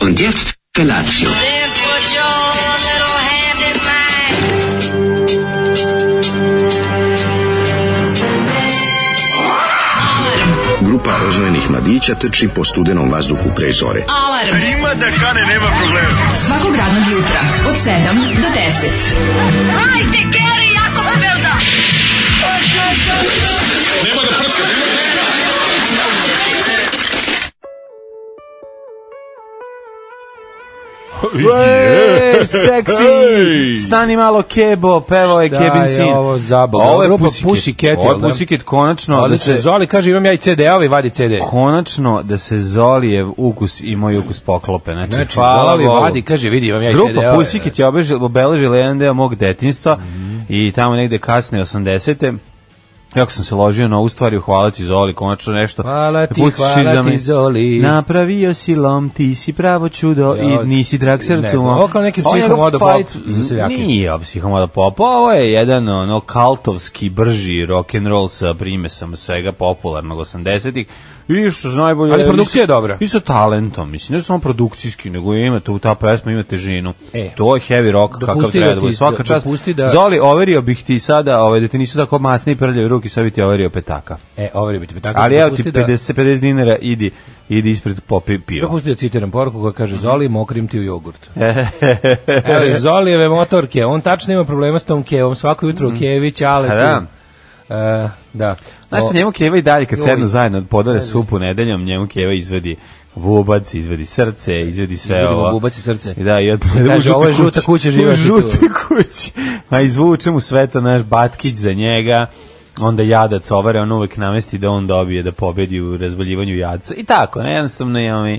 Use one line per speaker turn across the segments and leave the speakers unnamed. Und jetzt Felatio.
Then put your little hand in mine.
Grupa roznojenih mladića trči po studenom vazduhu pre zore.
Alarm. Ima da kane, nema problema. Svakog radnog jutra, od 7 do 10.
Ej,
Ej.
seksi! Stani malo Kebo, pevao je
Šta
Kevin
je
Sin.
ovo zabava?
Ovo je
Grupa
Pussycat.
Pussycat,
Ovo je
jel da?
Pussycat, konačno, da
Ali se
se,
Zoli kaže imam ja i CD, a ovaj vadi CD.
konačno da se Zolijev ukus i moj ukus poklope. Znači,
Znači,
hvala
Zoli
Bogu.
vadi, kaže vidi imam ja i CD.
Grupa Pussycat je obežila- obeležila jedan deo mog detinstva i tamo negde kasne 80-te Jako sam se ložio na ovu stvari, hvala ti Zoli, konačno nešto.
Hvala ti,
Pustiš
hvala
iza me.
ti, Zoli.
Napravio si lom, ti si pravo čudo
Ja,
i nisi drag
ne
srcu.
znam,
mom.
ovo kao neki
Ovo je
psihomodo pop
fight-
za seljake.
Nije ovo psihomodo pop, Pa ovo je jedan ono kaltovski, brži rock'n'roll sa primesom svega popularnog 80-ih. I što je najbolje...
Ali produkcija je dobra.
I sa talentom, mislim, ne samo produkcijski, nego ima tu ta pesma, ima težinu.
E.
to je heavy rock kakav
Dopusti
treba
da
da bude.
ti-
Svaka čast.
dopusti da-
Zoli, overio bih ti sada, ovaj, da ti nisu tako masni i prljavi ruki, sad bi ti overio petaka.
E, ovo je biti tako.
Ali evo ti
dopusti da-
50, 50 dinara, idi, idi ispred popi pio.
Dopusti da citiram poruku koja kaže Zoli, mokrim ti u jogurt. Evo, iz Zolijeve motorke, on tačno ima problema s tom kevom, svako jutro u kevi, čale.
Mhm. A da.
E, da.
Znaš
O,
šta, njemu Keva i dalje kad
Joj.
sednu zajedno podare supu nedeljom, njemu Keva izvedi bubac, izvedi srce, izvedi sve
Izvedi mu
ovo.
bubac i srce.
I da, i od,
Kaže, ovo je žuta kuća, živeti tu.
Žuta kuća. A izvuče mu sve to, naš Batkić za njega, onda jadac ovare, on uvek namesti da on dobije, da pobedi u razvaljivanju jadca. I tako, ne, jednostavno je ovaj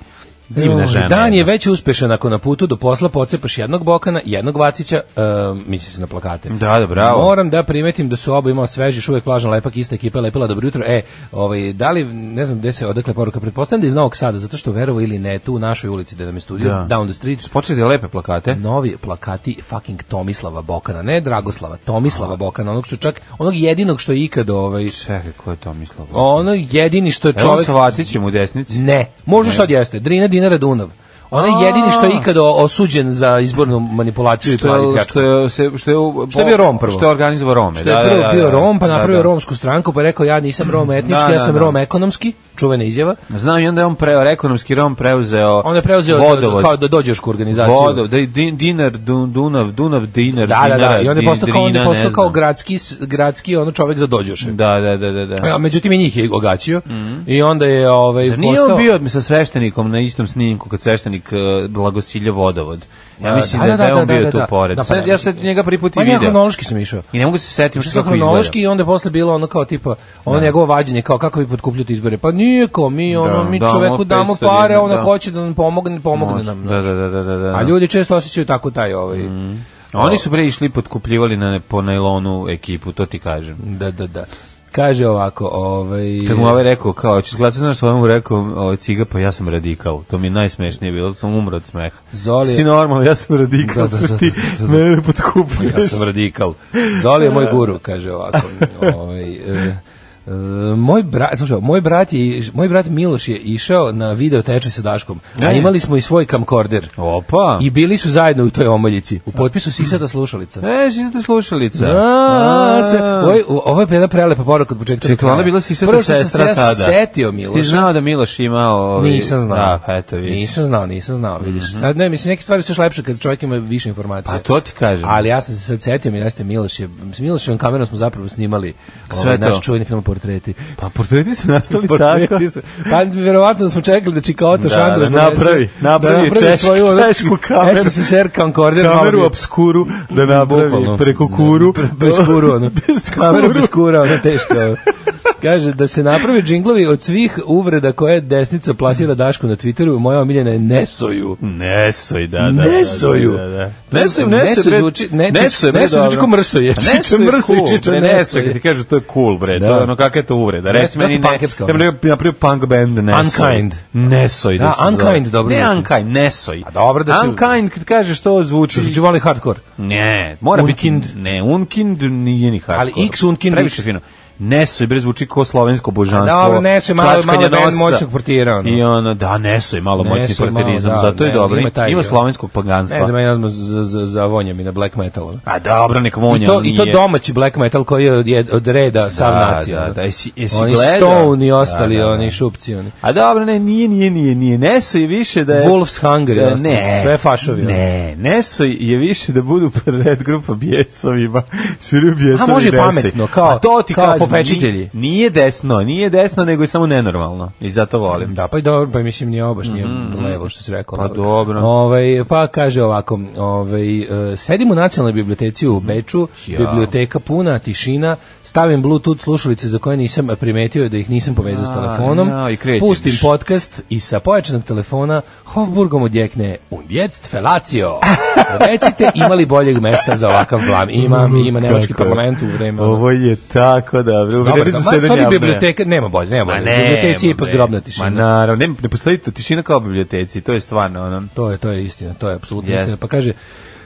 divna
Joj,
žena.
Dan je
jedna.
već uspešan ako na putu do posla pocepaš jednog Bokana, jednog Vacića, uh, misli se na plakate.
Da, da, bravo.
Moram da primetim da su oba imao sveži, još uvek vlažan lepak, ista ekipa je lepila dobro jutro. E, ovaj, da li, ne znam gde se odakle poruka, pretpostavljam da iz Novog Sada, zato što verovo ili ne, tu u našoj ulici gde nam je studio,
Da.
down the street,
Počeli da lepe plakate.
novi plakati fucking Tomislava Bokana, ne Dragoslava, Tomislava Bokana, onog što čak, onog jedinog što je ikad, ovaj,
Čekaj, ko je to mislio?
ono jedini što je
Evo on
čovjek...
sa Vacićem u desnici.
Ne, možda sad jeste. Drina Dinara Dunav. On je
A.
jedini što je ikada o- osuđen za izbornu manipulaciju i plavi
što, je-
pljačku.
što je se što je
Što je bio Rom prvo.
Što je organizovao Rome,
Što je prvo bio Rom, pa napravio
E, da, da.
romsku stranku, pa rekao ja nisam Rom etnički,
Da,
ja
da,
sam
da.
Rom ekonomski, čuvena izjava.
Znam i onda je on preo ekonomski Rom preuzeo
On je preuzeo
vodovod,
kao da dođešku organizaciju.
vodov, da, i din- dinar, dun, Dunav, Dunav, dinar,
Da, da, da,
dinara,
i on je
din-
postao kao, on je
drina,
postao
ne
kao
znam.
gradski, s- gradski ono čovek za dođoše.
Da, da, da, da. da. Mhm.
A, međutim i njih je ogaćio i onda je ovaj,
Zar nije
postao...
on bio sa sveštenikom na istom snimku kad sveštenik uh, blagosilje vodovod? Ja
Da,
mislim
da,
da, da,
da,
je
da,
on
da,
bio
da,
tu
da.
pored.
Da, pa
Sad,
ne,
ja
mislim-
sam njega prvi put i
Ma ja
video.
hronološki Pa sam išao.
I ne mogu se setiti
Što
što kako izgleda.
hronološki i onda je posle bilo ono kao tipa ono njegovo vađenje kao kako vi potkupljujete izbore. Pa nije kao mi ono
Da,
mi
damo
čoveku damo
500
pare,
dinara,
ono
da.
hoće da nam pomogne, pomogne
Može,
nam.
Da, da, da, da, da, Mhm. da.
A ljudi često osjećaju tako taj ovaj
Oni su pre išli potkupljivali na po najlonu ekipu, to ti kažem.
da da da. Kaže ovako, ovaj
Kad mu ovaj rekao, kao, hoćeš glasati, znaš što ovaj mu rekao, ovaj, ciga, pa ja sam radikal. To mi je najsmešnije bilo, sam umro od smeha.
Zoli je-
Ti normalno, ja sam radikal, da, da, da, ti mene ne potkupljuješ.
ja sam radikal. Zoli je moj guru, kaže ovako. ovaj, e, e, moj brat, slušaj, moj brat je, moj brat Miloš je išao na video tečaj sa Daškom. A
E.
imali smo i svoj kamkorder.
Opa!
I bili su zajedno u toj omoljici. U potpisu sisata slušalica.
E, sisata slušalica.
A, a, sve- Ovo je- ovo je jedna prelepa poruka od početka. do
Čekaj, ona
kraja.
bila sisata
Prvo što sam se
sestra
ja
tada.
setio ovaj,
Ti
Miloša.
znao da Miloš imao... Ovi,
Nisam znao.
Da, pa eto vidiš.
Nisam znao, nisam znao, vidiš. Mhm. Sad ne, mislim neke stvari su još lepše kad čovjek ima više informacija.
Pa to ti kažem.
Ali ja sam se sad setio, mi jeste Miloš je, s Miloševom kamerom smo zapravo snimali
Sve
ovaj, naš
to.
čuveni film Portreti.
Pa portreti su nastali
Portreti
tako.
su- Pa verovatno da smo čekali da Čikaota
Da,
Šandroš
da,
donese-
napravi, napravi češku-
ono-
češku kameru.
SSSR kankorder. malo
Kameru
bi-
obskuru da napravi
Bukvalno.
preko kuru.
Pre- bez kuru, ono.
bez kuru.
Kameru bez kura, ono teško. Kaže da se naprave džinglovi od svih uvreda koje desnica plasira Dašku na Twitteru, moja omiljena je Nesoju.
Nesoj, da, da. da,
Nesoju.
Da, da. Nesoj, nesoj,
Neso
bre,
zvuči- ne, čič-
nesoj, bre,
Neso zvuči
dobro.
ko mrso je.
A Nesoj
Čiče
je
mrso i
cool,
čiče
bre,
Neso
Nesoj,
je.
kad ti kažu to je cool, bre, to
Da.
je ono kakva je to uvreda.
Ne,
Reci
dosta
meni ne.
punkerska,
Ja bih
ono.
rekao, napravio punk band Nesoj.
Unkind.
Nesoj.
Da,
se zove.
Unkind dobro
Ne
zvuči.
Unkind, Nesoj.
A dobro da se-
Unkind, kad kažeš to zvuči...
Čuči Znači, voli hardcore.
Ne, mora
Unkind.
biti... Ne, Unkind nije ni hardcore.
Ali X Unkind
Previše
X.
fino. Neso bre zvuči kao slovensko božanstvo.
A dobro, Neso je malo-
čačkanje
malo bend
nosa.
moćnog portira, ono.
I ono, da, Neso je malo
Neso je
moćni
malo,
portirizam,
da,
zato je
ne,
dobro.
ima
Ima,
taj dio.
slovenskog paganstva.
Ne znam, ja odmah za, za, za vonja mi na black metal. ono.
A dobro, nek
I
vonja
to, I to
nije.
domaći black metal koji je od, jed- od reda sav
Da,
nacija.
da,
ono.
da, jesi- jesi
oni
gledao?
Stone i
Da,
ostali,
da, da.
oni šupci. Oni.
A dobro, ne, nije, nije, nije, nije. Neso je više da je...
Wolf's Hunger,
Da,
jasno,
E, ne,
sve fašovi, ono.
Ne, Neso je više da budu pred grupa bjesovima. Sviraju bjesovi
A može i
Nese.
pametno, kao-
A to ti
kao
kažem,
popečitelji.
Nije, nije desno, nije desno, nego je samo nenormalno. I zato volim.
Da, pa i dobro, pa mislim nije obaš, nije levo što si rekao.
Mhm, Pa dobro.
Ovaj, pa kaže ovako, ovaj, e, sedim u nacionalnoj biblioteci u Beču,
Mhm. Ja.
biblioteka puna, tišina, stavim bluetooth slušalice za koje nisam primetio da ih nisam povezao s
A,
telefonom,
ja, i krećeš.
pustim podcast i sa pojačanog telefona Hofburgom odjekne Und jetzt felatio. Recite, ima li boljeg mesta za ovakav blam? Ima, ima nemački
Mhm, Kako je.
parlament u vreme. ono.
Ovo je tako dobro. U vreme
Dobar,
za
ma,
sedenje
stvari
apnea.
biblioteka, nema bolje, nema bolje.
ne,
Biblioteci je ipak
bre.
grobna tišina.
Ma naravno, ne, ne postoji to tišina kao u biblioteci, to je stvarno ono.
To je to je istina, to je apsolutno
Jeste.
istina. Pa kaže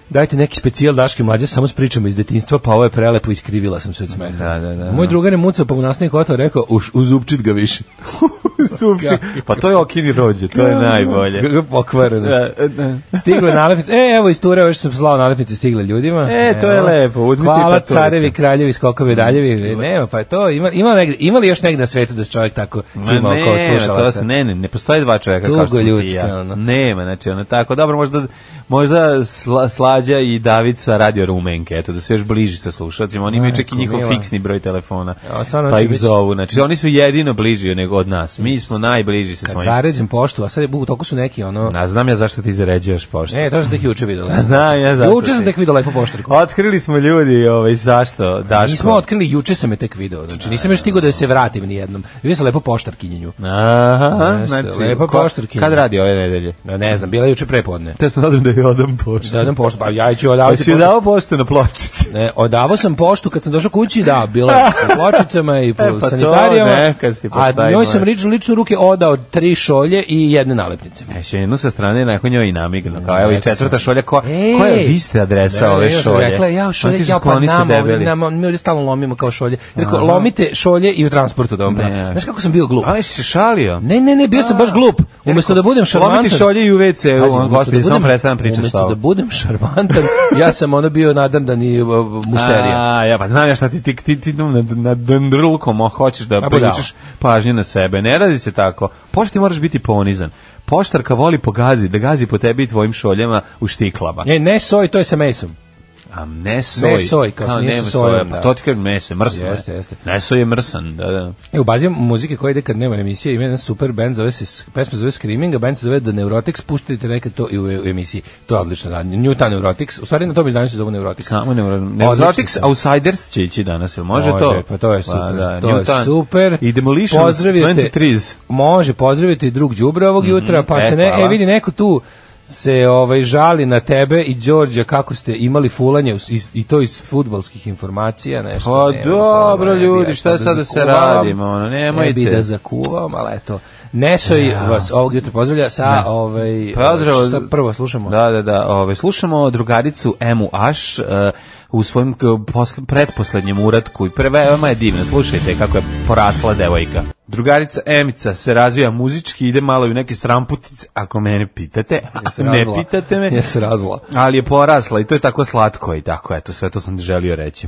Dajte neki specijal Daške mlađe, samo s pričama iz detinjstva, pa ovo je prelepo, iskrivila sam se od smeha.
Da, da, da.
Moj drugar je mucao, pa mu nastavnik otao rekao, Uš, uzupčit ga više.
Supči. Pa to je okini rođe, to je najbolje.
Kako pokvareno.
Da, da.
Stigla je nalepnica. E, evo iz Ture, još sam slao nalepnice stigle ljudima.
E, to je
Evo.
lepo, uzmite i Mm,
Hvala
paturite.
carevi, kraljevi, skokovi, daljevi. E, nema, pa je to. Ima, ima, negde, ima li još negde na svetu da se čovjek tako
Ma
cima oko
ne, to
slušalaca?
su, ne, ne, ne postoje dva čoveka kao što
Tugo
sam ti
ljudska,
ja.
ono.
Nema, znači, ono tako, dobro, možda, možda Sla- Slađa i Davica radio rumenke, eto, da se još bliži sa slušalcima, oni imaju čak i
Majko
njihov
mila.
fiksni broj telefona,
A, stvarno,
pa
znači,
ih
već-
zovu, znači, oni su jedino bliži nego od nas, mi smo najbliži sa
Kad
svojim.
zaređem poštu, a sad je, bu, toliko su neki, ono...
Na, znam ja zašto ti zaređuješ poštu.
E, to sam tek juče videla.
Znam ja zašto
Juče sam
si.
tek videla lepo poštarku.
Otkrili smo ljudi, ovaj, zašto, Daško.
Nismo otkrili, juče sam je tek video. Znači, nisam još stigao da se vratim ni jednom. Vidio sam lepo poštarkinjenju.
Aha,
Jeste,
znači,
lepa
ko-
poštarkinja.
Kad radi ove nedelje?
Ne, ne znam, bila je juče prepodne.
Te sam nadam da je odam poštu.
Zadam poštu, pa ja ću odavati
Jesi
poštu.
joj dao poštu na pločici?
Ne, odavao sam poštu kad sam došao kući, da, bila je u pločicama i po
E, pa to
sanitarijama.
neka si
a
postavi,
njoj sam
moraš.
lično, lično u ruke odao tri šolje i jedne nalepnice.
E, še jednu sa strane, nakon njoj i namigno. Kao, evo i
Rekao
četvrta
sam.
šolja, ko,
Ej!
koja je vi ste adresa
Da,
ove
ja sam
šolje?
Rekla, je, ja,
Ona
šolje,
kaže,
ja pa
skloni se
nama,
debeli.
oni nama, mi ovdje stalno lomimo kao šolje. Rekao,
Aha.
lomite šolje i u transportu da vam prate. Znaš kako sam bio glup?
A, jesi se šalio?
Ne, ne, ne, bio sam baš glup. Umesto da budem šarmantan.
Lomiti šolje i u WC-u,
Pazi,
on,
umesto
gospodin, samo
budem-
prestavam pričati
umesto
sa
da
ovom.
budem šarmantan, ja sam ono bio nadam da ni musterija.
A, ja, pa znam ja šta ti, ti, ti, ti na, na dendrlkom a hoćeš da
budala.
privučeš pažnju na sebe. Ne radi se tako. Pošti moraš biti ponizan. Poštarka voli pogazi, da gazi po tebi i tvojim šoljama u štiklama.
Ne, ne soj, to je sa mesom.
A ne soj.
Ne soj, kao nije sa
nema
sojom,
soja, pa
da.
to ti kažem meso, je, mrsno je.
Jeste, jeste.
Ne soj je mrsan, da, da.
E, u bazi muzike koja ide kad nema emisije, ima jedan super band, zove se, pesma zove Screaming, a band se zove The Neurotics, puštajte nekad to i u, u emisiji. To je odlično radnje. Newton Neurotics, u stvari na to bi znaju se zove Neurotics.
Samo ne moram.
Odlični
Neurotics
su.
Outsiders će ići danas, jel može, to?
Pa to je super.
Pa,
to
Newton.
je super.
I Demolition
Pozdravite-
23s.
Može, pozdravite i drug đubre ovog jutra, pa
e,
se ne,
hvala.
e vidi neko tu se ovaj žali na tebe i Đorđa kako ste imali fulanje us- iz- i to iz fudbalskih informacija nešto.
Pa
nema
dobro,
problema, ne bi
ljudi,
ja
šta sad da se
zakuvam,
radimo, ono, nemojte.
Ne bi da zakuvam, ali eto. Nesoj vas ovog jutra pozdravlja sa ovaj
Pozdrav.
šta prvo slušamo.
Da, da, da. Ove, slušamo drugaricu Emu Aš e, u svojim k- posl- pretposlednjem uratku i pre- veoma je divna. Slušajte kako je porasla devojka. Drugarica Emica se razvija muzički, ide malo i u neki stramputice, ako mene pitate,
Ja se
ne
razvla.
pitate me.
Ja se razvla.
Ali je porasla i to je tako slatko i tako, eto, sve to sam želio reći.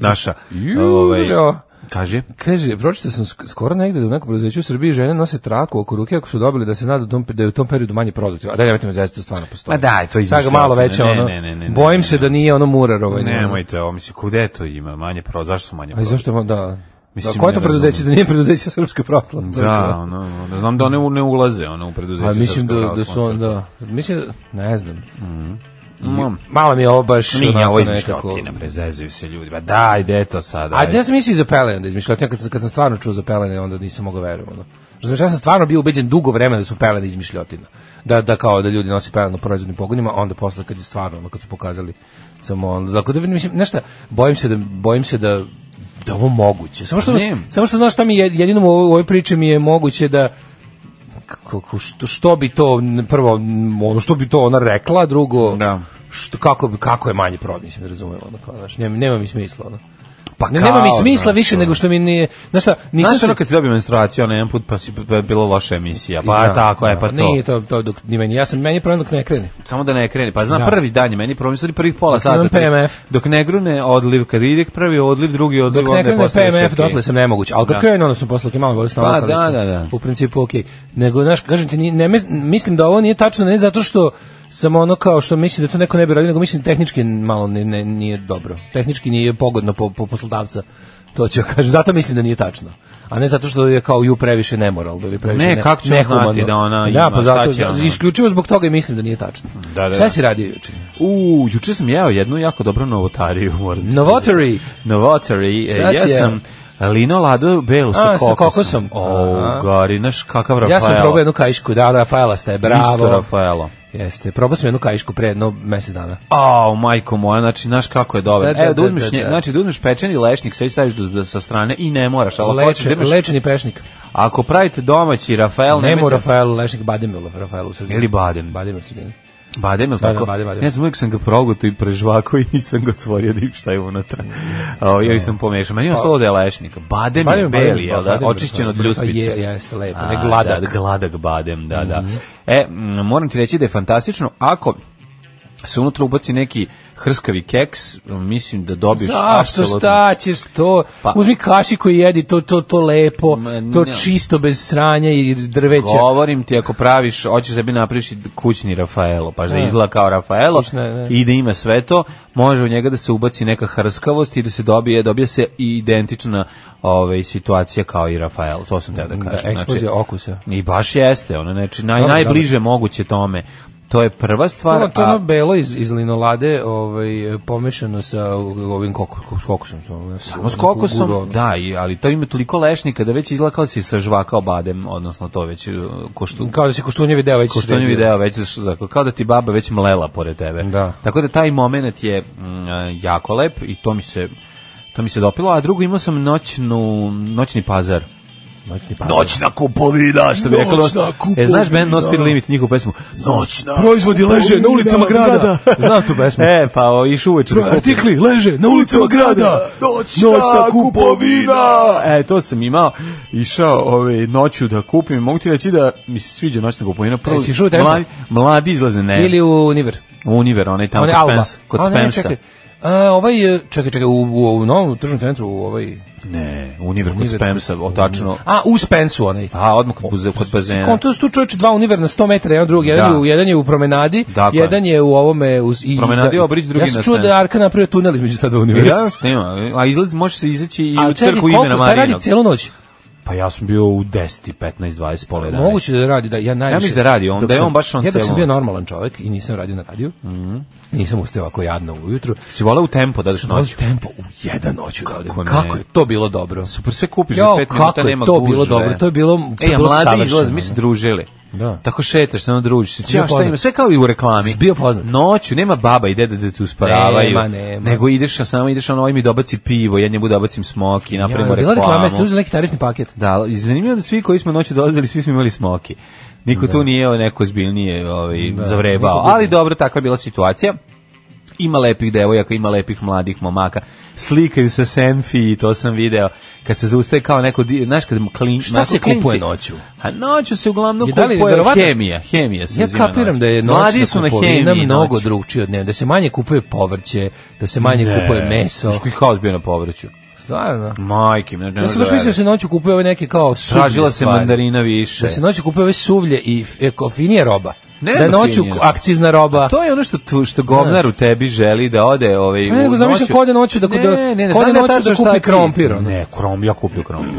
Naša, ovaj,
Juro.
kaže,
Kaže, pročitao sam sk- skoro negde da u nekom preduzeću u Srbiji žene nose traku oko ruke ako su dobili da se zna da, u tom, da je u tom periodu manje produktivno. A da, nemojte me zezati, to stvarno postoji.
Ma Pa daj, to je
Sad ga
izmišljotina.
malo veće,
Ne,
ono,
ne, ne, ne, ne,
bojim
ne,
se
ne.
da nije ono murar ovaj. ne,
nemojte ovo, mislim, kude to ima, manje pro, zašto su manje
A i
pro?
zašto, ma- da,
Mislim,
da, koje to
ne
preduzeće
razumem.
da nije preduzeće Srpske pravoslavne
Da, ono, ono, znam da one u- ne ulaze ono, u preduzeće.
A mislim da,
Srpskog
da su on,
pravoslavnog
da, mislim, da- ne znam.
crkve. Mom,
Malo mi je ovo baš
Mm. Nije,
onako
ovo je
nekako-
izmišljotina, bre, zezaju se ljudi. Ba daj, gde je to sad?
A
ajde.
ja sam mislio i za Pelene da izmišljotina, kad, sam- kad sam stvarno čuo za Pelene, onda nisam mogao verujem. Ono. Znači, ja sam stvarno bio ubeđen dugo vremena da su Pelene izmišljotina. Da, da kao da ljudi nose Pelene u proizvodnim pogonima, a onda posle kad je stvarno, ono, kad su pokazali samo ono. Dakle, da, vidim, mislim, znaš šta, bojim se da, bojim se da da je ovo moguće. Samo što,
Ne.
samo što znaš šta mi je, jedinom u ovoj, u ovoj priči mi je moguće da kako, kako- što, što bi to n- prvo m, ono što bi to ona rekla drugo
Da.
što kako bi kako je manje prod mislim da razumem ono kao znaš nema nema mi smisla ono
Pa
ne, nema
kao,
mi smisla
znaš,
više
ono.
nego što mi nije... Znaš šta, nisam
Znaš
se-
ono kad si dobio menstruaciju, ono jedan put pa si pa je bila loša emisija, pa
Da,
tako je, pa
da,
to.
Nije to, to dok ni meni. Ja sam, meni je problem dok ne krene.
Samo da ne kreni. Pa znam,
Da.
prvi dan je meni problem, stvari prvih pola
Dok imam
sata. tri-
PMF.
Dok ne grune odliv, kad ide prvi odliv, drugi odliv,
Dok ne
onda je
krene
postaje
PMF,
PMF,
dotle sam nemoguć. Ali kad
Da.
krene, onda sam posle ok, malo bolje stalo.
Pa, da, da, da.
U principu, okej. Nego, znaš, kažem ti, ni- ne, mis- mislim da ovo nije tačno, ne zato što sam ono kao što mislim da to neko ne bi radio, nego mislim tehnički malo ne, ne, nije dobro. Tehnički nije pogodno po, po poslodavca. To ću kažem. Zato mislim da nije tačno. A ne zato što je kao ju previše nemoralno ili previše
Ne,
ne,
kako ćemo
nehumano.
znati da ona
da,
ima,
pa
šta
zato,
će ona?
isključivo zbog toga i mislim da nije tačno.
Da, da,
Šta
da.
si radio juče?
U, juče sam jeo jednu jako dobru novotariju. moram ti
Novotary.
reći. Novotary. e,
Šta si
Ja
jeo?
sam lino lado belu sa
A, sa
kokosom.
kokosom.
O,
Aha.
gari, znaš kakav Rafaela.
Ja sam probao jednu kaišku, da, Rafaela ste, bravo.
Isto Rafaelo.
Jeste, probao sam jednu kaišku pre jedno mesec dana.
Au, majko moja, znači, znaš kako je dobro.
Da, da,
Evo, da
da,
uzmeš,
da,
nje-
da.
znači, da uzmeš pečeni lešnik, sve staviš do, do- sa strane i ne moraš, ali ako hoćeš da
Lečen,
imaš-
lečeni prešnik.
Ako pravite domaći Rafael,
Nemo
nemojte-
Rafaelu, lešnik Bademilo, Rafaelu u Srbiji.
Ili Badem.
Bademil u Srbiji.
Badem, ili
Da, da,
tako?
badem, badem.
Ne znam, uvijek sam ga progutao i prežvako i nisam ga otvorio da vidim šta je unutra. O, jer sam pomešao. Meni je ostalo da je lešnik. Badem, je
Badem, badem,
beli, jel da?
badem,
Očišćen od
badem.
ljuspice.
Pa Je, jeste, lepo,
A,
ne, gladak. Mhm.
Da, gladak badem, da, da. E, m, moram ti reći da je fantastično. Ako se unutra ubaci neki hrskavi keks, mislim da dobiješ
Zašto
apsolutno-
šta ćeš to?
Pa-
Uzmi kašiku i jedi to, to, to lepo,
Ma,
to
ne.
čisto bez sranja i drveća.
Govorim ti, ako praviš, hoćeš sebi napraviš i kućni Rafaelo, pa da izgleda kao Rafaelo
Kućne, ne.
i da ima sve to, može u njega da se ubaci neka hrskavost i da se dobije, dobije se i identična ovaj, situacija kao i Rafaelo, to sam teo da
Da,
kažem. Znači,
eksplozija okusa.
I baš jeste, ono, znači, naj,
Dobro,
najbliže moguće tome. To je prva stvar,
To, to je
a-
ono belo iz, iz linolade ovaj, pomešano sa ovim kokos, kokosom. ono,
Samo s kokosom, da, i, ali to ima toliko lešnika da već izgleda kao da si sažvakao badem, odnosno to već uh, ko što,
Kao da se koštunjevi deo već
koštonjevi
sredio.
deo već zaš- za- kao da ti baba već mlela pored tebe.
Da.
Tako da taj moment je mm, e, jako lep i to mi se to mi se dopilo, a drugo imao sam noćnu, noćni pazar.
Noćni pazar.
Noćna kupovina, što bi rekao. Noćna kupovina. E, znaš band No Speed Limit, njihovu pesmu? Noćna
Proizvodi leže na ulicama
kupovina.
grada. Znam tu pesmu.
E, pa o, išu uveče. da kupim.
Artikli leže na ulicama grada.
Noćna, kupovina! E, to sam imao, išao ove, noću da kupim. Mogu ti reći da mi se sviđa noćna kupovina. Prvo,
Jesi išao u Tempo?
mladi, mladi izlaze, ne.
E. Ili u Niver.
U Univer, onaj tamo
On je
kod
Alba.
Spens, kod
A, ne, ne,
Spensa.
čekaj. A, ovaj, e, čekaj, čekaj, u, u, u novom tržnom centru, u ovaj...
Ne, Univer kod
Univer.
Spensa, otačno.
A, u Spensu onaj.
A, odmah kod, buze, kod bazena.
Konto su tu čoveče dva univer na 100 metara, jedan drugi, jedan,
Da.
je, u, jedan je u promenadi,
Dakle.
jedan je u ovome... Uz, i,
Promenadi
da-
Obrić, drugi
Ja sam
na
čuo da je
Spensu.
Arka napravio tunel između ta dva univera.
Ja, šta ima? A izlaz, može se izaći i
A
u
čekaj,
crku
koliko?
imena
Taj radi
Marinog.
cijelu noć.
Pa ja sam bio u 10, 15, 20, pola 11.
Moguće da radi, da ja najviše.
Ja mislim da radi on,
dok
da je
sam-
on baš on
Ja dok sam
cijelo
bio
noć. Mhm.
normalan čovjek i nisam radio na radiju, nisam ustao ovako jadno ujutru,
Si volao u tempo da daš
Noć
noć.
tempo u jedan noću da odem.
Kako ne?
Kako je to bilo dobro?
Super, Pa sve kupiš
Jao,
za 5
kako
minuta,
je
nema
to
gužve.
bilo dobro, to je bilo- to je
Ej, a
bilo
mladi
savršeno,
izlaz, mi se
ono.
družili.
Da.
Tako šetaš, samo družiš se.
Bio
Ja, šta
poznat.
ima, sve kao i u reklami.
Bio poznat.
Noću, nema baba i deda da te usparavaju.
Nema, nema.
Nego ideš, a samo ideš, ono, ovaj mi dobaci pivo, ja njemu dobacim smoki, napravimo
bila
reklamu.
reklama, ste uzeli neki tarifni paket.
Da, i zanimljivo da svi koji smo noću dolazili, svi smo imali smoki. Niko tu nije o, neko zbiljnije ovaj, zavrebao. Ali dobro, takva je bila situacija. Ima lepih devojaka, ima lepih mladih momaka. Slikaju se senfi i to sam video. Kad se zaustaje kao neko, di- znaš kad klin,
Šta
onako
se kupuje
klinci-
noću?
A noću se uglavnom
Je, da li-
kupuje
verovatno-
hemija. Hemija se
Ja
uzima
kapiram
noću.
da je
Mladi
noćna
su na
kupovina
hemiji
mnogo
noću.
drugčije od dnevne, da se manje kupuje povrće, da se manje kupuje
E,
meso.
Znaš koji haos bio na povrću?
Stvarno.
Majke, mi, ne, ne,
Ja sam baš mislio da se noću kupuje ove neke kao suvlje
Tražila se
stvari.
mandarina više.
Da se noću kupuje ove suvlje i f- eko- finije roba.
Nema
da je noću
finije.
akcizna roba.
To je ono što tu, što govnar u tebi želi da ode ovaj
Ne, nego
u
zamišljam
noću.
ko ode noću da-
Ne,
da-
ne, ne,
ko ode
znam
noću
tačno
da
šta
kupi
ti-
krompir, ono.
Ne, krom ja kupio krompir.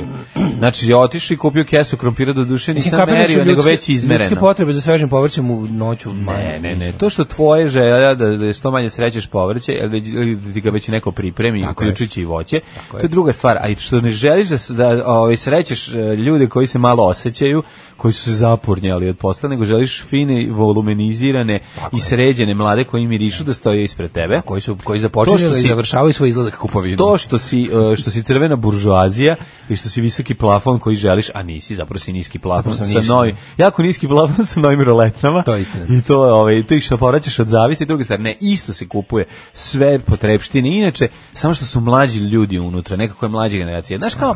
Znači ja otišao i kupio kesu krompira do duše nisam
kapiram da su
merio, nego
ljudske-
već izmereno.
Ljudske potrebe za svežim povrćem u noću manje.
Ne, ne, ne, to što tvoje želja da, da što manje srećeš povrće, ili da- ili da ti ga već neko pripremi,
Tako je.
uključujući i voće,
je.
to je druga stvar, a i što ne želiš da, s- da ovaj, srećeš e, ljude koji se malo osjećaju, koji su se zapurnjali od posla, nego želiš fine ovaj volumenizirane i sređene mlade koji mirišu da stoje ispred tebe.
koji su koji
To što
započinju
si-
i završavaju svoj izlazak kupovinom.
To što si e, što si crvena buržoazija i što si visoki plafon koji želiš, a nisi, zapravo si niski plafon
Zapravo sam
sa
ništa.
novim, jako niski plafon sa novim roletnama.
To je istina.
I to je ovaj to i što povraćaš od zavisti, druga stvar, ne, isto se kupuje sve potrepštine. Inače, samo što su mlađi ljudi unutra, nekako je mlađa generacija. Znaš kao,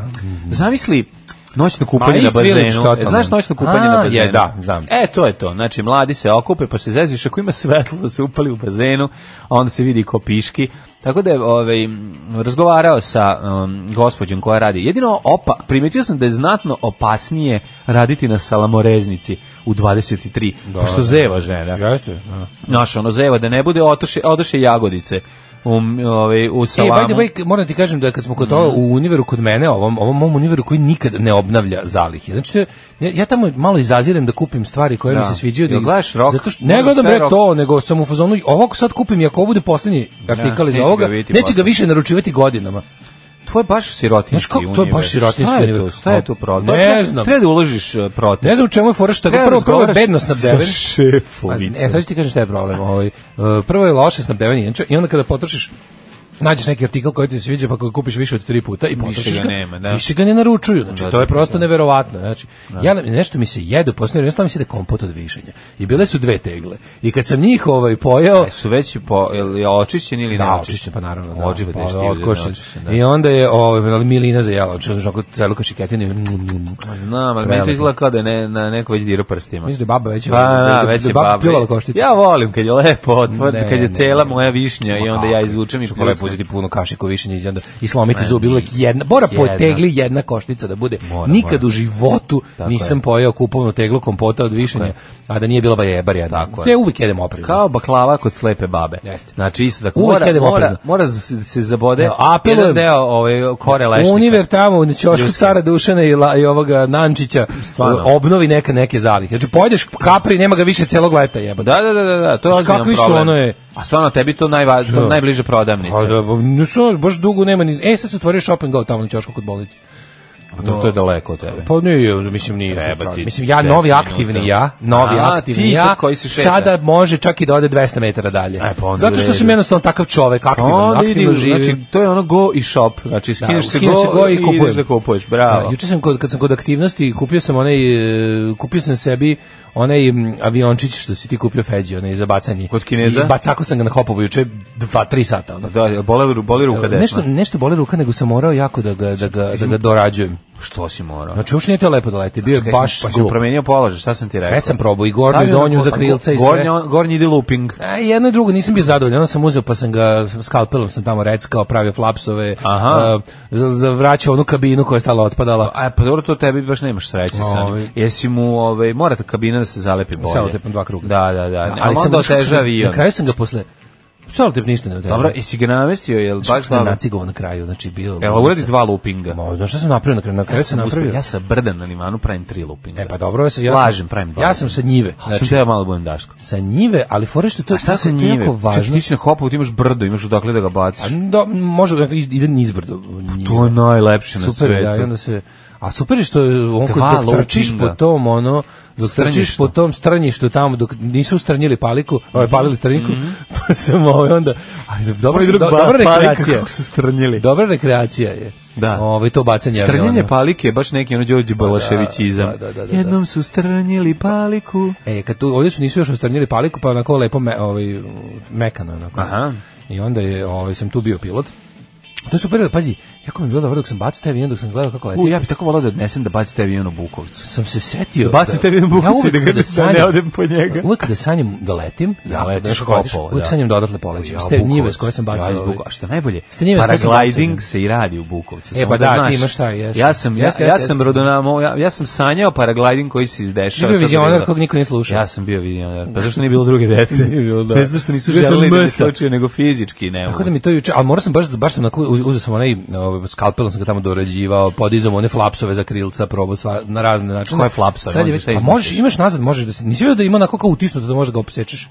zamisli noćno kupanje
Ma,
na
East Village
bazenu.
totalno.
E, Znaš noćno kupanje
A,
na bazenu?
je, da, znam.
E, to je to. Znači, mladi se okupe, pa se zeziš, ako ima svetlo da se upali u bazenu, a onda se vidi ko piški. Tako da je ovaj, m, razgovarao sa um, gospođom koja radi. Jedino opa, primetio sam da je znatno opasnije raditi na salamoreznici u 23, pošto zeva žena.
Jeste. da.
Znaš, ono zeva da ne bude otoše, odoše jagodice u, m, ovaj, u
E,
salamu.
by the way, moram ti kažem da kad smo kod toga
Mhm.
u univeru kod mene, ovom, ovom mom univeru koji nikad ne obnavlja zalihe. Znači, to je- ja, ja tamo malo izazirem da kupim stvari koje mi
Da.
se sviđaju. Da,
Jel
ih-
gledaš rock?
Zato što,
Možda
ne gledam
sve
bre
rock.
to, nego sam u fazonu, ovako sad kupim i ako ovo bude poslednji artikal iz
neće ga
ovoga,
vidjeti
neće ga
posle.
više naručivati godinama.
Tvoj baš
Znaš
sirotinski
kako, to je baš
univerz.
sirotinjski
Šta je to?
univerz.
Šta je to problem?
Ne
To treba-
znam.
Treba da uložiš e, protest.
Ne znam u čemu je fora što
Treba
prvo, prvo je
razgovaraš
bedno snabdeven. Pa,
sa šefovicom.
E, sad ću ti kažem šta je problem. Ovaj, e, prvo je loše snabdevanje inače, i onda kada potrošiš nađeš neki artikl koji ti se sviđa pa koji kupiš više od tri puta i potrošiš
ga nema, da.
više ga ne naručuju znači
Da,
to je
da,
prosto
da.
neverovatno znači ja nešto mi se jede poslednje vreme stalno mi se da kompot od višanja i bile su dve tegle i kad sam njih ovaj pojeo
E, su veći po, jel je očišćen ili
da,
ne
očišćen, pa naravno. Da,
Ođe
pa,
pa,
da, otkošen.
očišćen, da.
I onda je ovaj, milina zajela, što znaš, onako ono, celu kašiketinu. i mm, mm, mm.
Pa, Znam, ali meni to
Prelepo.
izgleda kao da je ne, na neko već dira prstima.
Mislim da je baba već-
Pa,
da-
da, već
da
je
baba
baba.
pljuvala koštice.
Ja volim kad je lepo otvorena,
Ne,
kad je
ne,
cela
ne.
moja višnja i onda ja izvučem i
Što lepo
pljusnem.
uzeti puno kašiku višenja i onda i slomiti zub, bilo je jedna, mora po
Jedna.
tegli jedna koštica da bude.
Mora,
Nikad
mora.
u životu
Tako
nisam
je.
pojeo kupovnu teglu kompota od višenja, a da nije bila bajebar jedna.
Tako je.
ja uvijek jedem oprezno.
Kao baklava kod slepe babe.
Jeste.
Znači isto tako.
Uvek
Mora,
jedemo
mora,
oprezno.
mora z- se zabode
Evo, apelujem.
jedan deo ovaj, kore lešnika.
Univer tamo u ćošku
Ljuske.
cara Dušana i, la, i ovoga Nančića
Stvarno.
obnovi neke neke zalihe. Znači pojedeš kapri nema ga više celog leta jeba.
Da, da, da, da, da, to je
Znaš,
ozbiljan
kakvi su,
problem.
ono je-
A stvarno, tebi to, najvaž, to
Što?
najbliže prodavnice.
Pa da, nisu, baš dugo nema ni... E, sad se otvorio Shop and Go tamo na ćošku kod bolnice.
Pa to, to je daleko od tebe.
Pa nije, mislim nije.
Treba
sad
ti
mislim ja
10
novi
minuta.
aktivni ja, novi
A,
aktivni
ti sad
ja.
koji se šeta.
sada može čak i da ode 200 metara dalje.
E, pa onda
Zato što
vredi.
sam jednostavno takav čovek, aktivan,
Onda
aktivno
idi,
živim.
znači, to je ono go i shop. Znači,
Da,
skineš se,
skinem
go,
se go i
ideš
kupujem.
da kupuješ, bravo.
Da, juče sam kod, kad sam kod aktivnosti kupio sam onaj e, kupio sam sebi onaj m, aviončić što si ti kupio Feđi, onaj za bacanje.
Kod Kineza?
I bacako sam ga na hopovu juče 2-3 sata. Ono.
Da, boli, ru- boli ruka desna.
Nešto, nešto boli ruka, nego sam morao jako da ga, da ga, da ga dorađujem.
Što si morao?
Znači, uopšte nije to lepo da leti, bio je
Kaj
baš
sam, pa sam
glup.
promenio položaj, šta sam ti rekao?
Sve sam probao, i gornju, i
Stavio na
donju
gol-
za krilca i sve.
Gornja, gornji ide looping.
A E, jedno i drugo nisam bio zadovoljan, onda sam uzeo pa sam ga skalpelom sam tamo reckao, pravio flapsove,
Aha.
a, za- zavraćao onu kabinu koja je stala otpadala.
A pa dobro, to tebi baš nemaš sreće sa njim.
Ovaj.
Jesi mu, ovaj, mora ta kabina da se zalepi bolje.
Selotepom dva kruga.
Da, da, da. Ali
sam
onda
znaš kako sam-
oteža avion.
Na kraju sam ga posle... Selotep ništa ne otežava.
Dobro, jesi ga namestio, jel baš
sam
dobro?
nacigovao Znači, na kraju, znači bilo...
Jel uradi dva loopinga?
Ma, znaš šta sam napravio na kraju? Na kraju
Ja
sam
sam, uspio,
napravio...
ja sa brda na limanu pravim tri loopinga.
E pa dobro, ja sam... Ja sam-
Lažem, pravim dva.
Ja sam sa njive.
Znači, sam teo malo budem daško.
sa njive, ali fore što to
A
je
šta
tako, to
se
je
njive?
jako
Čak
važno.
ti si na hopu, ti imaš brdo, imaš odakle da ga baciš.
A, Da, možda ide nizbrdo. njive.
Pa To je najlepše na
super
svetu.
da, i onda se a super je što je on
Dva
kad dok trčiš
loopinga.
po tom ono dok trčiš
Strnjištu.
po tom strnjištu tamo dok nisu stranjili paliku ovaj
Mhm.
palili strnjiku pa sam ovaj onda aj
Pa
dobro do, dobra rekreacija
Kako su strnjili.
dobra rekreacija je
Da.
ovaj to bacanje
Strnjenje
aviona.
palike je baš neki ono Đorđe Balaševićizam.
Pa da, da, da, da.
Jednom su strnjili paliku.
E, kad tu, ovdje su nisu još ostrnjili paliku, pa onako lepo me, ovaj, mekano. Onako.
Aha.
I onda je, ovaj, sam tu bio pilot. To je super, pazi, jako mi je bilo dobro dok sam bacao taj avion, dok sam gledao kako leti.
U, ja bih tako volao da odnesem da bacite avion u Bukovcu.
sam se setio.
Da bacite mi bukicu i
uvek
da ga-
kada
da
sanjam-
ne odem po njega.
Uvek kada sanjam da letim,
Da
jako
letiš
teško letiš,
kopao,
Uvek
da.
sanjam da odatle polećem. Ste njive s koje sam bacio.
Ja iz
ovaj.
Bukovca. A što je najbolje,
S te njive s koje sam
paragliding
bacio.
se i radi u Bukovcu.
E,
samo
pa da, ti
znaš.
imaš taj, jeste.
Ja sam, ja,
Jeste,
ja
jeste,
sam
jeste.
rodonamo, ja, ja sam sanjao paragliding koji se izdešava.
Ti bio
sad
vizionar
bilo-
kog niko nije slušao.
Ja sam bio vizionar. Pa zašto nije bilo druge dece?
Nije bilo, da.
Ne zato što nisu
Bio sam
želeli da me
mrsa.
slučaju, nego fizički ne
Tako
mogu.
da mi Pa to juče, ali moram sam baš, baš sam, onako uz- uzeo sam onaj, ovaj, skalpelom sam ga tamo dorađivao, podizam one flapsove za krilca, probao sva, na razne načine.
Koje flapsove?
Sad je
Možeš
već,
šta
a
izmisliš?
možeš, imaš nazad, možeš da se, nisi vidio da ima onako kao utisnuto da možeš da ga opsečeš.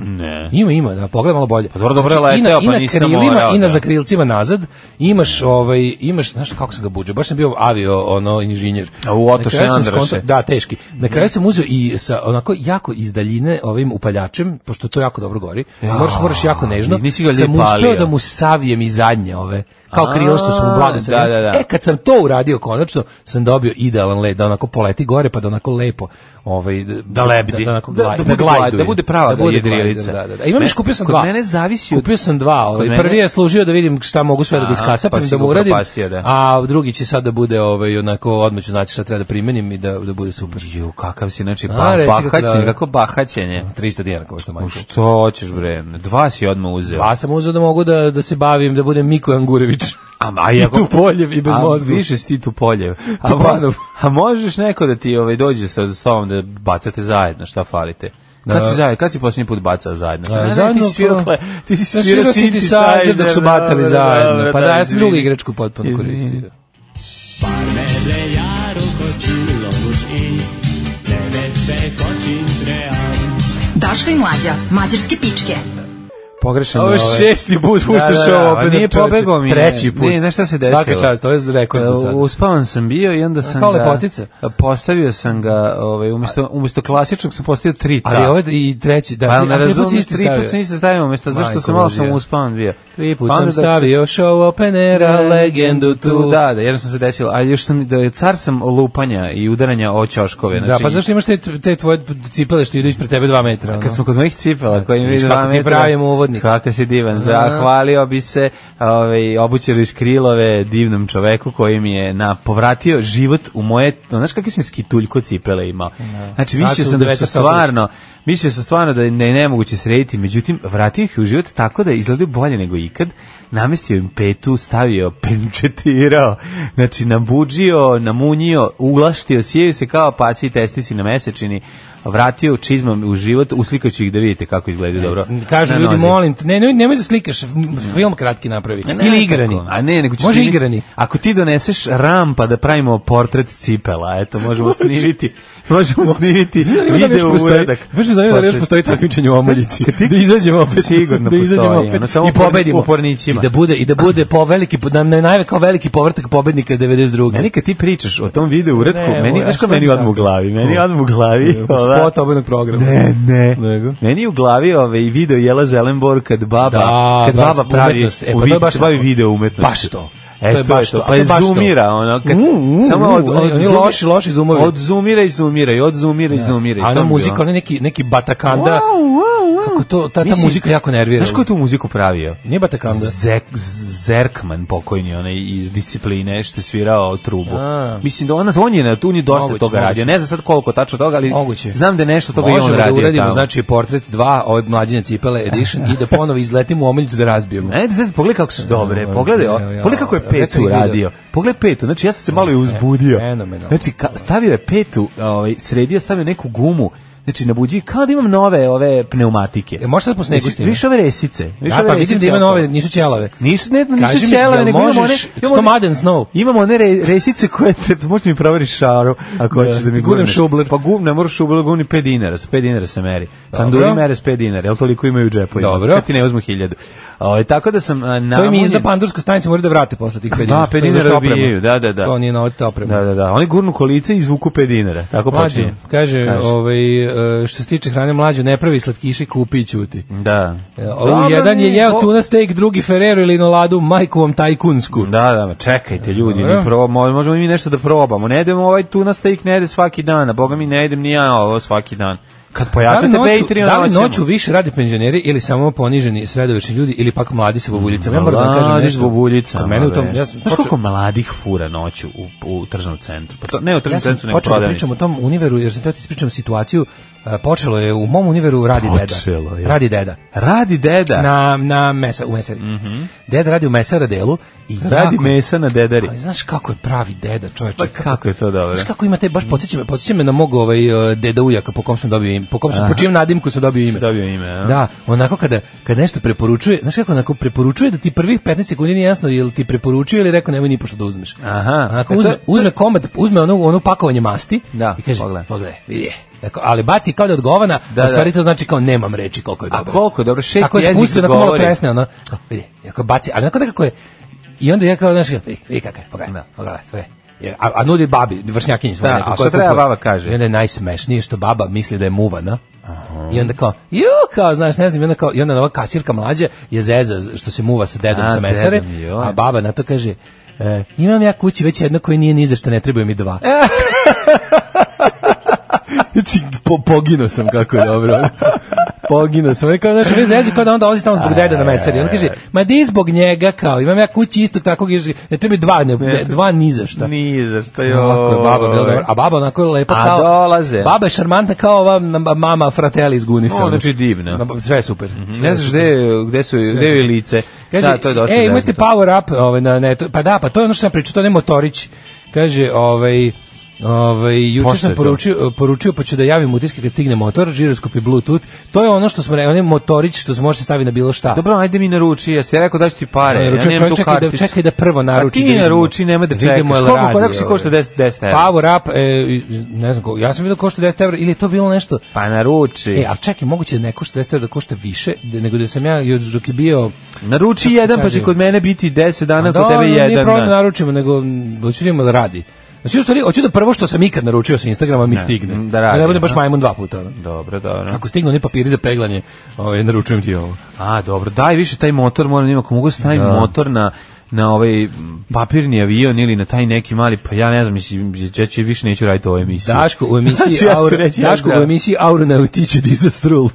Ne.
Ima, ima, da pogledaj malo bolje. Pa
dobro, dobro je
i na,
leteo,
i
pa
na
nisam
krilima,
morao,
I na
da.
zakrilcima nazad, imaš, ovaj, imaš, znaš kako sam ga buđao, baš sam bio avio, ono, inženjer.
A u Oto
Na kraju sam
Šenandraše.
skontao- Da, teški. Na kraju sam uzeo i sa onako jako iz daljine ovim upaljačem, pošto to jako dobro gori, moraš, moraš jako nežno,
nisi ga
sam
lijepo
uspeo
palio.
da mu savijem i zadnje ove, kao krilo što su mu
A,
blago savijene.
da, da, da.
E, kad sam to uradio konačno, sam dobio idealan led, da onako poleti gore, pa da onako lepo, ovaj,
Da lebdi.
Da, da, onako
Da-
glaj-
da bude
glajduje.
glaj- da bude prava jedrilica.
glajder, Da, da, da. Imam
Ne,
još, kupio sam
kod
dva.
mene zavisi od-
Kupio sam dva, ovaj.
Kod mene-
Prvi je služio da vidim šta mogu sve da ga
Aha,
iskasapim,
pa si
da mu
ga
uradim.
upropastio, da.
A drugi će sad da bude, ovaj, onako, odmah ću znati šta treba da primenim i da, da bude super.
Ju, kakav si, znači,
A,
pa,
reci kako
bahaćenje,
da.
kako bahaćenje.
300 dinara kao što
U
majko.
Što hoćeš, bre? Dva si odmah uzeo.
Pa sam uzeo da mogu da, da se bavim, da budem Miko Angurević.
A, a
I
ako-
tu poljev i bez
a,
mozga. pa-
Više si ti tu poljev. A,
Tupanov.
mo- a možeš neko da ti ovaj, dođe sa sobom da bacate zajedno, šta falite? Kad
Da.
si zajedno, kad si posljednji put bacao zajedno?
A,
Ne, ne,
zajedno
ti si svirao,
kao-
kle- ti si
Ja
svirao
svirao
synthesizer,
synthesizer dok su bacali
dobro,
zajedno.
dobro,
pa da, ja sam drugu
izvini.
igračku potpuno
Izvini.
koristio.
Daško i mlađa, mađarske pičke.
Pogrešan
Ovo je ovaj šesti put puštaš ovo
a
opet.
Nije
čoveče.
pobegao mi. je.
Treći put.
Ne, znaš šta se desilo?
Svaka čast, ovo je rekord do sada.
Uspavan sam bio i onda sam
kao
ga...
lepotica.
Postavio sam ga, ovaj, umjesto, umjesto klasičnog sam postavio tri ta.
Ali ovo je i treći, da,
Pa
tri,
ne
a tri put si
razumiješ,
isti
tri put
stavio.
sam isto stavio, umjesto zašto
Majko
sam malo sam
Božja.
uspavan bio.
Tri put
Pa onda
sam
dok
stavio show openera, legendu tu.
Da, da, jedno sam se desilo, a još sam, da je car sam lupanja i udaranja o ćoškove.
Da,
Znači,
pa zašto imaš te, te tvoje cipele što idu ispred tebe dva metra? ono?
Kad smo kod mojih cipela, koji mi
Vidiš
vidi
kako
dva
ti
metra.
pravimo uvodnik.
Kako si divan. Zahvalio bi se ovaj, obućeru iz Krilove, divnom čoveku koji mi je na, povratio život u moje... no, Znaš kakve sam skituljko cipele imao? Znači,
Sad
mislio
su
sam da su
devetas
stvarno... Mislio sam stvarno da je ne, nemoguće srediti, međutim, vratio ih u život tako da izgledaju bolje nego ikad. Namestio im petu, stavio, penčetirao, znači nabuđio, namunjio, uglaštio, sjeju se kao pasi i testisi na mesečini, vratio čizmom u život, uslikaću ih da vidite kako izgledaju dobro.
E, Kažu
Na
ljudi,
nozi.
molim te, ne, ne, nemoj da slikaš, f- film kratki napravi.
Ne, ne,
Ili igrani.
tako. A ne, nego ću
Može
snimiti-
igrani.
Ako ti doneseš ram pa da pravimo portret cipela, eto, možemo snimiti, možemo snimiti video uradak.
Baš mi zanima da li još
Portret
postoji takmičenje u omoljici. Da izađemo opet.
Sigurno
da izađemo
postoji,
opet
ono, samo
i
u porni-
pobedimo.
u pornićima.
I da bude, i da bude po veliki, po- na, na, najve- kao veliki povrtak pobednika 92.
Meni kad ti pričaš o tom videu uretku,
Ne,
meni,
moja,
znaš ko
šta
meni
mi
odmah u
tako?
glavi? Meni odmah u glavi. ova-
Spot obenog programa.
Ne, ne.
Nego?
Meni u glavi ovaj video Jela Zelenbor kad baba,
Da,
kad
da,
baba pravi,
umetnost. E, pa to
u
je
vid-
baš
kad bavi
tako.
video umetnost.
Baš to.
E,
To je
to je
baš
to.
to.
Pa
To je baš to.
zoomira, ono, kad,
U, u,
samo
u,
od,
oni-
od,
oni
zoomira-
loši, loši zoomovi.
Od zoomira i zoomira, i od zoomira i zoomira. i
A
to
ona
mi je
muzika,
bilo.
ona neki, neki batakanda. Kako to, ta, ta
Mislim,
muzika jako nervira.
Znaš ko je tu muziku pravio?
Nije batakanda.
Zek, Zerkman pokojni onaj iz discipline što je svirao trubu.
A.
Mislim da ona on je na tu nju dosta
Moguće,
toga
moguće.
radio. Ne znam sad koliko tačno toga, ali
Moguće.
znam da je nešto toga i
Možemo
Pa on
da
radio.
uradimo,
tamo.
znači, portret 2, ovaj mlađine cipele edition i da ponovo izletimo u omiljicu da razbijemo.
E, da sad pogledaj kako su dobre,
Evo,
pogledaj, o-
evo, ja,
pogledaj kako je
evo, ja
petu
sam ih vidio.
radio. Pogledaj petu, znači ja sam se malo i uzbudio.
fenomenalno.
Znači, ka, stavio je petu, ovaj, sredio, stavio neku gumu, znači nabuđi, kao da imam nove ove pneumatike.
E, možda po snegu
Znači,
s time?
Više ove resice. Više
Da,
ove
pa vidim da
resice
ima
oko.
nove, nisu ćelave.
Nisu, ne,
Kaži
nisu
mi,
ćelave,
jel
nego imamo one...
možeš
imamo one-
100 Madden Snow?
Imamo one re, resice koje te... Možeš mi proveriš šaru, ako hoćeš da mi
gurnem
gurneš.
šubler.
Pa gum, ne moraš šubler, gurni 5 dinara, sa 5 dinara se meri.
Dobro.
Panduri mere s 5 dinara, jel toliko imaju u džepovima?
Dobro.
Kad ti ne uzmu hiljadu. Ovaj, tako da sam a,
To im
namunjen-
izda pandurska stanica, moraju da vrate posle tih 5 dinara.
Da,
To je
5 dinara
zašto oprema.
dobijaju, da, da, da.
To nije novac, to je oprema.
Da, da, da. Oni gurnu kolice i izvuku 5 dinara. Tako
Mlađo,
počinje.
kaže,
Kaži.
ovaj, e, što se tiče hrane mlađo, ne pravi slatkiši, kupi i ćuti.
Da.
E, ovaj,
Dobro,
jedan je
mi-
jeo
o-
tuna steak, drugi Ferrero ili noladu, majku vam tajkunsku.
Da, da, ma čekajte ljudi,
Dobro.
mi probamo, možemo i mi nešto da probamo. Ne jedemo ovaj tuna steak, ne jede svaki dan, a boga mi ne jedem ni ja ovo svaki dan. Kad
da
pojačate
li, noću,
Dakle, Patreon,
da li
hoćemo.
noću više rade penzioneri ili samo poniženi sredovečni ljudi ili pak mladi sa bobuljicama? Ja moram da vam kažem
Mladi
nešto.
s bobuljicama,
Kod mene u tom,
bre.
ja sam
Znaš
počeo-
koliko mladih fura noću u, u tržnom centru? Pa to, ne u tržnom
Ja sam
centru, nego
počeo da
prodavnici.
pričam o tom univeru, jer sam teo ti ispričam situaciju. E, Počelo je u mom univeru radi
Počelo
deda.
je.
Radi deda.
Radi deda,
Na, na mesa, u mesari. Deda radi u mesara delu. I
Mhm. radi
jako-
mesa na dedari.
Ali znaš kako je pravi deda, čoveče?
Pa kako je to dobro?
Znaš kako imate, baš podsjeća me, podsjeća me na mog ovaj, e, deda ujaka po kom sam dobio ime, po, kom sam, po čijem nadimku sam dobio ime.
Dobio ime, a?
Da, onako kada, kada nešto preporučuje, znaš kako onako preporučuje da ti prvih 15 sekundi nije jasno ili ti preporučuje ili je rekao nemoj ni pošto da uzmeš.
Aha.
Onako
E, to-
uzme, uzme komad, uzme ono, ono pakovanje masti
Da,
i kaže,
pogledaj.
pogledaj, vidi je. Dakle, ali baci kao da je odgovana,
Da,
da, u stvari
da.
to znači kao nemam reči koliko je dobro.
koliko je dobro, šest
Ako je
jezik
spustio, onako malo
govori.
tresne, ono, kao, vidi, ako baci, ali onako nekako je, i onda ja kao, znaš, kao, vidi, vidi kakav je, pogledaj,
Da.
pogledaj, pogledaj. Je, A, a nudi babi, vršnjakinji svoje.
Da,
neko
a
koja
šta treba
kupuje.
baba kaže?
I onda je najsmešnije što baba misli da je muvana. I onda kao, ju, kao, znaš, ne znam, i onda, kao, i onda ova kasirka mlađa je zeza što se muva sa dedom
A,
sa
s
mesare,
dedom, joj.
a baba na to kaže, e, imam ja kući već jedno koje nije ni za što, ne trebaju mi dva. Znači, po, poginuo sam kako je dobro. poginuo sam. I kao, znaš, mi zezu kao da onda ozi tamo zbog dede na mesari. On kaže, ma di zbog njega kao, imam ja kući istog takvog, i kaže, ne treba mi dva, ne, ne, dva ni za šta.
Nije za što je
Onako je baba bila dobra. A baba onako je lepa
A
kao...
dolaze.
Baba je šarmanta kao ova nam- mama frateli iz Gunisa.
O, znači divna. Mhm.
Na- Sve je super. Sve
Ne
je
znaš
super.
gde, je- gde su gde je lice.
Kaže,
da, to je dosta.
Ej, imate
imate pa-"
power up, ovaj na ne, to, pa da, pa to je ono što sam pričao, to ne motorić. Kaže, ovaj Ovaj juče
Pošto je
sam
to.
poručio poručio pa ću da javim utiske kad stigne motor, žiroskop i bluetooth. To je ono što smo rekli, onaj motorić što se može staviti na bilo šta.
Dobro, ajde mi naruči, ja si rekao da ću ti pare,
Ne,
ja
naručio
nemam
čovjek,
tu
čekaj da-
karticu.
čekaj da prvo naruči,
A
da
ti
vidimo.
naruči, nemoj da
Da vidimo
čekaš.
jel
Koliko,
radi,
koliko se
ovaj.
košta 10, 10 evra?
Power up, e, ne znam, ko- ja sam vidio košta 10 evra ili je to bilo nešto
Pa naruči.
E, ali čekaj, moguće da ne košta 10 evra, da košta više, da- nego da sam ja još dok je bio...
naruči
Kako se
jedan, pa će
kaže?
kod mene biti 10 dana,
Da,
kod tebe
ono, Nije
jedan
problem
dan.
da naručimo, nego m, hoću da vidimo da radi. Znači, u stvari, hoću da prvo što sam ikad naručio sa Instagrama mi stigne.
mm, da radi,
ne budem baš
aha.
majmun dva puta. ono.
Dobro, dobro.
Ako stignu oni papiri za peglanje, ovaj, naručujem ti ovo.
A, dobro, daj više taj motor, moram ima, ako mogu stavim motor na na ovaj m, papirni avion ili na taj neki mali, pa ja ne znam, mislim, ja ću više neću raditi ovu emisiju.
Daško u emisiji
Znači, ja ću
Aur,
reći, ja
Daško
znam.
u emisiji Auronautiče Disastrul.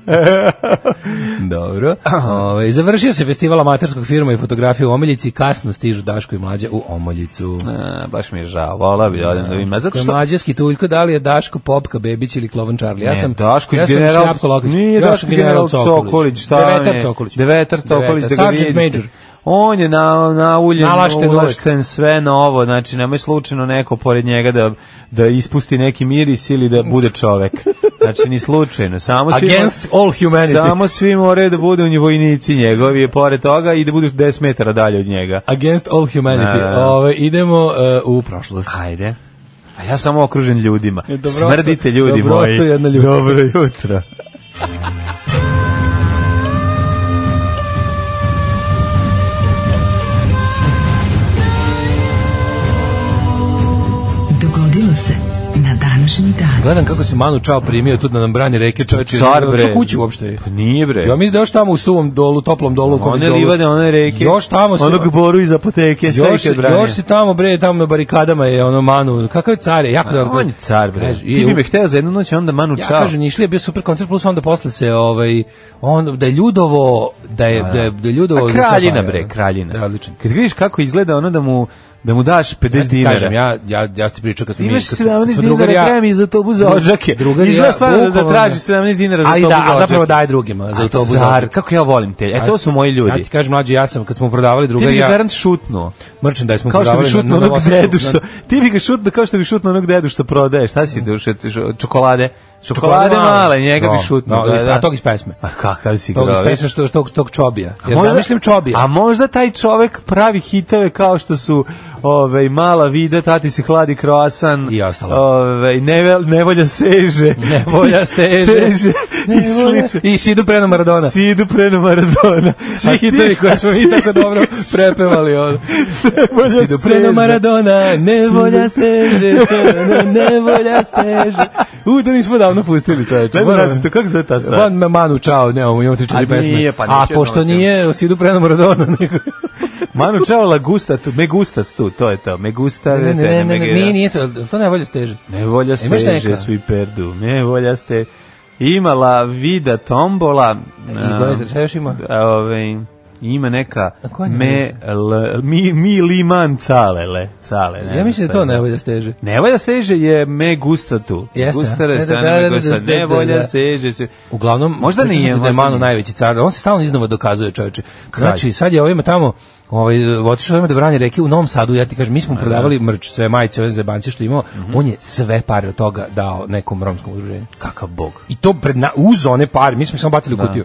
Dobro. Ovaj završio se festival amaterskog firma i fotografije u Omiljici, kasno stižu Daško i mlađa u Omoljicu.
A, baš mi je žao, vola bi da odem da vidim. A Zato
Ko je
što
mlađeski tuljko, da li je Daško Popka Bebić ili Klovan Čarli? Ja
Ne,
sam
Daško
ja
iz
sam
general-
Šljapko Lokalić.
Nije
Ja sam
Daško iz general Sokolić, šta mi
Devetar
je?
Sokolić.
Devetar Sokolić, da ga
Sergeant
vidite.
Major.
On je na, na uljen,
Nalašten uvek.
ulašten sve novo, znači nemoj slučajno neko pored njega da, da ispusti neki miris ili da bude čovek. Znači ni slučajno, samo svi...
Against all humanity.
Samo svi moraju da budu nji- vojnici njegovi pored toga i da budu 10 metara dalje od njega.
Against all humanity.
Da, da, da.
Ove, idemo e, u prošlost.
Ajde. A ja sam okružen ljudima.
E, dobroto-
Smrdite ljudi
dobroto
moji.
jedna ljudska.
Dobro jutro.
Dogodilo se na današnji dan.
Gledam kako se Manu Čao primio tu da nam brani reke čoveče.
Car,
Hoću
bre.
kuću uopšte.
Pa nije bre.
Ja mislim da još tamo u suvom dolu, toplom dolu. u kom
One
dolu-
livade, one reke.
Još tamo se...
Onog boru iz apoteke, sve
Još,
kad
se-
brani.
još se tamo bre, tamo na barikadama je ono Manu, kakav je car je, jako dobro.
On je car, bre.
Kaže,
Ti
i-
bi me hteo za jednu noć, a onda Manu
Ja
čao.
kažem, Nišlija je bio super koncert, plus onda posle se, ovaj, on, da je Ljudovo, da je, da je, da je Ljudovo...
A kraljina, bre, kraljina.
ono. Da, odličan.
Kad vidiš kako izgleda ono da mu, da mu daš 50
Ja ti
dinara.
kažem, ja, ja, ja ti pričao kad smo mi...
Imaš
kad smo-
17
kad smo drugar i
dinara,
ja-
treba mi za autobus za odžake.
drugar i
Izgleda
ja,
stvarno da- da
bukvalno-
traži 17 dinara za
Ali
autobus
da,
za
a zapravo
odžake.
daje drugima za
A
autobus za
car,
odžake.
kako ja volim te. E, to su moji ljudi.
Ja ti kažem, mlađi, ja sam, kad smo prodavali
Ti
drugar
bi
i
ga
ja,
garant šutnuo.
merchandise smo
Kao što
prodavali...
bi
na-
šutnuo
na
onog
Novosadsku,
dedu
na-
što... Ti bi ga šutnuo kao što bi šutnuo onog dedu što prodaje. Šta si ti ušet? Čokolade? Mm. Čokolade male, njega bi
No,
šutnuo.
no,
da, da.
A tog iz pesme.
Pa kakav si
Tog iz
groviš.
pesme što, tog, tog čobija.
A
Jer zamišljam čobija.
A možda taj čovek pravi hitove kao što su ovaj mala vida, tati se hladi kroasan.
I ostalo.
Ovaj nevel, nevolja seže.
Nevolja steže.
Steže. I
Nevolja-
slično.
I Sidu Preno Maradona.
Sidu preno Maradona.
Svi hitovi koje smo mi tako dobro prepevali. Ono.
Nevolja
Sidu Preno
seže.
Maradona, nevolja steže, na nevolja steže. U, da nismo davno pustili čoveče.
Ne znam
Moram-
naziv, kako se zove ta stvar?
Van Ma- Manu Čao, nemamo, imamo tri
A
četiri pesme.
nije, pa
A
neću
pošto
jednom
nije, Sidu Preno Maradona, nego...
Manu Čao la gusta tu, me gustas tu, to je to. Me gusta,
Ne, ne, ne,
te,
ne,
me
ne,
gira.
nije, nije to, to nevolja steže.
Nevolja
Imaš
steže
neka?
svi perdu. Nevolja ste imala vida tombola.
I gledajte, šta još ima?
a, Ovaj ima neka
A koja je
me l, mi, mi liman calele, cale. ne
Ja
znam
mislim pa da
šta
to
je.
nevolja steže.
Nevolja seže je me gusta tu.
Jeste,
Gustare
a? Da,
strane
da, da,
me
da,
gusta.
da, da, da.
Nevolja seže se.
Uglavnom,
Možda
pričali
nije,
ste da je
možda
Manu
nije.
najveći car. On se stalno iznova dokazuje, čoveče. Znači, sad je ovima tamo, ovaj, otišao ovima da brani reke u Novom Sadu, ja ti kažem, mi smo prodavali mrč, sve majice, ove zebanci što je imao,
Mhm.
on je sve pare od toga dao nekom romskom udruženju.
Kakav bog.
I to pred na, uz one pare, mi smo ih samo bacili u kutiju.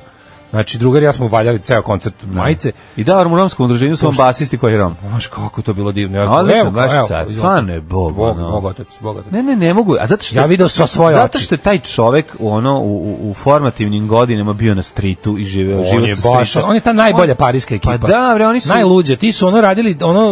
Znači, drugar i ja smo valjali ceo koncert majice.
I da, u romskom udruženju su vam basisti koji je rom.
Znaš kako je to bilo divno. Ja,
Odlično,
evo,
baš
evo,
car.
izvolite.
Stvarno je bog,
Bog,
ono.
bog otac, bog otac.
Ne, ne, ne mogu. A zato što
Ja video sa svoje
Zato
oči.
što je taj čovek ono u, u, u formativnim godinama bio na stritu i živeo
On
život
je
sa
baš,
strita.
on je ta najbolja
On-
parijska ekipa.
Pa da, bre, oni su
Najluđe, ti su ono radili, ono,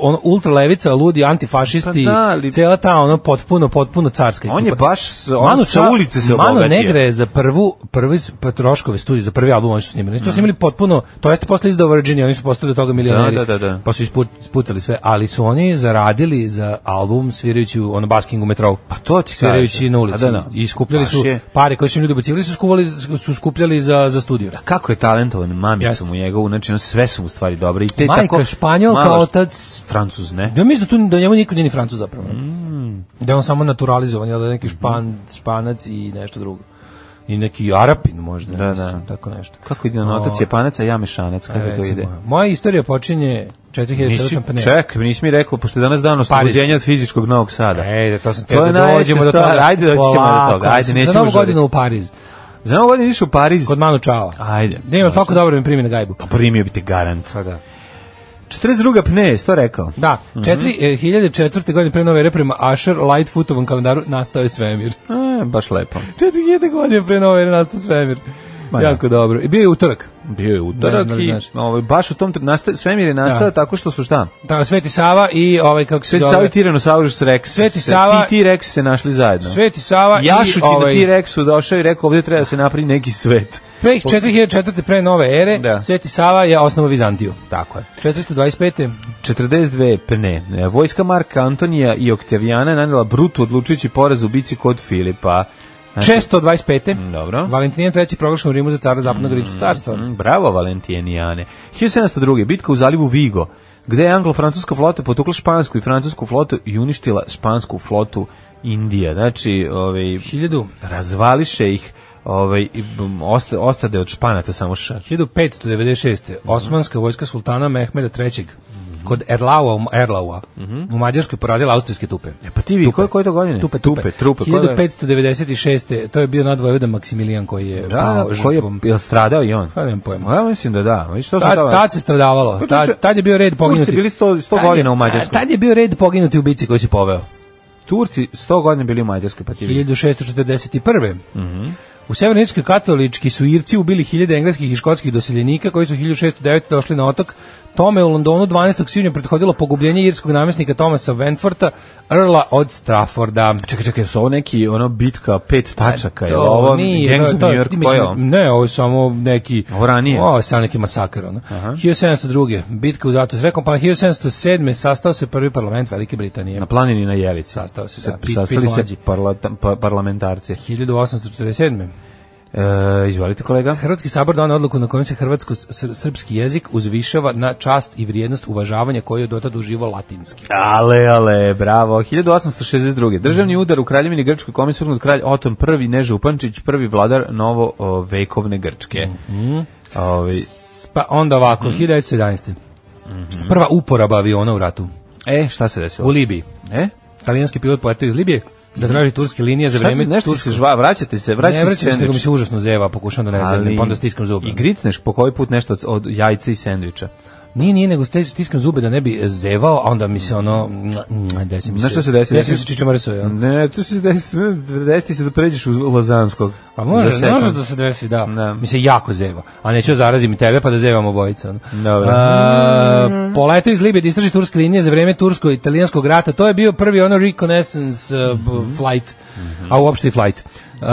ono ultralevica, ludi, antifašisti,
Pa da, ali-
cela ta, ono, potpuno, potpuno carska ekipa.
On je baš s- on sa
Ča-
ulice se
Mano
obogatio.
Negre je za prvu, prvi s- pa, troškove studije, za prvi album oni su snimili. Oni su snimili potpuno, to jeste posle izdao Virginia, oni su postali od toga milioneri.
Da, da, da, da.
Pa su ispu- ispucali sve, ali su oni zaradili za album svirajući u ono basking u metrou.
Pa to ti
svirajući
kažem.
na ulici.
A da, da.
I skupljali
Baš
su
je.
pare koje su im ljudi ubacivali, su, skuvali, su skupljali za, za studio.
kako je talentovan mamicu
Jeste.
mu njegovu, znači ono, sve su mu stvari dobre i te
Majka
E, tako
Španjolka,
malo-
otac-
Francuz, ne?
Ja mislim da tu da njemu niko nije ni Francuz zapravo.
Mm.
Da je on samo naturalizovan, jel da je neki
Mhm.
špan, španac i nešto drugo. I neki Arapin možda,
Da,
da,
da.
mislim, tako nešto.
Kako ide on, otac
O, E,
je panac, a ja mešanac, kako to
recimo,
ide?
Moja istorija počinje 4400 pa ne.
ček, nisi mi rekao, pošto je danas dan oslobođenja od fizičkog Novog Sada.
Ej, da to sam
To je
teo da
najveća
dođemo do
stvar.
toga.
Ajde, doći ćemo do
Polako,
toga. Ajde,
mislim,
nećemo
Za novu
žuriti.
godinu u Pariz,
Za novu godinu išao u Pariz.
kod Manu Čala.
Ajde. Pa
Ne ima svako dobro mi primi na gajbu.
Primio bi te garant.
Pa da.
42. pne, jesi to rekao?
Da, 4004. godine pre nove ere prema Asher Lightfootovom kalendaru nastao je svemir.
E, baš lepo.
4000 godine pre nove ere nastao svemir.
Ma da.
jako dobro. I bio je utorak.
Bio
Ne
je utorak
znam da li
i
znaš.
ovaj, baš u tom tre- nastaje, svemir je nastao
Da.
tako što su šta?
Da, Sveti Sava i ovaj kako se
Sveti
zove.
Sava i Tiranosaurus Rex.
Sveti
Se-
Sava-
Ti i T-Rex se našli zajedno.
Sveti Sava
Jašući
i ovaj
na T-Rexu došao i rekao ovdje treba da se napravi neki svet.
pre 4004. pre nove ere,
Da.
Sveti Sava je osnovao Vizantiju.
Tako je.
425.
42 pne. E, Vojska Marka Antonija i Oktavijana je nanela brutu odlučujući poraz u bici kod Filipa. Znači,
625.
Mm, Dobro.
Valentinijan III. proglašen u Rimu za cara zapadnog rimskog carstva.
Mm, Bravo Valentinijane. 1702. Bitka u zalivu Vigo, gde je anglo-francuska flota potukla špansku i francusku flotu i uništila špansku flotu Indija. Znači, ovaj,
1000.
razvališe ih ovaj, i, m, osta- ostade od španata samo šar.
1596. Osmanska vojska sultana Mehmeda III.
Mhm.
kod Erlaua, Erlaua u Mađarskoj porazila austrijske tupe.
E pa ti vidi, koje, koje to godine?
Tupe, tupe.
tupe, trupe. koje godine?
1596. To je bio nadvojvoda Maksimilijan koji je
Da, da,
pao
koji je,
žrtvom.
je li stradao i on?
Pa nemam pojma.
Ja mislim da da. Viš, to sam
Tad,
tamo-
tad se stradavalo.
Pa to će-
Tad, tad je bio red poginuti.
Turci bili 100 100
Tad je-
godina u Mađarskoj.
Tad je bio red poginuti u bici koji si poveo.
Turci 100 godina bili u Mađarskoj, pa ti vidi. Mhm.
1641. U Severnirskoj katolički su Irci ubili hiljade engleskih i škotskih doseljenika koji su 1609. došli na otok. Tome u Londonu 12. svibnja prethodilo pogubljenje irskog namjesnika Thomasa Wentforta, Earla od Strafforda.
Čekaj, čekaj, su ovo neki ono bitka pet tačaka, je li
To
ovo
nije,
Gangs
to-
of
to-
New York, ko je
mislim,
ovo?
Ne, ovo je samo neki...
Ovo ranije.
Ovo je samo neki masakar. Ono. 1702. Bitka u Zlatu. Rekom, pa 1707. sastao se prvi parlament Velike Britanije.
Na planini na Jelici.
Sastao se,
Sa-
da, Pit-
Sastali
Pit
se
mlađi.
parla, pa, parlamentarci.
1847.
E, izvolite kolega.
Hrvatski sabor donao odluku na kojom se hrvatsko-srpski jezik uzvišava na čast i vrijednost uvažavanja koju je dotad uživao latinski.
Ale, ale, bravo. 1862. Državni udar u Kraljevini Grčkoj kome svrgnut kralj Oton I, ne Župančić, prvi vladar novo o, vekovne Grčke. Mhm. Ovi-
S- Pa onda ovako,
Mhm.
1911. Prva uporaba aviona u ratu.
e, šta se
U
desilo?
Libiji.
E?
Italijanski pilot poletio iz Libije da traži turske linije za
Mhm. Šta
vreme
se, nešto se
turskog-
žva, vraćate se,
Ne
vraćate se
vraćam se, nego mi
sendvič.
se užasno zeva, pokušavam da ne zevnem, pa onda stiskam zube.
I gritneš po koji put nešto od, od jajca i sendviča.
Nije, nije, nego ste- stiskam zube da ne bi zevao, a onda mi se ono... mm, Desi mi se...
Znaš šta se desi? Mm.
Desi mi se čičamrso, jel?
Ne, tu se desi, desi se da pređeš uz Lazanskog.
Pa
Za
može,
sekund.
može da se desi, da.
Da.
Mi se jako zeva. A neću da zarazim i tebe, pa da zevamo obojica. ono.
Dobro.
A, poletao iz Libije da istraži turske linije za vreme tursko-italijanskog rata. To je bio prvi ono reconnaissance uh, b-
Mhm.
flight, a uopšte i flight. Uh,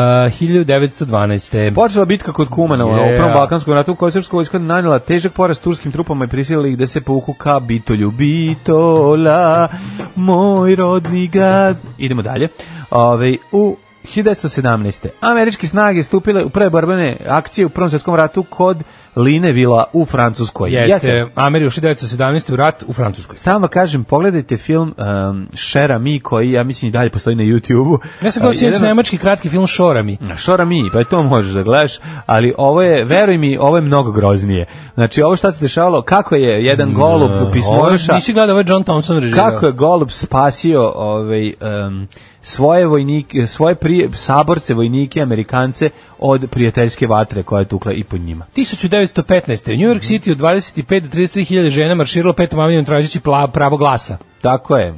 1912.
Počela bitka kod Kumana u
Yeah.
prvom Balkanskom ratu u kojoj je srpska vojska nanijela težak poraz turskim trupama i prisilila ih da se povuku ka Bitolju. Bitola, moj rodni grad. Idemo dalje. Ove, u 1917. Američke snage stupile u prve borbene akcije u Prvom svjetskom ratu kod Linevila u Francuskoj.
Jeste, Ameri ušli 1917. u rat u Francuskoj.
Stalno kažem, pogledajte film um, Shera Mi, koji ja mislim i dalje postoji na YouTube-u.
Ja sam gledao
A,
sinoć
jedan-
nemački kratki film Šorami.
Šora mi, pa i to možeš da gledaš, ali ovo je, veruj mi, ovo je mnogo groznije. Znači, ovo šta se dešavalo, kako je jedan golub u
Ovo,
pismonoša,
ovaj nisi gledao, ovo je John Thompson režirao.
kako je golub spasio ovaj, em, svoje vojnike, svoje prije, saborce, vojnike, Amerikance od prijateljske vatre koja je tukla i pod njima.
1915. U New York City od 25 do 33 hiljade žena marširalo petom avenijom tražeći pla- pravo glasa.
Tako je.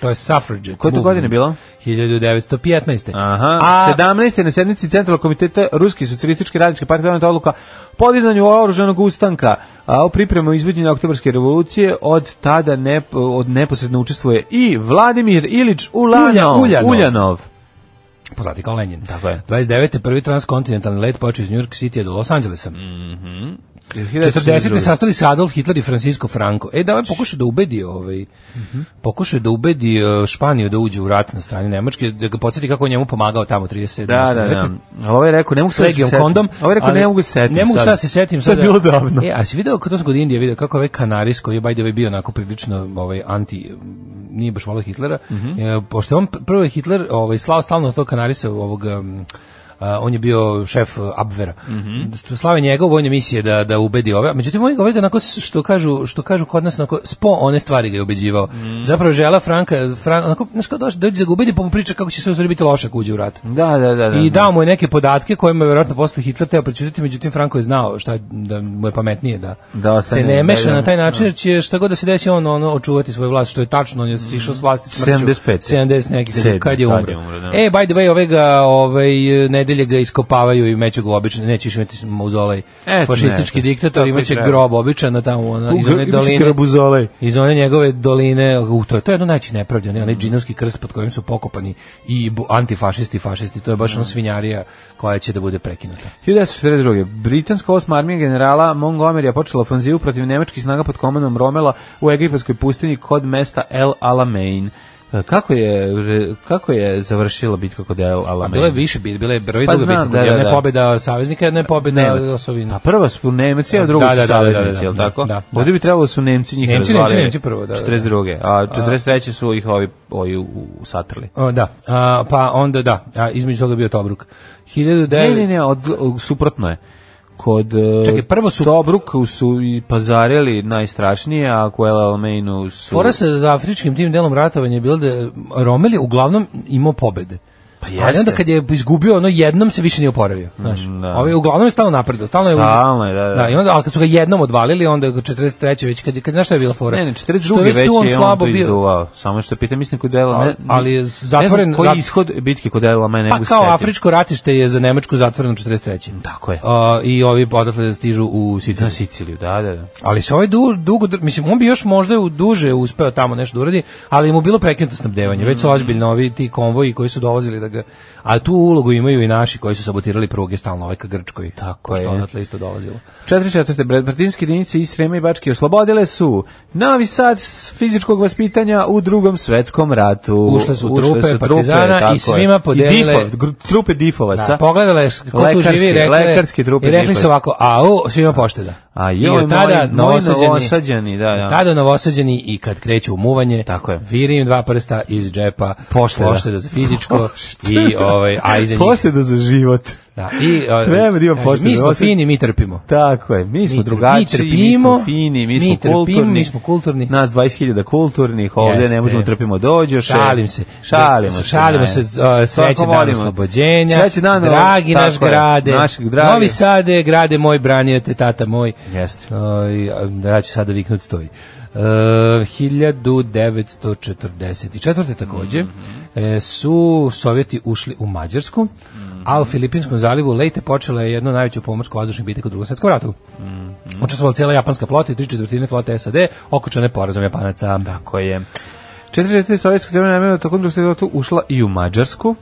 To je suffrage.
Koje to
movement.
godine bilo?
1915.
Aha,
A
17. na sednici Centralnog komiteta Ruske socijalističke radničke partije doneta odluka po podizanju oružanog ustanka a, u pripremu izvođenja oktobarske revolucije od tada ne, od neposredno učestvuje i Vladimir Ilić Ulanov,
Ulja- Uljanov.
Uljanov.
poznati kao Lenin.
Tako je.
29. prvi transkontinentalni let počeo iz New York City do Los Angelesa.
Mm.
40.
1942.
sastali se Adolf Hitler i Francisco Franco. E, da ovaj pokušao da ubedi ovaj,
Mhm.
pokušao da ubedi eh, Španiju da uđe u rat na strani Nemačke, da ga podsjeti kako je njemu pomagao tamo 37.
Da, da, da. A Ovo je rekao, ne mogu
s
sad da se
regijom
setim.
kondom.
Ovo je rekao,
ali
ne mogu se setim
Ne mogu
sad.
sad da se setim.
To je
sad da-
bilo davno.
E, a si video, to sam kod Indije video, kako ovaj Kanaris, koji je by the way bio onako prilično ovaj, anti, nije baš volio Hitlera,
Mhm.
e, pošto je on, prvo je Hitler ovaj, slao stalno to Kanarisa ovog... um, a, on je bio šef uh, Abvera.
Mhm.
Slave njega u vojne misije da, da ubedi ove. Međutim, on ga ovaj ga onako, s- što kažu, što kažu kod nas, onako, spo one stvari ga je ubeđivao.
Mhm.
Zapravo žela Franka, Franka onako, znaš kao dođe, dođe da ga ubedi, pa mu priča kako će sve u stvari biti loše ako uđe u rat.
Da, da, da. da
I dao mu je neke podatke kojima je verovatno posle Hitler teo prečutiti, međutim Franko je znao šta je- da mu je pametnije da,
Da ostane,
se ne
da,
meša
da,
na taj
da.
način, jer će šta god da se desi on ono očuvati svoju vlast, što je tačno, on je išao s vlasti smrću.
75.
70 neki, kad,
Sedmi,
je- kad je umro.
kad je umro, da.
E, by the way, ove ga, ovaj, nedelje ga iskopavaju i meću ga obično, neće više imati mauzolej.
Eto,
ovaj Fašistički
ne,
diktator
tako i
imaće
treba.
grob običan tamo, ona, iz one doline
Krabuzolej.
iz one njegove doline, u to je to je jedno najveće nepravde, onaj onaj džinovski krst pod kojim su pokopani i bu- antifašisti, fašisti, to je baš ona svinjarija koja će da bude prekinuta.
1942. Britanska osma armija generala Montgomerya počela ofanzivu protiv nemačkih snaga pod komandom Romela u egipatskoj pustinji kod mesta El Alamein. E, Kako je, re- kako je završila bitka kod El
A
Alamein?
bilo je više, bit- bila je broj
Pa
druga
znam,
bitka,
da, da,
jedna je
da.
pobjeda saveznika, jedna je pobjeda
Nemac.
osovina.
Pa prva su Nemci, a druga
Da, da,
su
da, da,
saveznici,
da,
jel
da,
tako?
da, da.
Ovdje bi trebalo su Nemci njih
Nemci, Nemci,
razvalili.
Nemci prvo, da, da, da.
42. A 43. su ih ovi, ovi u, u- satrli.
O, da, a, pa onda da, a, između toga je bio Tobruk. 1900...
Ne, ne, ne, od, suprotno je. Kod e,
Čekaj, prvo su-
Tobruku su i pazarili najstrašnije, a u El Alameinu su
Fora sa afričkim tim delom ratovanja je bilo da je Rommel je uglavnom imao pobede. Pa Ali
jeste.
onda kad je izgubio ono jednom se više nije oporavio, znaš.
da.
Ovaj uglavnom je stalno napredovao, stalno je uz-
Stalno je, da, da.
i onda al kad su ga jednom odvalili, onda je 43. već kad kad znaš šta je bila fora.
Ne, ne,
Što
42. već
tu
je on to izduvao. Samo što pitam, mislim kod Ela... Ne,
Ali je zatvoren-
Ne znam koji
zat-
je ishod bitke kod Ela, mene
Pa kao afričko ratište je za Nemačku zatvoreno 43.
Tako je.
A, I ovi odatle stižu u Siciliju.
Na Siciliju, da, da, da.
Ali se ovaj du, dugo, dr- mislim, on bi još možda u duže uspeo tamo nešto da uradi, ali mu je bilo prekinuto snabdevanje. Već su
Mm.
ozbiljno ovi ti konvoji koji su dolazili da ga... A tu ulogu imaju i naši koji su sabotirali pruge stalno ovaj ka Grčkoj. Tako
je.
Što odatle isto dolazilo.
44. Bratinske jedinice i Srema i Bačke oslobodile su Novi Sad s fizičkog vaspitanja u drugom svetskom ratu.
Ušle su trupe partizana i
tako je.
svima podelile-
I difov, gru- trupe difovaca.
Da, pogledala je s- ko tu
Lekarske-
živi i rekla je-
lekarske trupe
i rekli
Difovac.
su ovako, a u, svima pošteda.
A
I
joj,
od tada
moji- moji
novosađeni-
novosađani, da, da.
Tada novosađeni i kad kreću u muvanje,
Tako je.
virim dva prsta iz džepa,
Pošteda.
za fizičko i ovaj, a iza njih
Pošteda za život.
Da, i, o,
Treba da ima
kaže,
pošteno.
Mi smo
Ovo se-
fini, mi trpimo.
Tako je, mi smo
Mi tr-
drugačiji,
mi
mi, smo
trpimo,
fini, mi,
mi
smo
trpimo,
kulturni.
mi smo kulturni.
Nas 20.000 kulturnih, ovde
Jeste.
ne možemo trpimo dođoše.
Šalim se.
e, Šalimo se.
Šalimo se.
naje.
o, Srećan
Svako
dan
volimo.
oslobođenja.
Srećan dan, e,
Dragi
tako
naš
je,
grade.
našeg drage.
Novi Sade, grade moj, branio te tata moj.
Jeste.
O, i, a, da ja ću sada viknut stoji. E, 1944.
Mhm.
takođe e, su Sovjeti ušli u Mađarsku,
Mhm.
a u Filipinskom zalivu Leyte počela je jedno najveće pomorsko vazdušnih bitak u drugom svetskom ratu.
Mhm.
Učestvovala cijela japanska flota i tri četvrtine flote SAD, okočane porazom Japanaca.
Tako je. 46. sovjetska zemlja namjena tokom drugog svjetskog rata ušla i u Mađarsku.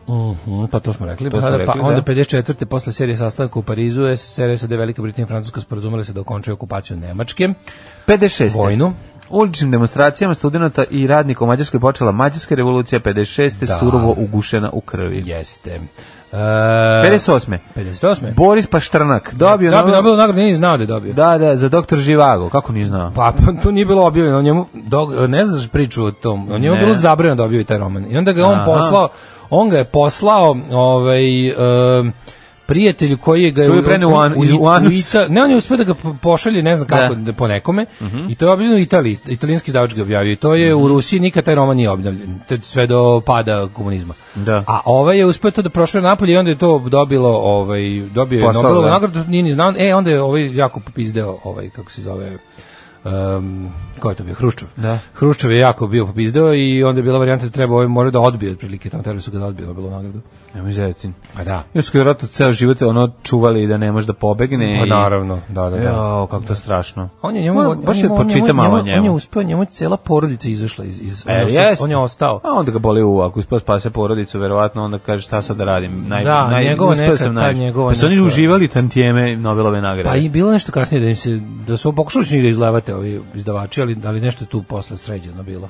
Mhm, pa to smo rekli.
To smo
pa,
rekli,
pa
da.
onda 54. posle serije sastanka u Parizu je serija SAD Velika Britanija i Francuska sporazumele se da okončaju okupaciju Nemačke,
56.
vojnu.
Uličnim demonstracijama studenta i radnika u Mađarskoj počela Mađarska revolucija 56.
Da.
surovo ugušena u krvi.
Jeste. E,
58.
58.
Boris Paštrnak dobio
da bi
Nobel-
Nobelu nagradu, nije znao da je dobio.
Da, da, za doktor Živago, kako ni znao.
Pa, pa to nije bilo objavljeno, o njemu, dog, ne znaš priču o tom, o njemu
Ne.
je bilo zabranjeno da objavi taj roman. I onda ga je on
Aha.
poslao, on ga je poslao, ovaj, em, prijatelju koji ga
To je preneo u an- iz- u anus.
Ita- ne, on je uspio da ga po- pošalje, ne znam kako,
Da. Mhm.
da. po nekome, i to je objavljeno u Italiji, italijanski izdavač ga objavio, i to je u Rusiji nikad taj roman nije objavljen, te- sve do pada komunizma.
Da.
A ovaj je uspio to da prošle napolje i onda je to dobilo, ovaj, dobio je
Postalo,
Nobelovu
da.
nagradu, nije ni znao, e, onda je ovaj jako popizdeo, ovaj, kako se zove, um, ko je to bio, Hruščov.
Da.
Hruščov je jako bio popizdeo i onda je bila varijanta da treba ovaj morao da odbije otprilike, tamo trebali su ga da odbije Nobelovu nagradu.
Nemoj zezati.
Pa da.
Još su vjerojatno ceo život ono čuvali da ne može da pobegne.
Pa
i-
naravno, da, da, da.
Jao, kako to strašno.
On je njemu,
Moram-
on je
baš je
njemu- on je-
počitam
on je-
malo
on je- On je
njemu.
uspeo, njemu je cijela porodica izašla iz... iz on,
E,
je
jeste.
ostao, on je ostao.
A onda ga boli u, ako uspio spase porodicu, verovatno onda kaže šta sad da radim. Naj,
Da,
naj,
njegova
uspeo
neka-
sam
ta
najviše.
njegova
Pa su oni
neka-
uživali tantijeme Nobelove nagrade.
Pa i bilo je nešto kasnije da im se, da su pokušali su njih da izlevate ovi izdavači, ali, ali nešto tu posle sređeno bilo.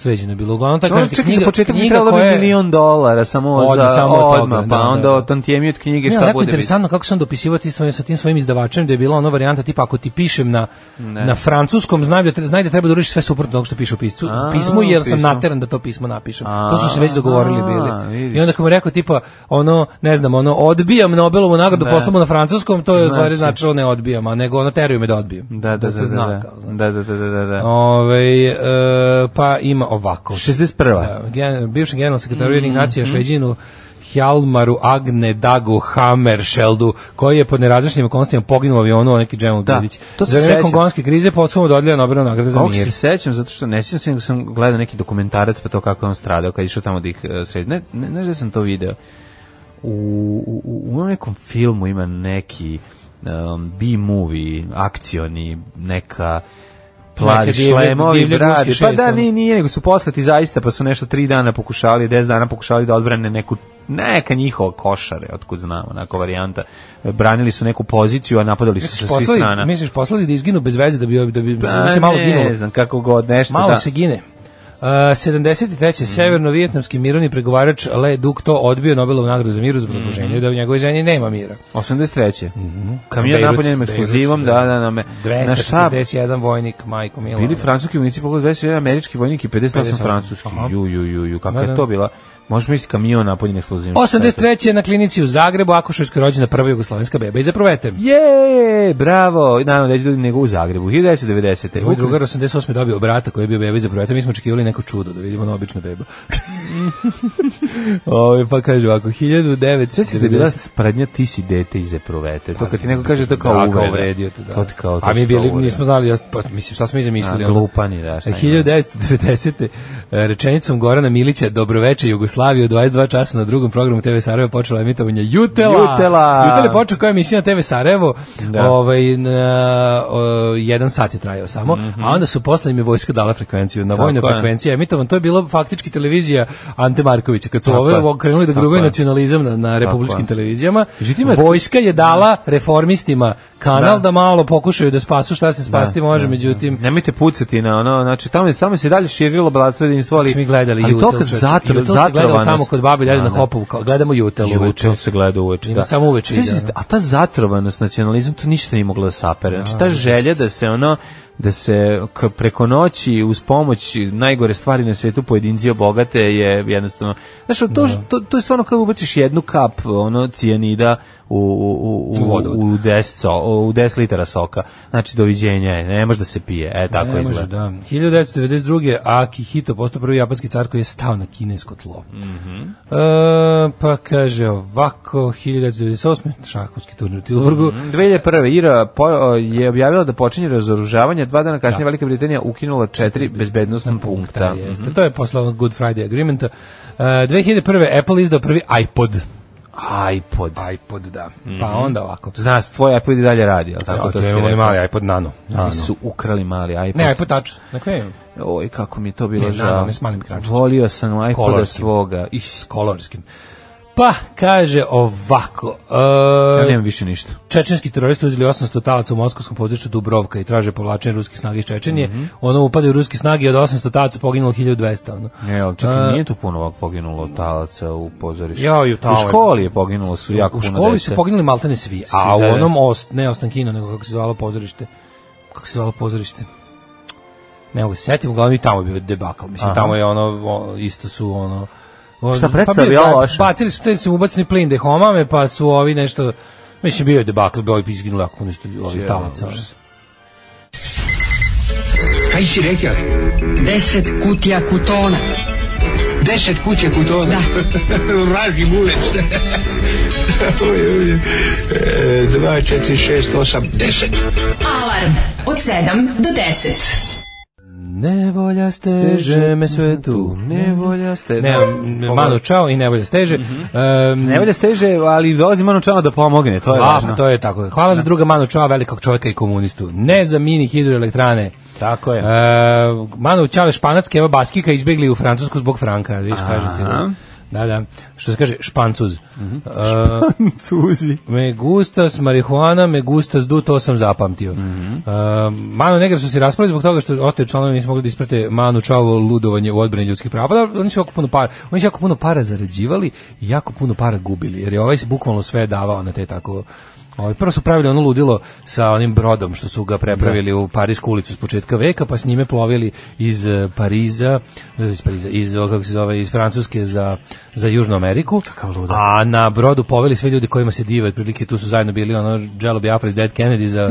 Sređeno je bilo. Uglavnom, ta
No,
kažete,
čekaj, za
knjiga,
početak bi
knjiga
trebalo
koja
bi
je-
milion dolara samo
Odmah,
za
samo od toga,
odmah,
da,
pa
da,
onda
da.
od tantijemi od knjige
Ne,
šta
ali jako
bude biti.
interesantno kako sam dopisivao ti svojim, sa tim svojim izdavačem da je bila ona varijanta tipa ako ti pišem na, na francuskom znam da, tre- znaj da treba da uradiš sve suprotno od onog što piše u piscu,
A,
u pismu jer
u
sam
pismu.
nateran da to pismo napišem. to su se već
A,
dogovorili
a,
bili.
vidiš.
I onda kad mu je rekao tipa ono, ne znam, ono odbijam Nobelovu nagradu
Da.
poslamo na francuskom, to je u stvari
Znači.
značilo ne odbijam, a nego ono teruju me da odbijem.
Da, da, da,
se
da,
zna
da.
kao, znaš.
Da, da, da, da, da, da.
Ovaj, e, pa ima ovako.
61.
Gen, bivši generalni sekretar Ujedinjenih
Mhm,
nacija Šveđinu Hjalmaru Agne Dagu Hammerscheldu, koji je pod nerazličnim okolnostima poginuo u avionu u neki Džemu
Da,
Bilić.
to se
Za vreme
sećam.
kongonske krize podsumno dodelja Nobelov nagrade za
Ovog
mir.
se sećam, zato što ne sjećam se, nego sam gledao neki dokumentarac pa to kako je on stradao, kad je išao tamo da ih e, sredi. Ne, ne, ne znam da sam to video. U, u, u onom nekom filmu ima neki um, B-movie, akcioni, neka plavi
Neke divlje-
šlemovi
divlje
brade.
guske
Pa
šest,
da,
ono.
nije, nije, nego su poslati zaista, pa su nešto tri dana pokušali, des dana pokušali da odbrane neku neka njihova košare, otkud znamo, onako varijanta. Branili su neku poziciju, a napadali su sa
Misliš
svih
poslali,
strana.
misliš poslali da izginu bez veze da bi da bi da
Pa
se malo ginulo.
ne znam kako god, nešto
Malo
da.
se gine. Uh, 73.
Mhm.
severno-vijetnamski mirovni pregovarač Le Duc to odbio Nobelovu nagradu za mir uz
Mhm.
obrazloženje da u njegovoj zemlji nema mira.
83.
Mhm.
Kamion
Beirut,
napunjen
Beirut,
eksplozivom, da, da, na me. Na štab
241 vojnik, majko Milano.
bili francuski vojnici, pogledaj 21 američki vojnik i 58
58,
francuski.
aha.
Ju, ju, ju, ju, kako
Da,
je
da.
to bila? Možeš misliti kamion napunjen eksplozivom.
83. na klinici u Zagrebu, Akuševskoj rođena prva jugoslovenska beba. I za provete.
Je, bravo. Naravno da će ljudi nego u Zagrebu. 1990.
Moj drugar 88. dobio brata koji je bio beba i za provete. Mi smo očekivali neko čudo da vidimo na obična beba. Ovo, pa kaže ovako, 1900...
Sve si da je bila spradnja, ti si dete iz Eprovete. To kad ti neko kaže to kao
Pa da,
uvreda.
Kao uvredio te, da.
To ti kao, to
A mi
si kao
bili,
uvreda.
nismo znali, ja, pa, mislim, šta smo mi zamislili?
A,
ono?
glupani, da, šta ima.
1990. e, rečenicom Gorana Milića Dobroveče Jugoslavije u 22 časa na drugom programu TV Sarajevo počela emitovanje Jutela.
Jutela.
Jutela je počeo koja emisija na TV Sarajevo.
Da.
Ovaj, na, o, jedan sat je trajao samo. A onda su posle im je vojska dala frekvenciju. Na vojnoj
Mhm. je.
frekvenciji je emitovan. To je bilo faktički televizija Ante Markovića. Kad su
Tako je.
ove krenuli da
Tako
grubaju
je.
nacionalizam na, na republičkim
je.
televizijama,
Međutim,
vojska je dala reformistima kanal da,
Da.
malo pokušaju da spasu šta se spasti može, međutim
Nemojte pucati na ono, znači tamo je samo se i dalje širilo blato jedinstvo, ali
mi gledali
ali
Jutel,
to kad
čoveče.
zatro,
Jutel se
zatrovanost.
gledao tamo kod babi Ljelje na
Da, da.
Hopovu, kao, gledamo Jutel uveče.
Jutel se gleda uveče,
Ima
da.
samo uveče
Sve
ide,
se-
ono.
A ta zatrovanost nacionalizam, to ništa nije moglo da sapere. Znači, ta želja da se ono, da se k- preko noći uz pomoć najgore stvari na svijetu pojedinci obogate je jednostavno... Znaš, to, to, to je stvarno kada ubaciš jednu kap ono, cijanida u, u, u,
U vodovod.
u, 10 so- u 10 litara soka. Znači, doviđenja je, ne može da se pije. E, tako
Ne može,
izgleda.
da. 1992. Akihito postao prvi japanski car koji je stao na kinesko tlo.
Mhm.
E, pa kaže ovako, 1998. šahovski turnir u Tilburgu.
Mhm. 2001. Ira po- o, je objavila da počinje razoružavanje, dva dana kasnije Velika Britanija ukinula četiri bezbednostna punkta. Mhm.
Jeste, to je posle onog Good Friday agreementa. E, 2001. Apple izdao prvi iPod.
iPod. Mhm.
iPod, da. Pa onda ovako.
Znaš, tvoj iPod i dalje radi, ali tako
Ja,
to
to
si
je onaj
rekao.
mali iPod Nano. Nano.
Oni su ukrali mali iPod.
Ne, iPod Touch. Na kojem imam?
Oj, kako mi je to bilo
Ne,
žao.
naravno, ne s malim ekrančićem.
Volio sam iPoda
Kolorski.
svoga. I,
s kolorskim. Pa, kaže ovako.
ja
Uh,
nemam više ništa.
čečenski teroristi uzeli 800 talaca u moskovskom području Dubrovka i traže povlačenje ruskih snaga iz Čečenije.
Mhm.
Ono upadaju ruski snage i od 800 talaca poginulo 1200. Ono.
Ne, ali čekaj,
A-
nije tu puno ovak poginulo talaca u pozorištu.
Jao, i u
U
talo-
školi je poginulo su jako
u
puno
školi
dece.
su poginuli maltene svi, a u
da, da.
onom ost, ne Ostankino, nego kako se zvalo pozorište. Kako se zvalo pozorište? Ne mogu se setim, uglavnom i tamo je bio debakl. Mislim,
Aha.
tamo je ono, o, isto su ono,
Šta
bio
predstavlja
je zajeb-
loše?
Bacili su te su ubacni plin da ih omame, pa su ovi nešto... Mislim, bio je debakl, bio je izginulo jako puno isto ljudi, ovih talaca. ono.
Kaj si rekao?
10 kutija kutona.
Deset kuće kod ona. Vraži bulec. Oj, oj, oj. E, Dva, četiri, šest, osam, deset.
Alarm od 7 do 10.
Nevolja steže me sve tu.
Nevolja ste...
Ne, m, Manu Čao i Nevolja steže. Em,
Mhm. Nevolja steže, ali dolazi Manu Čana da pomogne, to je
a, pa
važno.
to je tako. Hvala za druga Manu Čao, velikog čovjeka i komunistu. Ne za mini hidroelektrane.
Tako je.
E, Manu Čale Španac, Keva Baskika izbjegli u Francusku zbog Franka, viš kažem ti. Da, da. Što se kaže, Špancuz.
Mhm.
E,
Cuzi.
Me gustas marihuana, me gustas du, to sam zapamtio.
Mhm.
Mm Mano Negra su se raspali zbog toga što ostaju članovi nisu mogli da isprate Manu Čavo ludovanje u odbrani ljudskih prava. Pa Da, oni su jako puno para, oni su jako puno para zarađivali i jako puno para gubili, jer je ovaj se bukvalno sve davao na te tako Ovaj, prvo su pravili ono ludilo sa onim brodom što su ga prepravili u Parisku ulicu s početka veka, pa s njime plovili iz eh, Pariza, eh, iz Pariza, iz, o, kako se zove, iz Francuske za, za Južnu Ameriku. A na brodu poveli sve ljudi kojima se dive, otprilike tu su zajedno bili ono Jello Biafra iz Dead Kennedy za,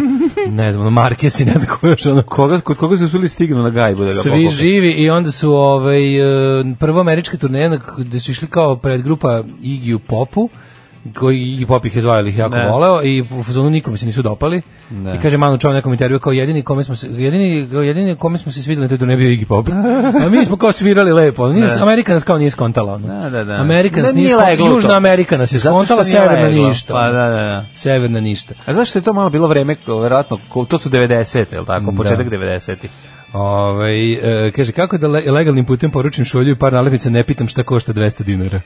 ne znam, ono Marquez i ne znam ko još ono
Koga, kod koga su uspili stignu na gajbu da ga
svi
pokupe?
živi i onda su ovaj e, prva američka turneja na k- gde su išli kao pred grupa Iggy u Popu koji Iggy Pop ih je zvao jer ih je jako
Ne.
voleo i u fazonu nikome se nisu dopali
Ne.
i kaže Manu Čao u nekom intervju kao jedini kome smo se, jedini, kao jedini kome smo se svidjeli na toj turneji bio Iggy Pop a mi smo kao svirali lepo nije, Amerika nas kao nije skontala ono.
Da, da, da.
Amerika nas
Da,
nije,
nije
skontala,
leglo to.
Južna Amerika nas je
Zato što
skontala
nije
Severna
leglo.
ništa ono.
Pa da, da, da.
Severna ništa
A zašto je to malo bilo vreme, ko- verovatno, ko- to su 90. je li tako, početak
Da.
90.
Ovaj e, kaže, kako da le- legalnim putem poručim šolju i par nalepnica, ne pitam šta košta 200 dinara.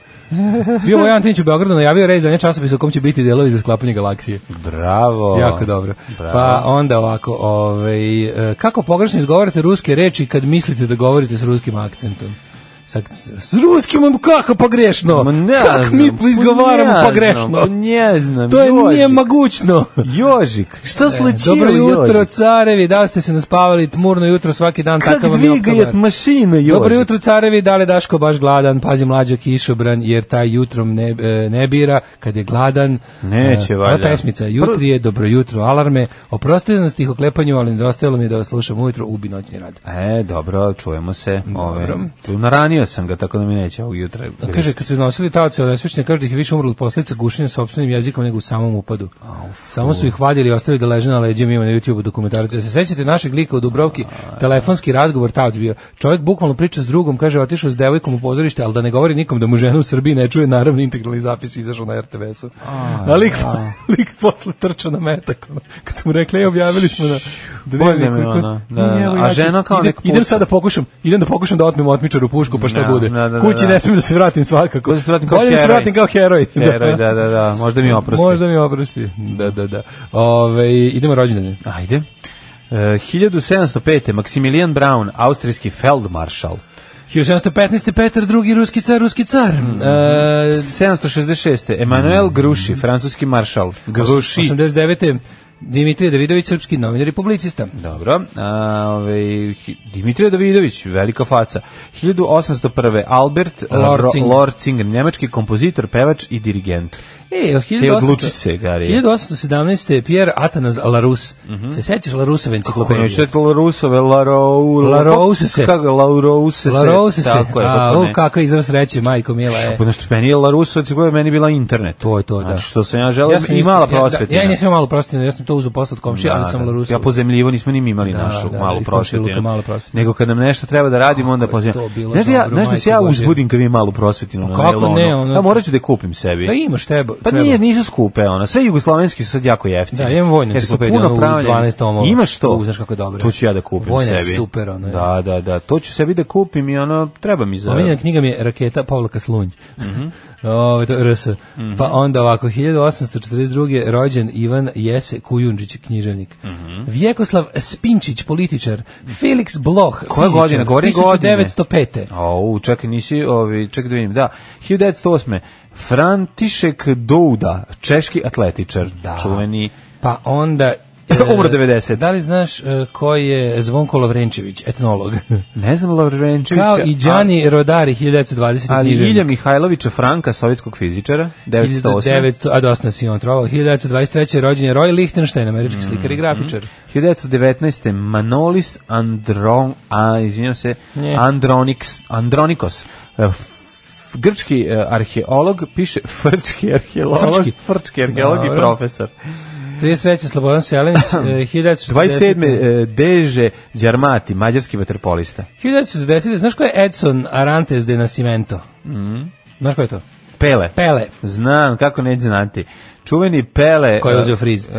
Bio Bojan Antinić u Beogradu najavio rej za ne časopis u kom će biti delovi za sklapanje galaksije.
Bravo.
jako dobro.
bravo.
Pa onda ovako, ovaj, e, kako pogrešno izgovarate ruske reči kad mislite da govorite s ruskim akcentom? S, akc- s ruskim, on kako pogrešno?
Ma ne
kako
znam,
mi izgovaramo
pa ne znam,
pogrešno?
pa ne znam,
to je
Jožik.
nije mogućno.
Jožik, šta slučilo,
E, Dobro jutro,
Jožik?
carevi, da li ste se naspavali tmurno jutro svaki dan,
Kak
takav vam je
dvigajat
oktobar.
mašina, Jožik?
Dobro jutro carevi, da li je Daško baš gladan, pazi mlađo kišobran, jer taj jutrom ne, e, ne bira, kad je gladan.
Neće,
e,
valjda.
Ova pesmica, jutri je, dobro jutro, alarme, oprostite nas tih oklepanju, ali nedostajalo mi je da vas slušam ujutro, ubi noćni rad.
E, dobro, čujemo se. Ove,
Dobro.
tu naranio sam ga, tako da mi neće ovog jutra.
A Kaže, kad su iznosili taoce od nesvećne, kaže da ih je više umrlo od posledica gušenja sopstvenim jezikom nego u samom upadu. Samo su ih vadili i ostavili da leže na leđima, ima na YouTube dokumentarice. Se sećate našeg lika u Dubrovki, telefonski razgovor taoc bio. Čovjek bukvalno priča s drugom, kaže, otišao s devojkom u pozorište, ali da ne govori nikom da mu žena u Srbiji ne čuje, naravno integralni zapis izašao na RTS-u. A lik, lik posle trčao na metak. ono. Kad su mu rekli, "Ej, objavili smo na... Da
Bolje
vidimo
mi je
koliko-
ono, da,
Nije, evo,
a
ja ću-
žena kao
ide-
nek
Idem
puca.
sad da pokušam, idem da pokušam da otmem otmičaru pušku, pa šta
Da,
bude.
da, da,
Kući
da.
ne smijem da se vratim svakako.
Bolje da se vratim kao
Bolje da se
heroj.
vratim kao heroj.
Heroj, da, da, da, možda mi oprosti.
Možda mi oprosti. Da, da, da. Ove, idemo rođendane.
Ajde. E, 1705. Maximilian Braun, austrijski feldmaršal.
1715. Petar II. Ruski car, ruski car.
Mm.
E,
766. Emanuel
Mm.
Gruši, francuski maršal. Gruši.
89. Dimitrije Davidović, srpski novinar i publicista.
Dobro. A, ovaj, hi- Dimitrije Davidović, velika faca. 1801. Albert e,
Lorcing.
Lorcing. Lorcing, njemački kompozitor, pevač i dirigent.
E, od 1800
E, odluči se, Gari. Mhm.
1817. Pierre Atanas Larus. Se sećaš Larusove
Kako
enciklopedije?
neću četiti Larusove, Larou...
Larouse se.
Kako je, Larouse se.
Laruse se.
Tako je,
A,
kako
u,
ne.
kako je izraz sreće, majko mila e. je.
Pa nešto, meni je Larusovac koja je meni bila internet.
To je to, da.
Znači, što sam ja želeo,
sam
i
isto-
mala
ja-
prosvetina.
Ja, ja nisam imao malo prosvetina, ja sam to uzeo posle od komšija, ali sam Larusov.
Ja po zemljivo nismo ni mi imali
Da,
našu
da,
malu
iz
prosvetinu.
komšiluka malu prosvetinu.
Nego kad nam nešto treba da radimo, onda
Kako je to
pozivamo.
bilo
Znaš da ja,
dobro,
znaš da se
majko
ja
Božja.
uzbudim kad vi malu prosvetinu na
kako
nailonu?
ne, ono-
Ja morat ću da je kupim sebi.
Da imaš tebe.
Pa nije, nisu skupe, ono. Sve jugoslovenski su sad jako jeftini.
Da, ja imam vojnu
Jer su
enciklopediju,
puno
ono, u
pravljeni.
12 tomova.
Imaš to?
U, znaš kako je dobro.
To ću ja da kupim
Vojna je
sebi.
super, ono, je.
Da, da, da. To ću sebi da kupim i ono, treba mi za...
Omiljena knjiga mi je Raketa Pavlaka Slunj.
Mhm.
Ove, to je RS. Pa onda ovako, 1842. rođen Ivan Jese Kujundžić, književnik.
Mhm.
Vjekoslav Spinčić, političar. Felix Bloch,
Koja
fizičar,
godina? Govori godine.
1905.
Au, čak nisi, ovi, čak da vidim, da. 1908. František Douda, češki atletičar,
Da.
čuveni
Pa onda
Umro 90.
Da li znaš e, ko je Zvonko Lovrenčević, etnolog?
Ne znam Lovrenčevića.
Kao i Đani Rodari, 1920.
Ali
književnik.
Ilja Mihajlovića Franka, sovjetskog fizičara, 1908.
1900, a dosta nas je on trovao. 1923. rođen je Roy Lichtenstein, američki
Mm-hmm.
slikar i grafičar.
1919. Manolis Andron, a, izvinjam se,
Nje.
Andronix, Andronikos, e, f- f- grčki e, arheolog, piše frčki arheolog,
Frčki.
frčki, arheolog i
Dobro.
profesor.
33. Slobodan Selenić, e, 1960.
27. e, Deže Đarmati, mađarski vaterpolista.
1960. Znaš ko je Edson Arantes de Nascimento?
Mm-hmm.
Znaš ko je to?
Pele.
Pele.
Znam, kako neće znati. Čuveni Pele...
Ko je uzeo
e,
friz?
e,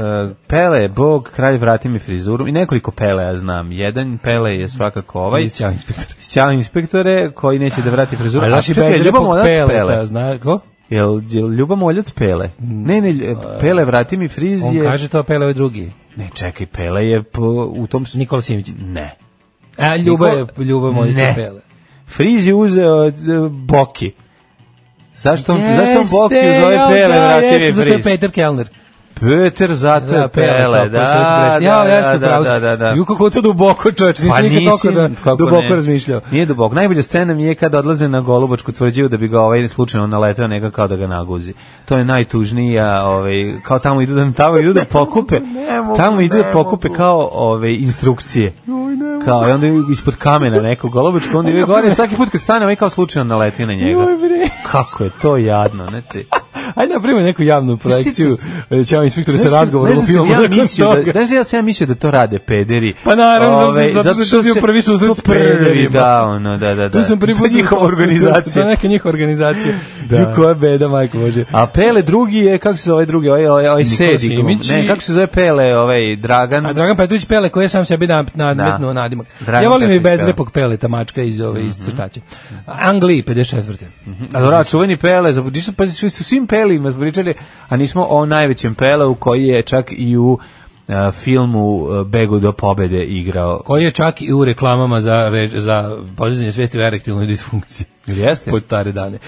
Pele, Bog, kralj, vrati mi frizuru. I nekoliko Pele, ja znam. Jedan Pele je svakako ovaj.
Ćao, inspektor.
Ćao inspektore, koji neće da vrati frizuru.
Ali
A
znaš i
čekaj,
bez
Ljuba
repog
Moljac
Pele.
Pele.
Znaš ko?
Jel, jel Ljuba Moljac Pele? Ne, ne, lj- Pele, vrati mi friz
On
je...
kaže to, Pele ovaj drugi.
Ne, čekaj, Pele je po, u tom... s-
Nikola Simić.
Ne.
A, Ljuba je,
Niko-
Ljuba je Moljica
Ne.
Pele.
Friz je uzeo od e, Boki. Zašto, zašto
Jeste,
Boki zove
jao,
Pele,
da,
vrati
jeste,
mi
Zašto je
friz?
Peter Kellner?
Peter zato
Da,
je Pele, da,
Pele, pa
da,
ja,
da, da, da, da.
Ju kako je to duboko, čoveč, nisam
Pa
nikad
nisi,
toliko da,
kako
duboko
ne.
razmišljao.
Nije duboko. Najbolja scena mi je kad odlaze na Golubačku tvrđavu da bi ga ovaj slučajno naletao neka kao da ga naguzi. To je najtužnija, ovaj kao tamo idu da tamo idu da pokupe. Tamo idu da pokupe kao ove instrukcije. Kao i onda ispod kamena neko Golubačko onda ide gore svaki put kad stane ovaj kao slučajno naleti na njega.
Joj, bre.
Kako je to jadno, znači.
Ajde napravimo neku javnu projekciju. e, Ćao inspektore sa
Znaš da-
razgovorom u
znaš da sam
filmu.
Ja
nakon
mislio da,
toga.
znaš da ja sam ja mislio da to rade pederi.
Pa naravno, zato što-
Ovaj,
zato što je to bio
se-
prvi susret s
to prvi,
pederima.
Da, ono, da, da, da.
Tu sam prvi
To
put
je njihova
To je
organizacija.
neka njihova organizacija.
Da.
Ju koja beda, majko Bože.
A Pele drugi je, kako se zove ovaj drugi, ovaj, ovaj, ovaj
Nikola
Sedi.
Simić i-
Ne, kako se zove Pele, ovaj Dragan.
A Dragan Petrović Pele koji je sam sebi na- nadmetnuo
Da.
nadimak.
Dragan
ja volim i
Petrović Pele.
bezrepog Pele, Mhm. ta mačka iz ove iz crtaća. Angliji 54.
A dobro, a čuveni Pele, za nisu pa svi su svim Pelima pričali, a nismo o najvećem Peleu koji je čak i u e, filmu e, Begu do pobede igrao.
Koji je čak i u reklamama za re- za podizanje svesti o erektilnoj disfunkciji.
Ili jeste?
Pod stare dane.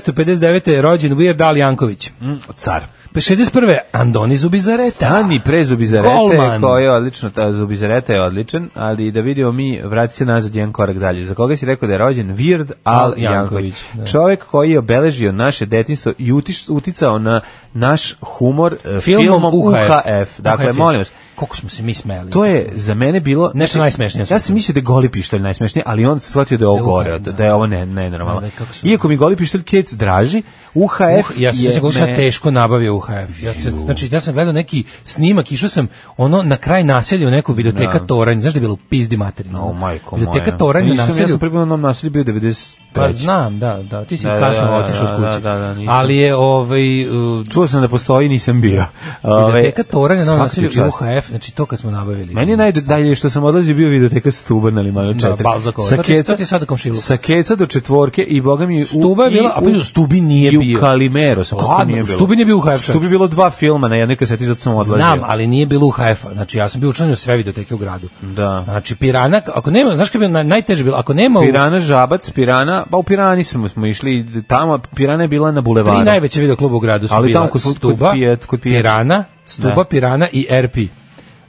1959. je rođen Weird Al Janković.
Mm, car.
Pa 61. Andoni Zubizareta.
Stani pre Zubizarete,
Golman.
koji je odlično, ta Zubizareta je odličan, ali da vidimo mi, vrati se nazad jedan korak dalje. Za koga si rekao da je rođen? Vird Al
Al Janković,
Janković.
da.
Čovjek koji je obeležio naše detinstvo i utiš- uticao na naš humor e,
Filmom, UHF.
Dakle,
UHF.
molim vas,
Koliko smo se mi smeli.
to je za mene bilo... Znači,
Nešto najsmešnije smo
Ja sam mislio da je goli pištolj najsmešnije, ali on shvatio da je ovo
Da,
gore,
UHF,
da, da je ovo ne, nenormalno.
Da, da, kako su-
Iako mi goli pištolj kec draži, UHF
Uh, ja sam
je
se kako
me-
sam teško nabavio UHF. Ja se, znači ja sam gledao neki snimak, išao sam ono na kraj naselja u neku videoteka Toranj, znaš da je bilo u pizdi materina.
O, majko moja. Pa
videoteka Toranj na
Nisam, Ja
naselju.
sam pribio na onom naselju bio 93.
Pa znam, da, da, ti si
Da, da,
kasno
da,
otišao od
da,
kuće.
da, da, nisam.
Ali je ovaj uh,
Čuo sam da postoji, nisam bio. Ove,
videoteka Toranj na Novom
svaka
naselju
ti
i
čast.
UHF, znači to kad smo nabavili.
Meni je najdalje što sam odlazio bio videoteka Stuba na Limanu 4.
Balzakova. To ti- to ti je sad u komšiluku.
sa keca do četvorke i boga mi u-
Stuba je
i
bila, a pa u Stubi nije
i
bio.
u Kalimero sam kako
Ladno,
nije
u
bilo.
Stubi nije bio UHF.
Stubi je bilo dva filma na jednoj kaseti zato sam odlazio.
Znam, ali nije bilo UHF-a. Znači ja sam bio učlanio sve videoteke u gradu.
Da.
Znači Pirana, ako nema, znaš kad bi na- najteže bilo, ako nema u-
Pirana, Žabac, Pirana, pa u Pirani smo, smo išli, tamo Pirana je bila na bulevaru.
Tri najveće videokluba u gradu su
Ali
bila
tamo kod- kod
Stuba,
Pijet- kod Pijet.
Pirana, Stuba,
Da.
Pirana i RP.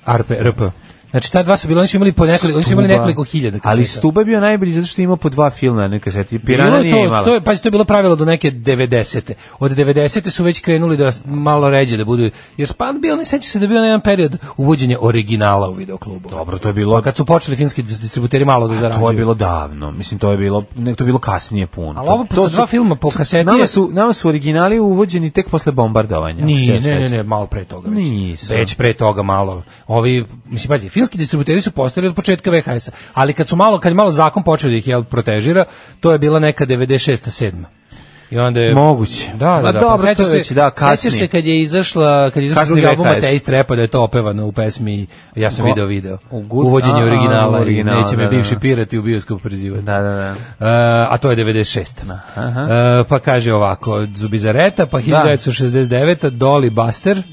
RP, RP. Znači ta dva su bila, oni su imali po nekoliko, oni su imali
Stuba.
nekoliko hiljada kaseta.
Ali Stuba je bio najbolji zato što je imao po dva filma na jednoj kaseti.
Bilo je
Pirana nije
to,
imala.
To je, pazi, to je bilo pravilo do neke 90. Od 90. su već krenuli da s- malo ređe da budu, jer span bio, ne seća se da je bio na jedan period uvođenja originala u videoklubu.
Dobro, to je bilo
Pa Kad su počeli finski distributeri malo da zarađuju.
To je bilo davno. Mislim to je bilo ne to je bilo kasnije puno.
Ali ovo
To-
sa
to
dva
su-
filma po kaseti
Nama
je-
su nama su originali uvođeni tek posle bombardovanja. ako se
Nije,
ja
ne, ne,
sećam.
ne, malo pre toga već.
Nisam.
Već pre toga malo. Ovi, mislim, pazi, filmski distributeri su postali od početka VHS-a, ali kad su malo, kad je malo zakon počeo da ih jel, protežira, to je bila neka 96. 7. I onda je...
Moguće.
Da, da,
Ma
da. pa
dobro,
sećaš
to je već, pa da,
sećaš
kasnije.
se kad je izašla, kad je izašao
Kasni
drugi album
VHS.
Ateist Repa da je to opevano u pesmi Ja sam
Go-
video video.
u gut-
Uvođenje
a,
originala,
originala,
i neće me
da, da,
bivši
da.
pirati u bioskop prezivati.
Da, da, da.
E, a to je 96. E, pa kaže ovako, Zubizareta, pa
Mhm.
uh, 1969. Dolly Buster, e,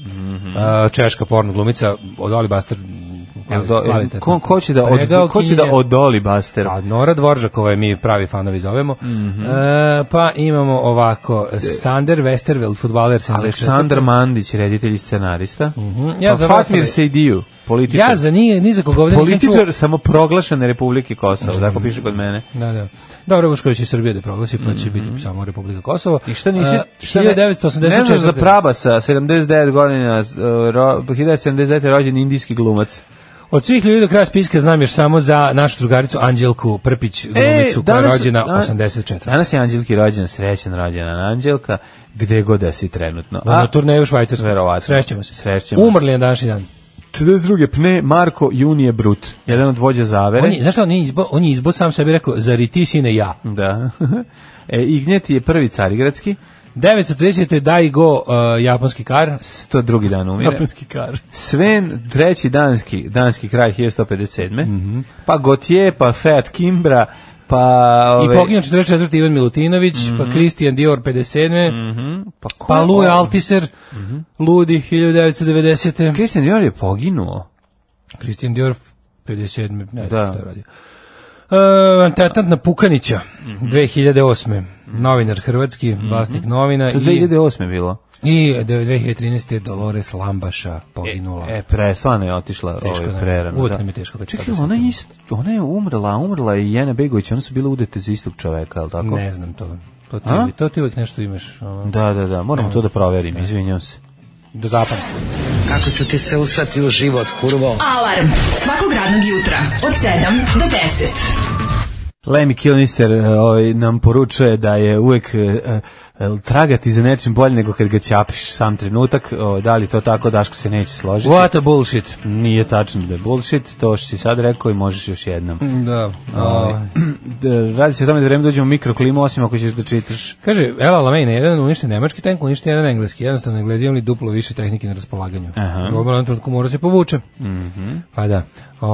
češka porno glumica, o, Dolly Buster m,
Jel do- jel-
kvalitetno.
ko, ko će da, od,
Pregao
ko će da
kinje.
odoli Basteru?
A Nora Dvoržakova je mi pravi fanovi zovemo.
Mhm.
E, pa imamo ovako, Sander Westerveld, futbaler sa
Aleksandar Mandić, reditelj i scenarista.
Mhm. Ja
Ja
za
pa
Vatrove-
Fatmir Sejdiju, političar.
Ja za nije, ni za koga ovde nisam čuo.
Političar samoproglašene Republike Kosovo, tako piše kod mene.
Da, da. Dobro, Vušković je Srbija da proglasi, pa će biti samo Republika Kosovo.
Mhm. I šta nisi...
E,
šta ne- Ne znaš za
1984.
Prabasa, 79 godina, e, ro, 1979 rođen indijski glumac.
Od svih ljudi do kraja spiska znam još samo za našu drugaricu Anđelku Prpić, glumicu koja je
E, danas-
rođena
dan-
84.
Danas je Anđelki rođen, srećen rođena Anđelka, gde god da si trenutno.
Na turneju u Švajcarskoj.
Verovatno.
Srećemo se.
Srećemo se.
Umrli je na današnji dan.
42. pne Marko Junije Brut, jedan od vođa zavere.
On je, znaš šta, on je izbo, on je izbo sam sebi rekao, zar i ti sine ja.
Da. e, Ignjet je prvi carigradski,
930. daj go uh, japanski kar.
to drugi dan umire.
kar.
Sven, treći danski, danski kraj 1157.
Mhm.
Pa Gotje, pa Fiat Kimbra, pa...
I
ove, Mhm.
poginuo 44. Ivan Milutinović, pa Kristijan Dior 57.
Pa, ko
Pa
je
Luje
ovo?
Altiser, Ludi 1990.
Christian Dior je poginuo.
Kristijan Dior 57. Ne znam
Da.
šta je radio. Uh, atentat na Pukanića
Mhm.
2008. Novinar hrvatski, vlasnik novina
To je
i,
2008. bilo.
i 2013. je Dolores Lambaša poginula.
E, pre, stvarno je otišla
Teško
ovaj,
nam je.
prerano.
Uvek
da.
nam je teško kad
Čekaj,
pada sa
ona je,
tim.
ist, ona je umrla, umrla je i Jena Begović, one su bile udete za istog čoveka, je li tako?
Ne znam to. To ti,
A?
to ti uvijek nešto imaš ono,
Da, da, da, moramo to da proverim, izvinjam se.
do zapamta.
Kako ću ti se usrati u život, kurvo?
Alarm svakog radnog jutra od 7 do 10.
Lemmy Kilnister e, ovaj, nam poručuje da je uvek e, e, tragati za nečim bolje nego kad ga ćapiš sam trenutak. O, da li to tako, Daško se neće složiti.
What a bullshit.
Nije tačno da je bullshit, to što si sad rekao i možeš još jednom.
Da.
Ovaj, da, radi se o tome da vreme dođemo u mikroklimu, osim ako ćeš da čitaš.
Kaže, Ela Alamein je jedan uništen nemački tank, uništen jedan engleski. Jednostavno, englezi imali duplo više tehnike na raspolaganju.
Aha. Mhm.
U obranu trenutku mora se povuče. Pa da.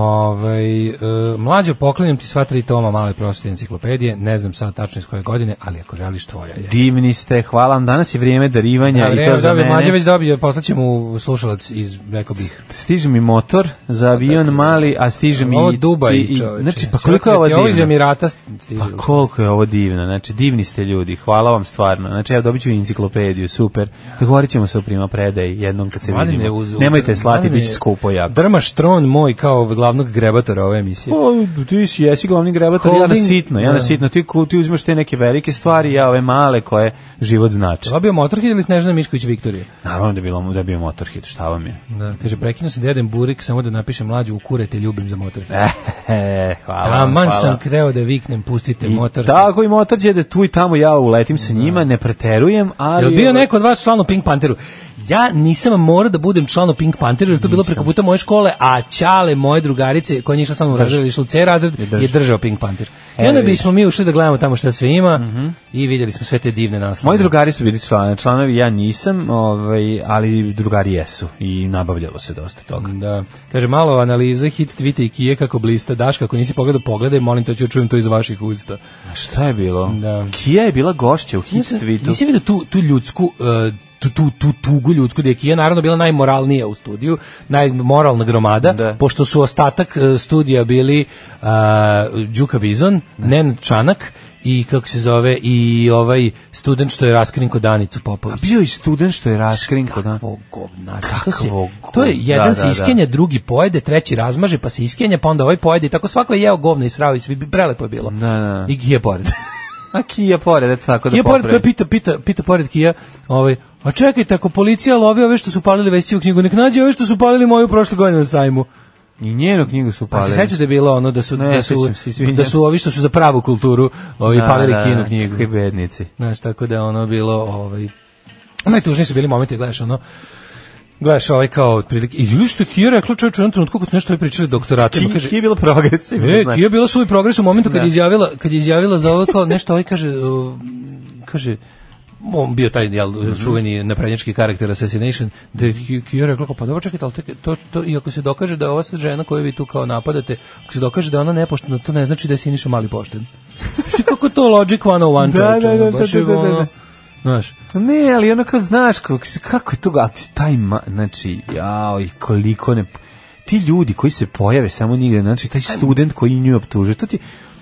Ovaj, e, mlađo, poklanjam ti sva tri toma male prosvete enciklopedije. Ne znam sad tačno iz koje godine, ali ako želiš, tvoja je.
Divni ste, hvala vam. Danas je vrijeme darivanja
Da,
i
vreme,
to za
dobio,
mene.
Mlađe već dobio, poslaće mu slušalac iz, rekao bih.
Stiže mi motor za avion mali, a stiže mi
Pa Ovo
i-
Dubaj,
i, i,
čoveče.
znači, pa koliko je ovo
Sve ti
divno?
iz Emirata stiže.
Pa koliko je ovo divno, znači divni ste ljudi, hvala vam stvarno. Znači ja dobit ću i enciklopediju, super. Dogovorit ćemo se o prima predaj jednom kad se
Mladene,
vidimo.
uz- uz-
Nemojte slati,
Mladene,
bit će skupo jako.
Drmaš tron moj kao glavnog grebatora ove emisije.
O, pa, ti si, jesi glavni grebatar, ja na
Holding,
sitno, ja
da.
na sitno. Ti, ku- ti uzmeš te neke velike stvari, ja ove male koje život znači.
Dobio Motorhead ili Snežana Mišković Viktorije?
Naravno da je bilo, da je bio motorhit, šta vam je?
Da, kaže, prekinuo sam deden Burik samo da napišem mlađu u kure te ljubim za motor.
E, hvala vam,
Taman
hvala.
sam kreo da viknem, pustite
I
motor.
tako i motor da tu i tamo ja uletim sa njima, ne preterujem, ali... ovaj-
Jel bio neko od vas član u Pink Panteru? Ja nisam morao da budem član u Pink Panteru, jer to je bilo preko puta moje škole, a Ćale, moje drugarice, koja nije išla sa mnom u razred, išla u C razred,
drž-
je držao Pink Panter. I
Evo
onda
vidiš. Mhm.
bismo mi ušli da gledamo tamo šta sve ima i vidjeli smo sve te divne naslove.
Moji drugari su bili članovi, članovi ja nisam, ovaj, ali drugari jesu i nabavljalo se dosta toga.
Da. Kaže, malo analize, hit tvite i kije kako blista. Daška, ako nisi pogledao, pogledaj, molim te, ću čujem to iz vaših usta.
A šta je bilo?
Da.
Kija je bila gošća u hit
Nisam-
tweetu.
Nisi vidio tu, tu ljudsku, e, tu, tu, tu tugu ljudsku, da je Kija naravno bila najmoralnija u studiju, najmoralna gromada,
Da.
pošto su ostatak e, studija bili e, Đuka Bizon, Nenad Čanak i kako se zove, i ovaj student što je raskrinko Danicu Popović.
Bio je student što je raskrinko, da.
Kakvo govnar. To,
Kakvo
se,
govnar.
to je jedan
Da,
se
da, da.
iskenja, drugi pojede, treći razmaže, pa se iskenja, pa onda ovaj pojede i tako svako je jeo govno i srao i svi, prelepo je bilo.
Da, da.
I je pored.
A Kija pored, eto tako da
Kija pored koja
popravi.
pita, pita, pita pored Kija, ovaj, a čekajte, ako policija lovi ove što su palili Vesićevu knjigu, nek nađe ove što su palili moju prošle godine na sajmu.
I njenu knjigu su
Pa
palili.
se sećaš da je bilo ono da su,
Ne,
da su,
sećam se, izvinjam
da su
se.
ovi što su za pravu kulturu ovi, palili kinu knjigu.
Kakvi bednici.
Znaš, tako da je ono bilo, ovaj, najtužniji su bili momenti, gledaš ono, gledaš ovaj kao otprilike, i ljudi što je Kija rekla čovječe u jednom trenutku kad su nešto ovi pričali doktoratima,
Ki,
kaže,
Kija je bila progresivna.
E,
znači.
Kija je bila svoj progres u momentu kad je izjavila, kad je izjavila za ovo kao nešto, ovaj kaže, uh, kaže, on bio taj jel,
Mhm.
čuveni naprednjački karakter Assassination, da je Ki- Kija rekla, kao, pa dobro, čekajte, ali to, to, to, i ako se dokaže da je ova sad žena koju vi tu kao napadate, ako se dokaže da je ona nepoštena, to ne znači da je Siniša mali pošten. Što kako to Logic 101,
Da, da,
čovječe, ono,
da, da,
baš je
da, da, da.
ono, Znaš,
Pa Ne, ali ono onako znaš kako, kako je to, ali taj ma, znači, jao, i koliko ne, ti ljudi koji se pojave samo nigde, znači taj student koji nju optužuje, to ti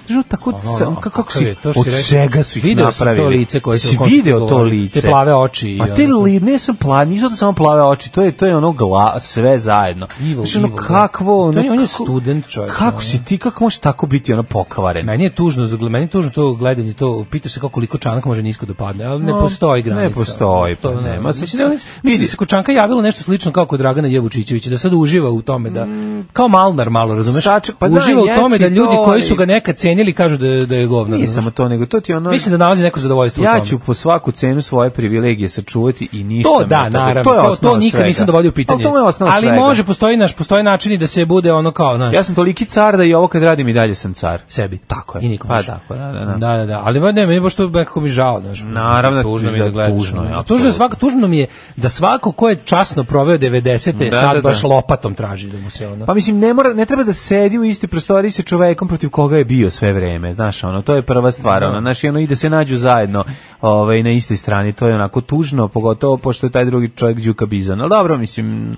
Znači, tako, sam,
ono,
kako
kakav
si,
je, to što
od
si rekao.
čega su ih
Video sam to
napravili?
lice koje se-
si
o kom smo
video to
govorili,
lice.
te plave oči i
A te
ono-
li, ne sam plave, nisu to samo plave oči, to je, to je ono gla, sve zajedno.
Evil,
znači, ono,
evil, da.
kakvo, ono,
To je- on je
kako-
student, čovječe, ono.
Kako si ti, kako možeš tako biti ono pokavaren?
Meni je tužno, za- meni je tužno to gledanje, to pitaš se kako koliko čanak može nisko da padne, ali ne
No,
postoji granica. ono,
ne postoji, pa
To, ne,
nema.
mislim, da, je on- mislim
Vidi.
da se kod čanka javilo nešto slično kao kod Dragana Jevučićevića, da sad uživa u tome da kao Malnar malo, razumeš?
Saček- pa da,
uživa u
jeste
tome da
i
ljudi
to,
koji
ali-
su ga nekad cenili kažu da je, da je govno.
Nije
razumeš?
samo to, nego to ti je ono...
Mislim da nalazi neko zadovoljstvo u
ja
tome.
ću po svaku cenu svoje privilegije sačuvati i ništa.
To
mi
da,
od toga.
naravno. To, to,
osnova
nikad
svega.
nisam dovodio u pitanje.
Ali to je osnova
Ali
svega.
može, postoji, naš, postoji način i da se bude ono kao, naš,
Ja sam toliki car da i ovo kad radim i dalje sam car.
sebi.
Tako je.
I nikom
Pa
više.
tako, da, da, da.
Da, da, da. Ali ba, ne, meni baš to nekako mi žao, znaš.
Naravno,
tužno mi je
da,
da gledaš.
tužno
ono.
je,
tužno, je
apsolutno.
svako, tužno mi je da svako ko je časno proveo 90-te
Da,
sad
da, da.
baš lopatom traži da mu se ono.
Pa mislim ne mora ne treba da sedi u istoj prostoriji sa čovekom protiv koga je bio sve vreme, znaš, ono to je prva stvar, ono znaš, i ono ide se nađu zajedno, ovaj na istoj strani, to je onako tužno, pogotovo pošto je taj drugi čovjek Đuka Bizan. Al dobro, mislim m,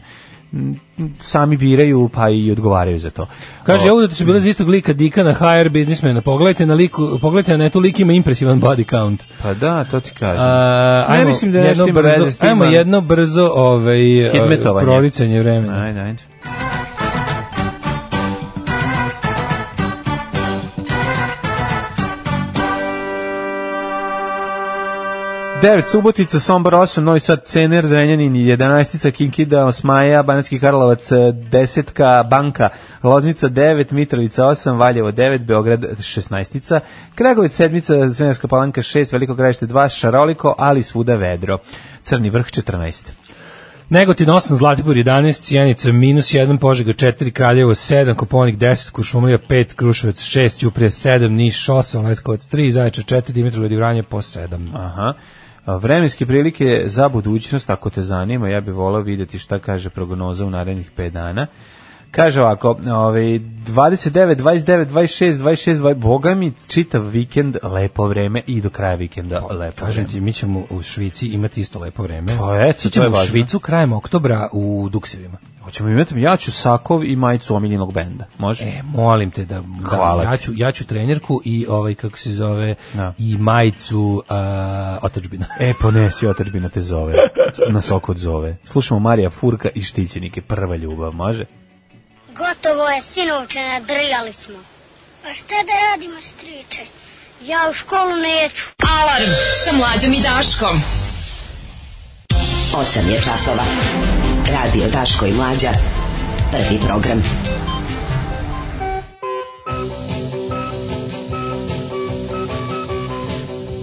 m, sami biraju pa i odgovaraju za to.
Kaže,
O, mm.
ovo da su bile za istog lika Dika na HR biznismena. Pogledajte na liku, pogledajte na netu lik ima impresivan body count.
pa da, to ti kažem.
A,
Ne mislim da nešto
jedno
ima
brzo,
veze s tim,
Ajmo
ali-
jedno brzo ovaj, e,
Hedmetovanje.
proricanje vremena.
Ajde, ajde. Devet, Subotica, Sombor 8, Novi Sad, Cener, Zrenjanin, 11, Kinkida, Osmaja, Banatski Karlovac, e, Desetka, Banka, Loznica 9, Mitrovica 8, Valjevo 9, Beograd 16, Kragovic 7, Zvenarska palanka 6, Veliko gravište 2, Šaroliko, ali svuda vedro, Crni vrh 14.
Negotin 8, Zlatibor 11, Cijenica minus 1, Požega 4, Kraljevo 7, Koponik 10, Kuršumlija 5, Kruševac 6, Ćuprija 7, Niš 8, Leskovac 3, Zaječar 4, Dimitrov i Vranje po 7.
Aha. A, Vremenske prilike za budućnost, ako te zanima, ja bih volao vidjeti šta kaže prognoza u narednih 5 dana. Kaže ovako, ovaj, 29, 29, 26, 26, 20, boga mi, čitav vikend lepo vreme i do kraja vikenda lepo
Pa, Kažem
vreme.
ti, mi ćemo u Švici imati isto lepo vreme.
Pa
Sad
eto, to je
ćemo u
važno.
Švicu krajem oktobra u Duksevima.
Hoćemo imati, ja ću sakov i majicu omiljenog benda, može?
E, molim te da,
Hvala
da ja,
ti.
ću, ja ću trenerku i ovaj, kako se zove,
Da.
i majicu uh, otačbina.
E, ponesi, otačbina te zove, nas oko zove. Slušamo Marija Furka i Štićenike, prva ljubav, može?
Gotovo je, sinovče, nadrljali smo. Pa šta da radimo, striče? Ja u školu neću.
Alarm sa mlađom i Daškom.
8 je časova. Radio Daško i Mlađa. Prvi program.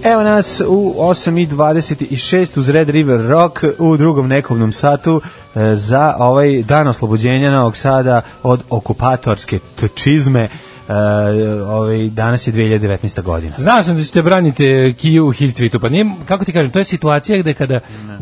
Evo nas u 8.26 uz Red River Rock u drugom nekovnom satu e, za ovaj dan oslobođenja Novog Sada od okupatorske čizme. E, ovaj, danas je 2019. godina.
Znao sam da ćete braniti eh, Kiju u Hiltvitu, pa nije, kako ti kažem, to je situacija gde kada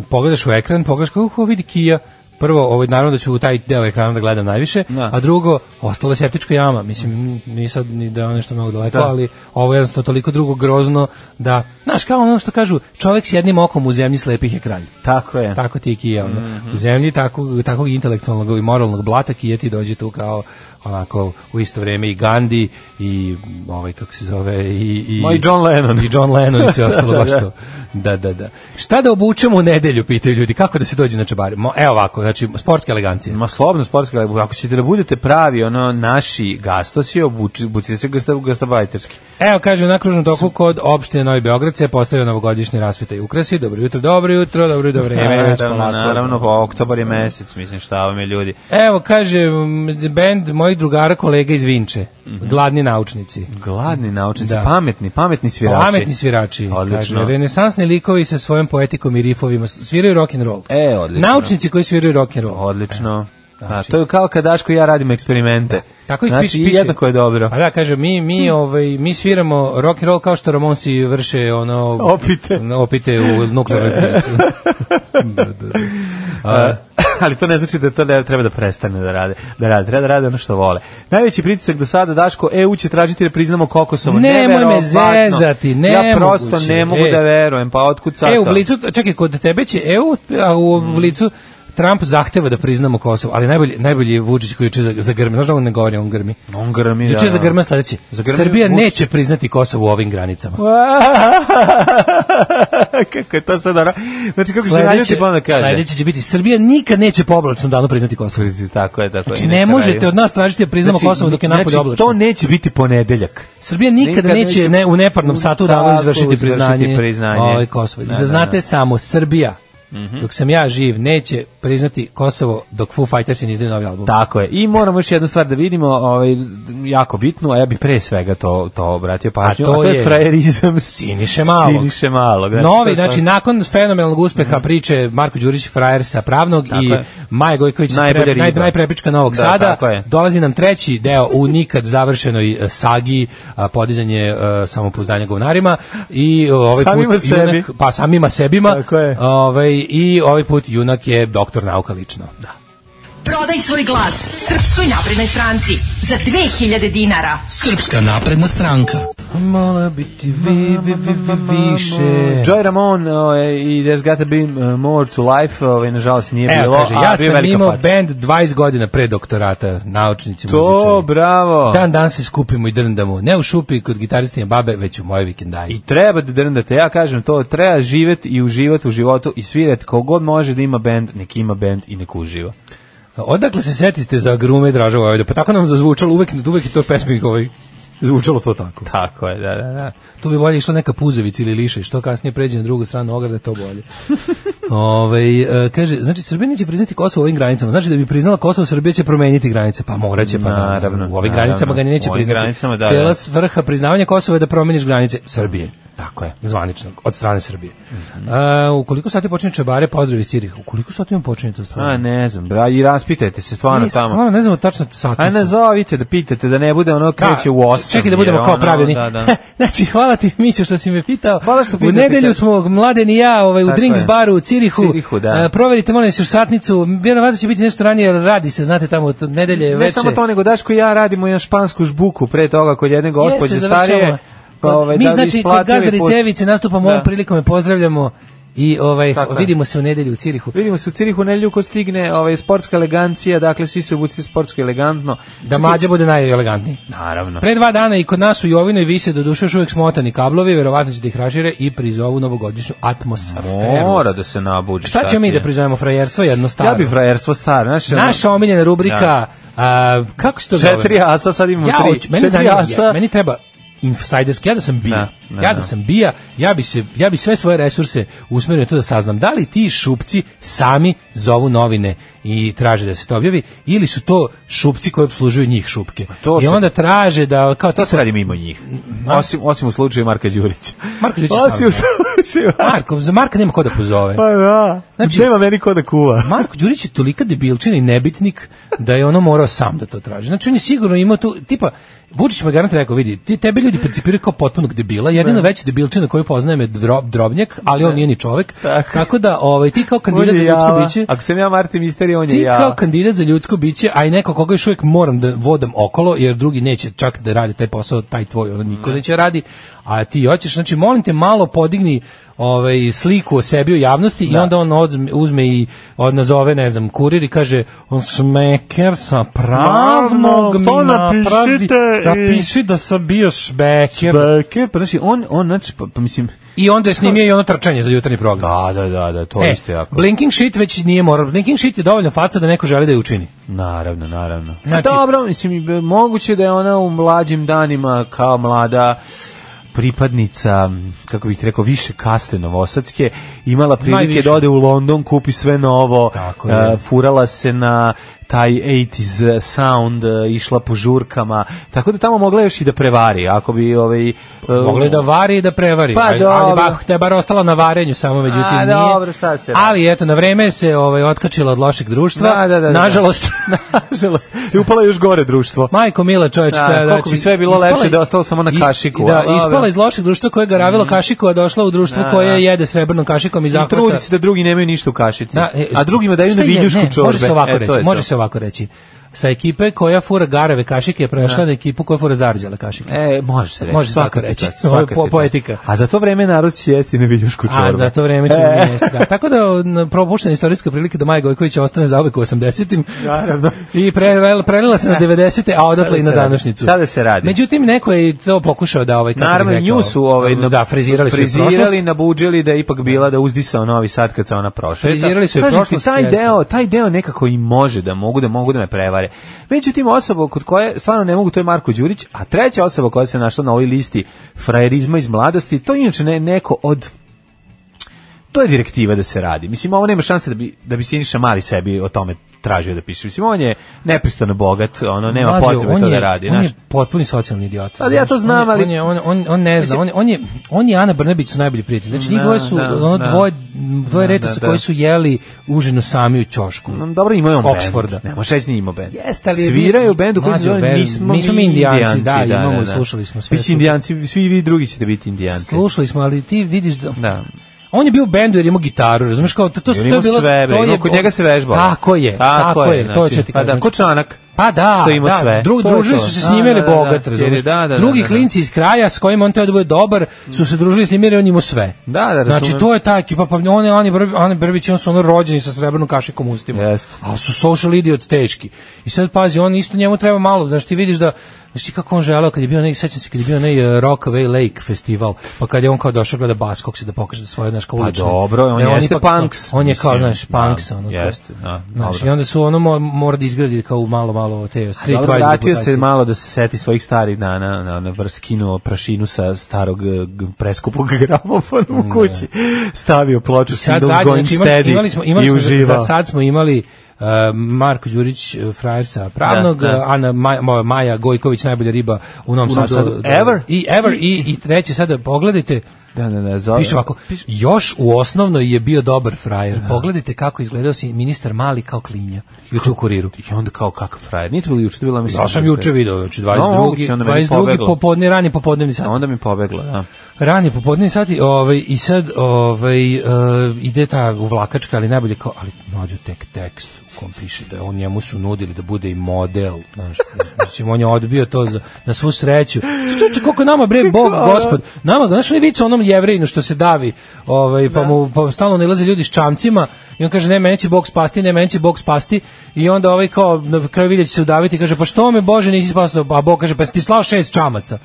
pogledaš u ekran, pogledaš kako "Uh, vidi Kija, prvo, ovaj, naravno da ću u taj deo ekrana da gledam najviše,
Da.
a drugo, ostala je septička jama, mislim, ni sad ni da je ono nešto mnogo daleko,
Da.
ali ovo je jednostavno toliko drugo grozno da, znaš, kao ono što kažu, čovek s jednim okom u zemlji slepih je kralj.
Tako je.
Tako ti je Kija, ono.
Mhm.
u zemlji takvog, takvog intelektualnog i moralnog blata Kija ti dođe tu kao onako u isto vrijeme i Gandhi i m, ovaj kako se zove i i
Ma i John Lennon.
i John Lennon i sve ostalo baš to. Da, da, da. Šta da obučemo u nedelju, pitaju ljudi, kako da se dođe na čabare? Mo- Evo ovako, znači, sportska elegancija.
Ma slobodno sportska, ali ako ćete da budete pravi, ono, naši gastosi, obuči- obucite se gasta, gastabajterski.
Evo, kaže, na kružnom toku kod opštine Novi Beograd se postavio novogodišnje rasvite i ukrasi. Dobro jutro, dobro jutro, dobro jutro, vreme. je već
naravno,
polako.
naravno, pa oktobar je mesec, mislim, šta vam je ljudi.
Evo, kaže, m, bend mojih drugara, kolega iz Vinče.
Mhm.
Gladni naučnici.
Gladni naučnici,
Da.
pametni, pametni svirači.
Pametni svirači.
Odlično.
Kaže, renesansni likovi sa svojom poetikom i rifovima sviraju rock and roll.
E, odlično.
Naučnici koji sviraju rock and roll.
Odlično.
Znači-
E, a, to je kao kad Daško i ja radimo eksperimente.
Tako ih Pa,
znači,
piše,
i
piše.
jednako je dobro. Hm.
A da, kaže, mi, mi, ovaj, mi sviramo rock and roll kao što Ramonsi vrše ono...
Opite.
Opite u nuklearnoj fizici. da, da, da. pa-
A, E, ali to ne znači da to ne treba da prestane da rade. Da rade, treba da rade ono što vole. Najveći pritisak do sada, Daško, EU će tražiti da priznamo Kokosovo.
Nemoj me
Neverovatno.
zezati,
Ja prosto
nemoguće.
ne mogu
E.
da verujem, pa otkud sad Hm.
E, u
to?
Blicu, čekaj, kod tebe će EU, a u Blicu Trump zahteva da priznamo Kosovo, ali najbolji, najbolji je Vučić koji juče zagrmi. Znaš da on ne govori, on grmi.
On grmi,
Juče je zagrmio sledeće.
Zagrmio
Srbija
Vučić.
neće priznati Kosovo u ovim granicama.
kako je to sad ono? Znači, kako se
Sledeće,
naljuti pa onda kaže?
sledeće će biti Srbija nikad neće po oblačnom danu priznati Kosovo.
Tako je, tako je.
Znači,
I na
ne
kraju-
možete od nas tražiti da priznamo Kosovo dok je napolje
znači,
oblačno.
to neće biti ponedeljak.
Srbija nikad
Nikad
neće
neće
ne, u neparnom satu danu
tako
izvršiti
izvršiti
priznanje,
priznanje.
ovaj Kosovo. I
Da,
da,
da, Mhm.
znate
da.
samo, Srbija, dok sam ja živ, neće priznati Kosovo dok Foo Fightersi ne izdaju novi album.
Tako je. I moramo još jednu stvar da vidimo, ovaj, jako bitnu, a ja bih pre svega to, to obratio pažnju, a to, je, frajerizam
Siniše Malog.
Siniše Malog.
Novi,
to je Mhm.
znači, nakon fenomenalnog uspeha priče Marko Đurić Frajer sa Pravnog
Tako
i
je.
Maja Gojković iz
Najbolja
pre, naj,
riba.
najprepička Novog
Da,
Sada,
tako je.
dolazi nam treći deo u nikad završenoj eh, sagi a, podizanje eh, samopouzdanja govnarima i eh, ovaj put
Samima
junak,
sebi.
pa samima sebima
Tako je.
ovaj, i ovaj put junak je doktor nauka lično. Da.
Prodaj svoj glas Srpskoj naprednoj stranci za 2000 dinara.
Srpska napredna stranka.
Mala biti vi, vi, vi, vi, više.
Joy Ramon ovaj, i There's Gotta Be uh, More to Life, ovaj, nažalost nije
Evo,
bilo,
kaže,
a
ja
bio je
sam
velika
imao
faca.
band 20 godina pre doktorata, naučnici,
To,
muzičari.
bravo.
Dan dan se skupimo i drndamo, ne u šupi kod gitaristinje babe, već u moje vikendaji.
I treba da drndate, ja kažem to, treba živeti i uživati u životu i svirati kogod može da ima bend, nek ima bend i nek uživa.
Odakle se setiste za grume Draža Vojvoda? Pa tako nam zazvučalo, uvek, uvek je to pesmik ovaj, zvučalo to tako.
Tako je, da, da, da.
Tu bi bolje išla neka puzovica ili liše, što kasnije pređe na drugu stranu ograde, to bolje. Ove, kaže, znači Srbija neće priznati Kosovo u ovim granicama, znači da bi priznala Kosovo, Srbija će promeniti granice, pa moraće, pa naravno,
Naravno,
u ovim
naravno.
granicama ga neće
U ovim
priznati.
granicama, da,
Cela
da.
svrha priznavanja Kosova je da promeniš granice Srbije.
Tako je.
zvaničnog, od strane Srbije.
Mhm.
A, ukoliko sati počinje Čebare, pozdrav iz Cirih. Ukoliko sati vam počinje to
A,
stvarno?
ne znam, bra, i raspitajte se stvarno
Ne,
tamo.
Stvarno, ne znamo tačno satnicu.
A nazovite Pa da pitate da ne bude ono kreće u 8.
Čekaj da budemo
jer
kao
ono,
pravilni.
Da, da.
znači, hvala ti Mićo što si me pitao.
Hvala što
u
pitate,
nedelju
pitate.
smo Mladen i ja ovaj, u
Tako
Drinks
je.
baru u Cirihu.
Cirihu, da.
E, proverite molim vas još satnicu. Vjerovatno će biti nešto ranije, jer radi se, znate, tamo od nedelje
Ne
veče.
samo to, nego Daško i ja radimo jedan špansku žbuku pre toga kod jednog
Jeste,
otpođe
završavamo.
starije.
Kod-
ovaj,
mi
da bi
znači kod
isplatili
Gazdari
put.
Cevice nastupamo
Da.
ovom prilikom i pozdravljamo i ovaj,
Tako je.
vidimo se u nedelju u Cirihu.
Vidimo se u Cirihu nedelju ko stigne ovaj, sportska elegancija, dakle svi se obuci sportsko elegantno.
Da mađa bude najelegantniji.
Naravno.
Pre dva dana i kod nas u Jovinoj vise do duše još uvijek smotani kablovi, verovatno će da ih rašire i prizovu novogodišnju atmosferu.
Mora da se nabuđi.
Šta ćemo mi da prizovemo frajerstvo jedno staro?
Ja bi frajerstvo staro, znaš. ono,
Naša omiljena rubrika, a, kako se to zove?
Četiri asa, sad imamo
ja,
tri.
hoću- meni,
Četiri
zanima,
asa.
ja- meni treba insajderski, ja da sam bija,
Da, da,
ja da
da.
sam bija, ja bi, se, ja bi sve svoje resurse usmerio na to da saznam da li ti šupci sami zovu novine i traže da se to objavi ili su to šupci koji obslužuju njih šupke.
Pa to
I
su-
onda traže da kao
To se radi mimo njih. Osim, osim u slučaju Marka Đurića.
Marko Đurić je
Osim Pa u
sam.
slučaju
Marko, za Marka nema ko da pozove.
Pa da.
Znači-
Znači, nema meni ko da kuva.
Marko Đurić je tolika debilčina i nebitnik da je ono morao sam da to traži. Znači on je sigurno imao tu, tipa, Vučić me garant rekao, vidi, ti, tebi ljudi percipiraju kao potpunog debila, jedina veća debilčina koju poznajem je dro, drobnjak, ali on nije ni čovek, tako,
Tako.
da ovaj, ti kao
On
kandidat za
je
ljudsko
java.
biće,
Ako sam ja Marti Misteri, on je
ti kao
java.
kandidat za ljudsko biće, a i neko koga još uvijek moram da vodam okolo, jer drugi neće čak da radi taj posao, taj tvoj, ono niko neće radi, a ti hoćeš, znači molim te malo podigni ovaj, sliku o sebi u javnosti i onda on odzme- uzme i od nazove, ne znam, kurir i kaže, on smeker sa pravnog
Naravno,
mi
to
napravi,
napišite i-
da piši da sam bio šbeker.
Beke, pa znači, on, on, znači, pa, pa mislim...
I onda je snimio i ono trčanje za jutarnji program.
Da, da, da, da, to
E,
isto jako.
blinking shit već nije morao. Blinking shit je dovoljno faca da neko želi da je učini.
Naravno, naravno.
Znači-
Znači, dobro, mislim, i be- moguće da je ona u mlađim danima kao mlada pripadnica, kako bih ti rekao, više kaste Novosadske, imala prilike
Najviše.
da ode u London, kupi sve novo,
Tako je.
e, furala se na taj 80s sound, e, išla po žurkama, tako da tamo mogla još i da prevari, ako bi ovaj... e,
Mogla je da vari i da prevari.
Pa
ali, ali
dobro.
ba, te je bar ostala na varenju samo, međutim
A,
nije.
dobro, šta se radi.
Ali eto, na vreme se ovaj, otkačila od lošeg društva.
Da, da, da, da.
Nažalost,
Nažalost, i upala je još gore društvo.
majko mila čoveč.
Da,
to je,
koliko
znači,
bi sve bilo
ispala
lepše
je-
da je ostala samo na
is-
kašiku,
Da,
ali dobro. Mm.
ispala iz lošeg društva koje ga ravilo kašiku, a došla u društvo
Da, da.
koje jede srebrnom kašikom i
I
zahvata.
trudi se da drugi nemaju ništa u kašici.
Da, e,
a drugima daju
šta
na
je-
viljušku
ne,
čorbe.
Može se ovako
E, to
reći,
je
može
to.
se ovako reći. sa ekipe koja fura garave kašike je prešla na ekipu koja fura zarđale kašike.
E, može se reći.
Može
svaka
tako reći.
ti čast,
Ovo je
svaka
po-
ti čast.
poetika.
A za to vreme narod će jesti na viljušku E, čorbu.
A, Pa, da, to vreme ćemo mi jesti, da. Tako da na- propuštena istorijska prilika da Maja Gojković ostane za uvek u 80-im.
Naravno.
I prelila, prelila se na 90-te, a odatle
Sada
i na
se radi.
današnjicu.
Sada se radi.
Međutim, neko je i to pokušao da ovaj, kako bih
Naravno,
rekao, um,
nju su ovaj, na-
da, frizirali su je prošlost.
frizirali, nabuđili da je ipak bila da uzdisao novi sad kad se ona prošeta.
Frizirali su je
Kažem ti,
prošlost,
Taj
jeste.
deo, taj deo nekako i može da mogu da mogu da me prevare. Međutim, osoba kod koje stvarno ne mogu, to je Marko Đurić, a treća osoba koja se našla na ovoj listi frajerizma iz mladosti, to je inače ne, neko od to je direktiva da se radi. Mislim, ovo nema šanse da bi, da bi Siniša Mali sebi o tome tražio da piše. Mislim, on je nepristano bogat, ono, nema
Mlađo,
potrebe
on
to
je-
da radi.
On
znaš.
je potpuni socijalni idiot.
Pa ja to
Znaš, on
znam,
je-
ali-
On, je, on, on, on ne zna, on, je- on, je, on i Ana Brnebić su najbolji prijatelji. Znači, njih
Da,
dvoje su,
da,
ono,
da.
dvoje, dvoje
Da,
reta
da,
su
da.
koji su jeli užinu sami u ćošku.
Mm, Dobro, imaju on
Oxforda.
bend. Ne može reći nije imao bend.
Jeste, ali-
Sviraju u bendu koji se
Mlađo,
zove
ver-
Nismo,
nismo mi Indijanci, da, imamo, slušali smo sve,
Bići
super.
indijanci, svi vi drugi ćete biti indijanci.
Slušali smo, ali ti vidiš da...
Da.
On je bio u bendu jer je imao gitaru, razumeš kao to, to,
I
su-
on
to je
imao
bilo
sve, bre,
to
imao-
je
kod njega se vežbalo.
Tako je, tako, je, to
znači,
ću ti
pa
kažem.
da, ko članak.
Pa da,
što ima
da,
sve.
Drug,
To je
družili
to.
su se
Da,
s njime,
da,
jer je
da,
bogat,
jer je-
razumiješ?
da, da,
Drugi
da, da.
klinci iz kraja s kojima on teo da bude dobar su se družili s njime jer je on imao sve.
Da, da, razumem.
Znači, to je ta ekipa, pa oni, oni, Brbi- oni Brbić, on su ono rođeni sa srebrnom kašikom u ustima.
Jeste.
Ali su social idiots teški. I sad, pazi, on isto njemu treba malo, znači ti vidiš da Znaš ti kako on želeo kad je bio onaj, sećam se kad je bio onaj e, Rockaway Lake festival, pa kad je on kao došao gleda Baskog se da pokaže da svoje, znaš, kao
Pa
ulične.
dobro,
Ne,
on jeste
ipak-
punks,
On je kao,
mislim,
znaš, punks.
da,
ono, kao-
jeste, da,
znaš,
dobro.
I onda su ono mo- mora da izgradi kao malo, malo te street
Dobro,
wise
vratio se
reputacije.
malo da se seti svojih starih dana, na, na, na skinuo prašinu sa starog eh, g- preskupog gramofona u kući, stavio ploču
Sad
Singles
zadnje,
Going
znači, imali,
Steady
imali smo, imali
i
smo, za
uživao.
sad smo imali uh, Marko Đurić, uh, frajer sa pravnog,
Da, da.
uh, Ana Maja, moja Maja Gojković, najbolja riba u Novom
U Novom
Sadu.
Sadu.
Da,
Ever?
I, ever i, i treće, sada pogledajte,
Da, da, da, zove.
Piše ovako, još u osnovnoj je bio dobar frajer. Pogledajte kako izgledao si ministar Mali kao klinja. Juče u kuriru.
I onda kao kakav frajer. Nije to bilo juče, to je bila mislim.
Ja sam juče video, znači
No, moguće,
22.
onda meni
22.
pobeglo.
popodne, rani popodnevni
A
sat.
onda mi pobegla, da.
Rani popodnevni sati, ovaj i sad ovaj e, ide ta uvlakačka, ali najbolje kao ali mlađu tek tekst u kom piše da je on njemu su nudili da bude i model, znaš. Mislim on je odbio to za, na svu sreću. Čoče koliko nama bre Bog Gospod, nama znaš li vic onom jevrejinu što se davi, ovaj pa mu pa stalno nalaze ljudi s čamcima i on kaže ne meni će Bog spasti, ne meni će Bog spasti i onda ovaj kao na kraju vidjet će se udaviti i kaže pa što me Bože nisi spasao, a Bog kaže pa si ti slao šest čamaca.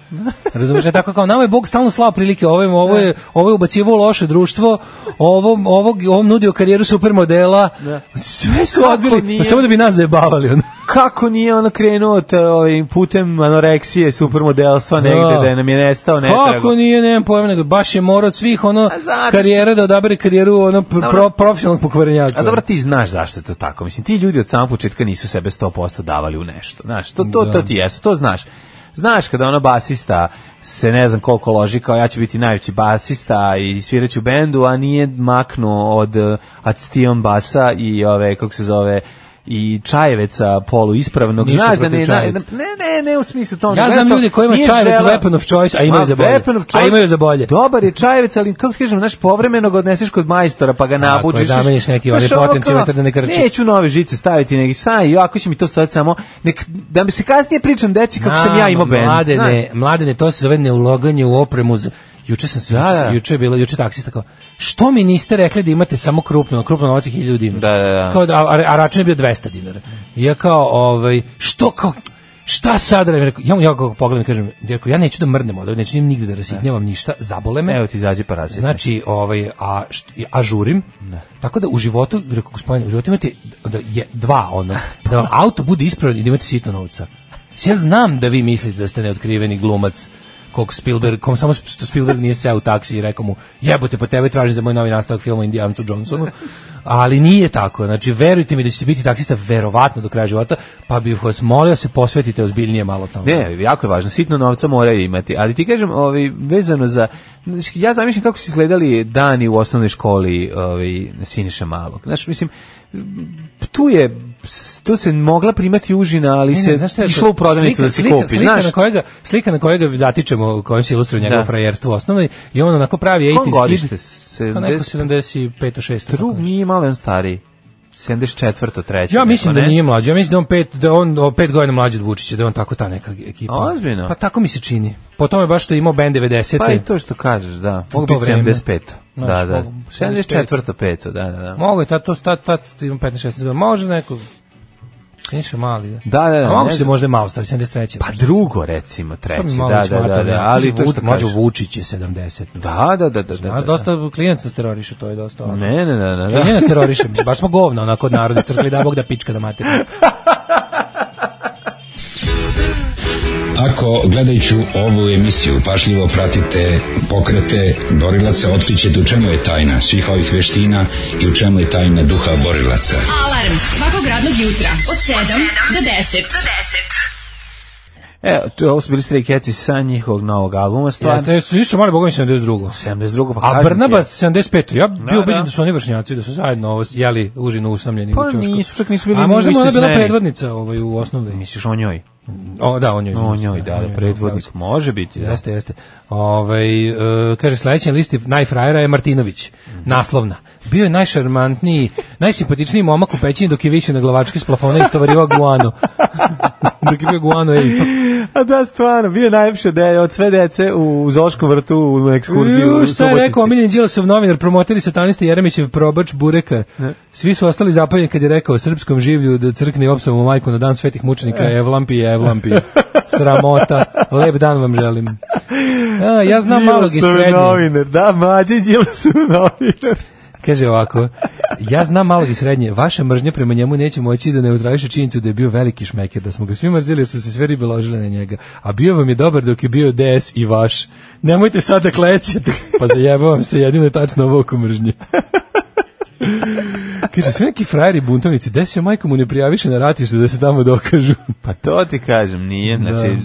Razumeš, E, tako kao nama je Bog stalno slao prilike, ovo je, ovo je, ovo je ubacivo u loše društvo, ovo, ovog, ovom nudio karijeru supermodela, sve su
Kako
odbili,
nije?
pa samo da bi nas zajebavali. ono.
Kako nije ono krenuo te, ovim putem anoreksije, supermodelstva negde,
Da.
da je nam je nestao netrago.
Kako nije, nemam pojma, nego baš je morao od svih ono
A zato što-
karijera da odabere karijeru ono pr- pro, profesionalnog pokvarenjaka.
A dobro, ti znaš zašto je to tako. Mislim, ti ljudi od samog početka nisu sebe 100% davali u nešto. Znaš, to, to, to ti jesu, to znaš. Znaš kada ono basista se ne znam koliko loži kao ja ću biti najveći basista i sviraću u bendu, a nije maknuo od eh, Action basa i ove, kako se zove, i čajeveca polu ispravnog.
Ništa
Znaš da
protiv
ne, ne,
Čajevca.
ne, ne, u smislu tom.
Ja znam ljudi koji ima Čajevec weapon of choice, a imaju za bolje. A imaju za bolje.
Dobar je Čajevec, ali kako ti kažem, znaš, povremeno ga odneseš kod majstora, pa ga
Tako je,
nabuđiš.
zameniš neki onaj
Znaš, ono
potencijalni
kao,
da ne krči.
Neću nove žice staviti, nego saj, jo, ako će mi to stojati samo, nek, da mi se kasnije pričam deci kako sam ja imao bend.
Mladene, mladene, to se zove neulaganje u opremu. za- Juče sam se,
Da,
juče,
da.
juče je bilo, juče taksista kao, što mi niste rekli da imate samo krupno, krupno novac je 1000 dinara.
Da, da, da.
Kao da, a, a račun je bio 200 dinara. I ja kao, ovaj, što kao, šta sad da radim? Rekao, ja mu ja ga pogledam i kažem, rekao, ja neću da mrdnem odavde, neću nigde da rasitnjavam ništa, zabole
Znaš,
me.
Evo ti izađe parazit.
Znači, ovaj, a, št, a žurim. Tako da u životu, rekao gospodin, u životu imate da je dva ono, da vam auto bude ispravan i da imate sitno novca. Mislim, Ja znam da vi mislite da ste neotkriveni glumac kog Spielberg, kom samo što Spielberg nije seo u taksi i rekao mu jebote po tebe tražim za moj novi nastavak filma Indijancu Johnsonu, ali nije tako, znači verujte mi da ćete biti taksista verovatno do kraja života, pa bih vas molio da se posvetite ozbiljnije malo tome.
Ne, jako je važno, sitno novca moraju imati, ali ti kažem, ovaj, vezano za, ja zamišljam kako su izgledali dani u osnovnoj školi ovaj, Siniša Malog. Znaš, mislim, tu je, tu se mogla primati užina, ali
Ne,
se
ne, znaš šta je to?
išlo u
Slika-
prodavnicu da se
slika-
kupi.
Slika,
znaš,
na kojega, slika na kojega zatičemo, kojom se ilustruje njegovo
Da.
frajerstvo osnovno i on onako pravi
Kom
80s kid.
godište?
Pa neko
70?
75 6
Drug nije malo on stariji. 74. treće.
Ja mislim
neko,
da
ne?
nije mlađi. Ja mislim da je on pet, da je on o, pet godina mlađi od Vučića, da je on tako ta neka ekipa.
Ozbiljno?
Pa tako mi se čini. Po tome baš što je imao Ben 90.
Pa i to što kažeš, da. Mogu
To
biti
vreme.
75.
Znaš,
Da, da.
mogu.
74. 5. Da, da, da.
Mogu je, tad, to, tad, tad, ima 15-16 godina. Može neko... Siniša mali, da.
Da, da, da,
A mogu
ne
se
znam.
možda i malo stavi, 73.
Pa drugo, recimo, treće. Da, da, da, da. Ali
Ali
to
Vud,
što kažeš.
mlađo Vučić je 70.
Da, da, da, da, da.
Nas
da.
dosta klijenca teroriše, to je dosta. ono.
Ne, ne, ne, ne.
Ja
da.
njena teroriše, mislim, baš smo govna onako od narodne crkve, da Bog da pička da mater.
Ako gledajući ovu emisiju pašljivo pratite pokrete borilaca, otkrićete u čemu je tajna svih ovih veština i u čemu je tajna duha borilaca.
Alarm svakog radnog jutra od 7 do 10.
E, to- ovo su bili Stray Cats sa njihovog novog albuma, stvarno.
Jeste, su išli mali Bogović 72.
72. Pa
A
kažem ti,
Brnaba 75. Ja bio
da.
ubeđen da su oni vršnjaci, da su zajedno ovo jeli užinu usamljeni
Pa
u Čošku.
nisu, čak nisu bili
A
ni u
možda mu
istoj
ona bila
smeni.
predvodnica ovaj, u osnovnoj.
Misliš o njoj?
O, da, on joj.
O njoj, da, da, predvodnik. Može biti, da.
Jeste, jeste. Ovaj e, kaže sledeći na listi najfrajera je Martinović. Naslovna. Bio je najšarmantniji, najsimpatičniji momak u pećini dok je visio na glavački s plafona i istovarivao guano. dok je bio guano, ej.
A da, stvarno, bio najlepše de, od sve dece u Zološkom vrtu u ekskurziju u
Ju, šta je
Subotici.
rekao omiljeni Đilasov novinar, promoteri satanista Jeremićev probač Bureka. Svi su ostali zapaljeni kad je rekao srpskom življu da crkne opsavu majku na dan svetih mučenika Evlampi, Evlampi. Sramota. Lep dan vam želim. A, ja znam malog i
Đilasov
srednjeg.
novinar, da, mađe Đilasov novinar.
Kaže ovako, ja znam malo i srednje, vaša mržnja prema njemu neće moći da neutrališe činjenicu da je bio veliki šmeker, da smo ga svi mrzili, jer su se sve ribe ložile na njega, a bio vam je dobar dok je bio DS i vaš. Nemojte sad da klećete, pa zajebavam se, jedino je tačno ovo oko mržnje. Kaže, sve neki frajeri buntovnici, gde se majko mu ne prijaviše na ratište da se tamo dokažu.
Pa to ti kažem, nije, znači...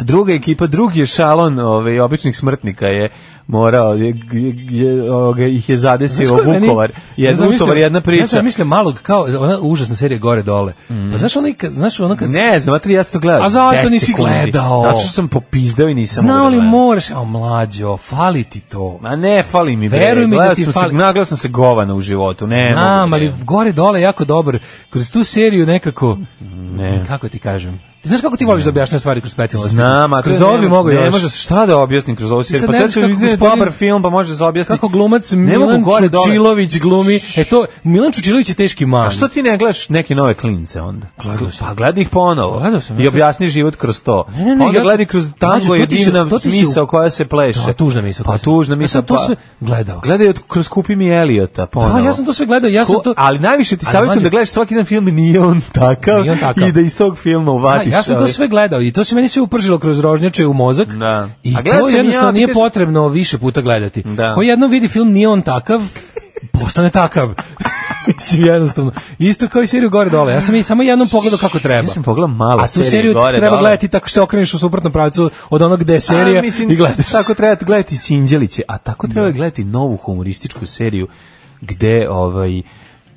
Druga ekipa, drugi je šalon ovaj, običnih smrtnika je morao, je, je, je, ovoga, ih je zadesio
Znaš ko je
Vukovar.
meni-
Jedna
zamišljam-
Vukovar, jedna
Ja
priča. Mhm.
sam mislio malog, kao ona užasna serija gore dole. Pa znaš ono, kad, znaš ono kad
Ne znam, tri ja sam to gledao.
A zašto
10
nisi
sekundi.
gledao?
Zato što sam popizdao i nisam
Znao
mogao da
li
gledam.
moraš, a mlađo, fali ti to.
Ma ne, fali mi. bre.
Veruj mi da
Gledao
ti
sam se-
fali.
Nagledao sam se govana u životu. Ne,
Znam,
mogu,
ali
ne.
gore dole jako dobar. Kroz tu seriju nekako,
Ne.
kako ti kažem, ti znaš kako ti voliš da objašnjaš stvari kroz specijalno
Znam, a to
kroz
ne
ovo bi
može-
mogu
Ne
još.
može se šta da objasnim kroz ovu seriju.
sad
Pa
ne
sad
znaš
ću
kako
vidjeti
gospodin-
dobar film, pa može se objasniti.
Kako glumac
Ne mogu
Milan
gore, dole.
Čučilović glumi. E to, Milan Čučilović je teški man.
A što ti ne gledaš neke nove klince onda?
Gledao sam.
Pa gledaj ih ponovo.
Gledao sam, ja
I
sam-
objasni život kroz to.
Ne, ne, ne,
Pa onda
ja-
gledaj kroz
Mlađo,
tango
to
je
ti se-
divna
to ti se-
misao koja se pleše.
Da, tužna misao koja
Pa
se-
tužna
Ja
misao.
sam to
pa-
sve gledao.
Gledaj od- kroz Kupi mi Eliota ponovo.
Da, ja sam to sve gledao, ja sam
Ko-
to...
Ali najviše ti
Ali
savjetujem
mlađe-
da gledaš svaki dan film i nije on takav,
Nije on takav.
i da iz tog filma
Da,
uvatiš.
ja sam to
ovaj-
sve gledao i to se meni sve upržilo kroz rožnjače u mozak.
Da.
I
A gledao
to
sam i
jednostavno
ja, ti
nije
kažem-
potrebno više puta gledati.
Da.
Ko jednom vidi film nije on takav, postane takav. Mislim, jednostavno. Isto kao i seriju gore dole. Ja sam i samo jednom pogledao kako treba.
Ja sam pogledao malo
A tu
serije
seriju
gore,
treba
dole.
gledati tako što se okreneš u suprotnom pravcu od onog gde je serija
A, mislim,
i gledaš.
Tako treba gledati Sinđeliće, a tako treba gledati novu humorističku seriju gde ovaj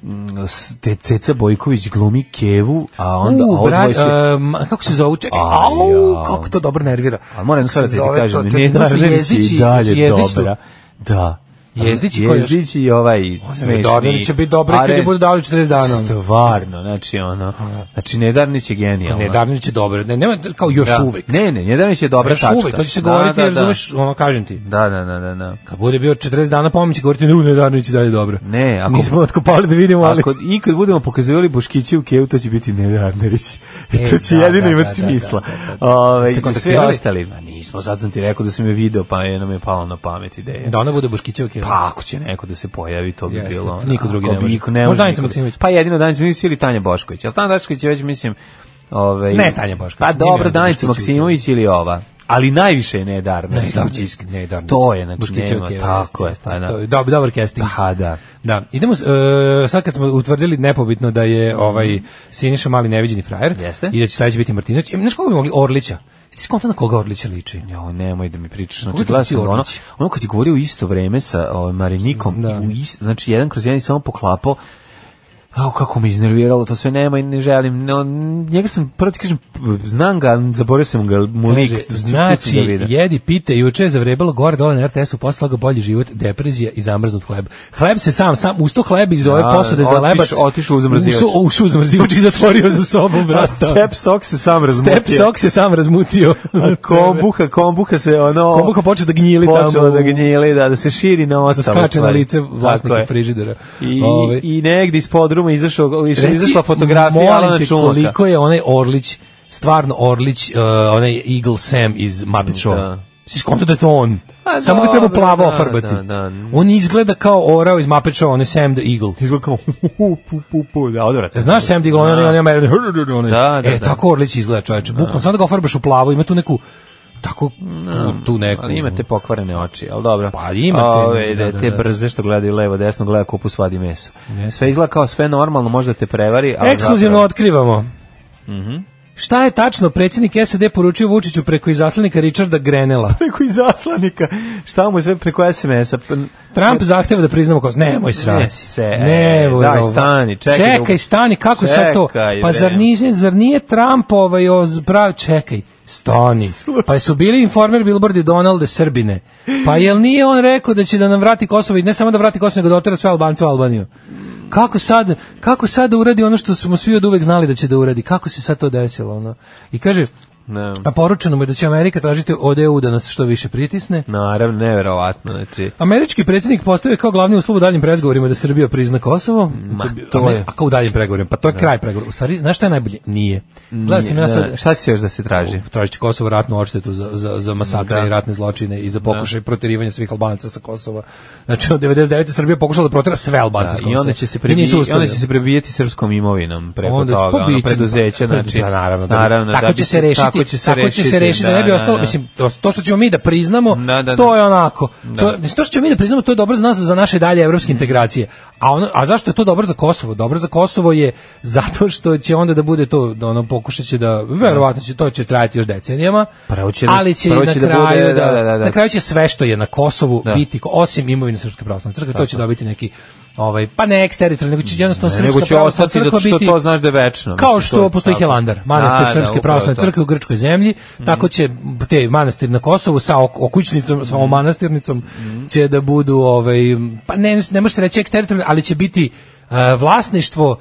mm, s- te Ceca Bojković glumi Kevu, a onda
U,
a ovo
bra,
dvoje se...
um, a kako se zove? Čekaj,
Aj,
au,
jao.
kako to dobro nervira.
A moram
Kako se
sad da ti
zove to?
kažem,
Čekaj,
ne
to su
da i
Jezdići-
dalje
Jezdić su-
dobra. Da.
Jezdić i ko još?
Jezdić i ovaj smešni.
Nedarnić će biti dobar kad je
Aren-
bude ono. dali 40 dana.
Stvarno, znači ono. Znači Nedarnić je genijalno.
Ne, Darnić je dobar. Ne, nema kao još
Da.
uvek.
Ne, ne, Nedarnić je dobra
Još
tačka.
uvek, to će se
Da,
govoriti,
da,
jer
da.
zoveš, ono, kažem ti,
Da, da, da, da, da.
kad bude bio 40 dana pomoć, će govoriti, ne, ne, Darnić je dalje dobro.
Ne, ako-
Mi smo otkopali da vidimo, ali...
Ako i kad budemo pokazivali Boškiće u Kevu, to će biti Nedarnerić. I
E,
to će
da,
jedino
da,
imati
da, da,
smisla.
da, da, da.
Ovaj,
Jeste
i sve
kontaktirali?
ostali. Ma nismo, sad sam ti rekao da sam je video, pa je nam je palo na pamet ideja.
E, Da ona bude Boškićeva keva.
Pa ako će neko da se pojavi, to bi
Jeste,
bilo... ono,
niko drugi
ako
ne
bi
može.
Niko ne može
Možda Danica
niko-
Maksimović.
Pa jedino Danica Maksimović ili Tanja Bošković. Ali Tanja Bošković je već, mislim... Ovaj,
Ne, Tanja Bošković,
Pa
nije mi
dobro,
jasno
Danica
Bošković
Maksimović ili ova. Ali najviše je Nedarnerić.
Nedarnić,
Kućiski.
Nedarnić.
To je, znači,
Boškićeva
nema,
keva,
tako je.
jeste,
pa
jeste.
da.
To je dobar, dobar casting.
Pa da.
Da, idemo, s- e, sad kad smo utvrdili nepobitno da je ovaj Siniša mali neviđeni frajer
Jeste.
i da će sledeći biti Martinović, e, znaš koga bi mogli? Orlića. Jesi skontan na koga Orlića liči?
Jo, nemoj da mi pričaš. Znači,
Kako ti
gledao
liči
sam ono,
Orlić?
ono kad je govorio u isto vreme sa ovaj, Marinikom,
Da.
u is- znači jedan kroz jedan je samo poklapo, Au, kako me iznerviralo, to sve nema i ne želim. No, njega sam, prvo ti kažem, znam ga, ali zaboravio sam ga, mu lik.
Kaže,
tu sam
znači,
ga vidio.
jedi, pite, juče je zavrebalo gore dole na RTS-u, posle toga bolji život, depresija i zamrznut hleb. Hleb se sam, sam, usto hleb iz ove
Da,
posude za
otiš-
lebac.
otišao u zamrzivač.
Uso- Ušao u zamrzivač i zatvorio za sobom,
A
brata.
Step sok se sam razmutio.
Step sok se sam razmutio.
A kombuha, kombuha se ono...
Kombuha počeo da gnjili tamo.
Počela da gnjili, da, da se širi na
Da
ostalo.
skače na
stvari.
lice
Tako
vlasnika
je.
frižidera.
I,
Ovaj.
I negdje iz podruma izašao, izašla,
Reci,
izašla fotografija
molim
Alana
te,
Čumaka.
koliko je onaj Orlić, stvarno Orlić, uh, onaj Eagle Sam iz Muppet Show.
Da.
Si skonto da je to on.
A,
Samo ga treba
dobro,
plavo
da,
ofarbati.
da, da.
On izgleda kao orao iz Muppet Show, on je Sam the Eagle.
Izgleda kao pu, pu, pu, pu, da, odvratno.
Znaš Sam the Eagle, on je onaj American. onaj-
Da, da,
e,
da.
tako Orlić izgleda čoveče. Bukvalno, samo da ga ofarbaš u plavo, ima tu neku tako tu, tu neku.
Ali imate pokvarene oči, ali dobro.
Pa imate,
Ove,
da,
da,
da,
te
da.
brze što gledaju levo, desno, gleda kupu svadi meso. Sve izgleda kao sve normalno, možda te prevari. Ali
Ekskluzivno
zapravo- Mhm.
otkrivamo. Šta je tačno predsjednik SAD poručio Vučiću preko izaslanika Richarda Grenela?
preko izaslanika, šta mu je sve preko SMS-a. P-
Trump zahteva da priznamo kao nemoj srati.
Ne se, e,
nemoj,
daj,
ovo.
stani, čekaj da-
Čekaj, stani, kako je sad to?
Čekaj,
Pa zar
bre.
nije, zar nije Trump ovaj oz- prav... Čekaj, stani. Pa su bili informer Billboardi Donalde Srbine. Pa jel nije on rekao da će da nam vrati Kosovo i ne samo da vrati Kosovo, nego da otera sve Albance u Albaniju? Kako sad, kako sad da uradi ono što smo svi od uvek znali da će da uradi? Kako se sad to desilo? Ono? I kaže,
Ne.
a poručeno mu je da će Amerika tražiti od EU da nas što više pritisne.
Naravno, neverovatno, znači.
Američki predsjednik postavio kao glavni uslov u daljim pregovorima da Srbija prizna Kosovo.
Ma,
bi-
to
a ne-
je.
A kao u daljim pregovorima? Pa to je kraj pregovora. U stvari, znaš šta je najbolje? Nije. Gledao sam ja
Ne,
sad...
šta će se još da se traži?
Tražit će Kosovo ratnu odštetu za, za, za masakre
Da.
i ratne zločine i za pokušaj protjerivanja svih Albanaca sa Kosova. Znači, od 99. Srbija pokušala da protera sve Albance sa Kosova.
I onda će
I
se
nisu
prebijeti,
uspeli.
onda će se prebijeti srpskom imovinom preko
Onda-
toga,
pa
ono
biće,
preduzeće,
pa,
znači.
da, naravno, da,
naravno,
tako
da
će
bi
se rešiti,
Tako će se rešiti,
rešiti, da, ne bi ostalo, mislim, to, to što ćemo mi da priznamo,
Da, da,
to
da. Mm.
je onako, to, mislim, to što ćemo mi da priznamo, to je dobro za nas, za naše dalje evropske integracije, a, ono, a zašto je to dobro za Kosovo? Dobro za Kosovo je zato što će onda da bude to, da ono, pokušat će da, verovatno će, to će trajati još decenijama,
Prvo će da-
ali će i
prvo
na
će da
kraju,
bude-
da,
da, da, da, da.
na kraju će sve što je na Kosovu
Da.
biti, osim imovine Srpske pravoslavne crkve, to će dobiti neki ovaj pa ne eksteritorijalni, nego će jednostavno
Ne, nego
Srpska
će
pravoslavna
ostati zato
crkva
što
biti
to znaš da je večno.
kao
mislim, to
što
je
postoji
tako.
Helandar,
Da,
manastir
da,
Srpske
upravo
pravoslavne
to.
crkve u grčkoj zemlji, tako će te manastir na Kosovu sa ok- okućnicom, sa ovom manastirnicom će da budu ovaj pa ne ne može se reći eksteritorijalni, ali će biti e, vlasništvo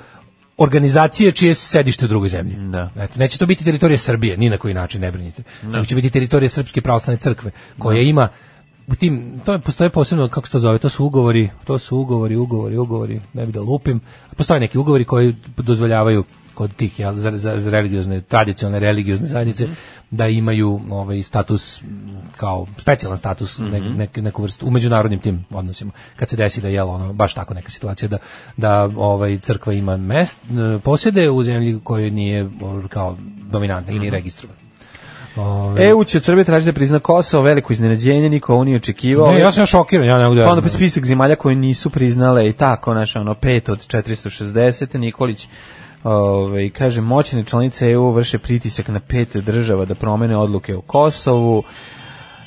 organizacije čije je sedište u drugoj zemlji.
Da.
Eto, neće to biti teritorija Srbije, ni na koji način ne brinite. Nego će biti teritorija Srpske pravoslavne crkve, koja ima u tim, to je- postoje posebno, kako se to zove, to su ugovori, to su ugovori, ugovori, ugovori, ne bi da lupim. Postoje neki ugovori koji dozvoljavaju kod tih jel, za, za, za religiozne, tradicionalne religiozne zajednice
Mhm.
da imaju ovaj status m, kao specijalan status
Mhm.
ne- nek- neku vrstu u međunarodnim tim odnosima kad se desi da je ono baš tako neka situacija da da ovaj crkva ima mest e, posjede u zemlji kojoj nije o, kao dominantna
Mhm.
ili registrovana. Ovaj,
EU će od Srbije tražiti da prizna Kosovo, veliko iznenađenje, niko ovo nije očekivao.
ne, ja sam šokiran, ja ne mogu da
Pa onda spisak zemalja koje nisu priznale i tako, naša ono, pet od 460, Nikolić Ove, kaže, moćne članice EU vrše pritisak na pet država da promene odluke o Kosovu.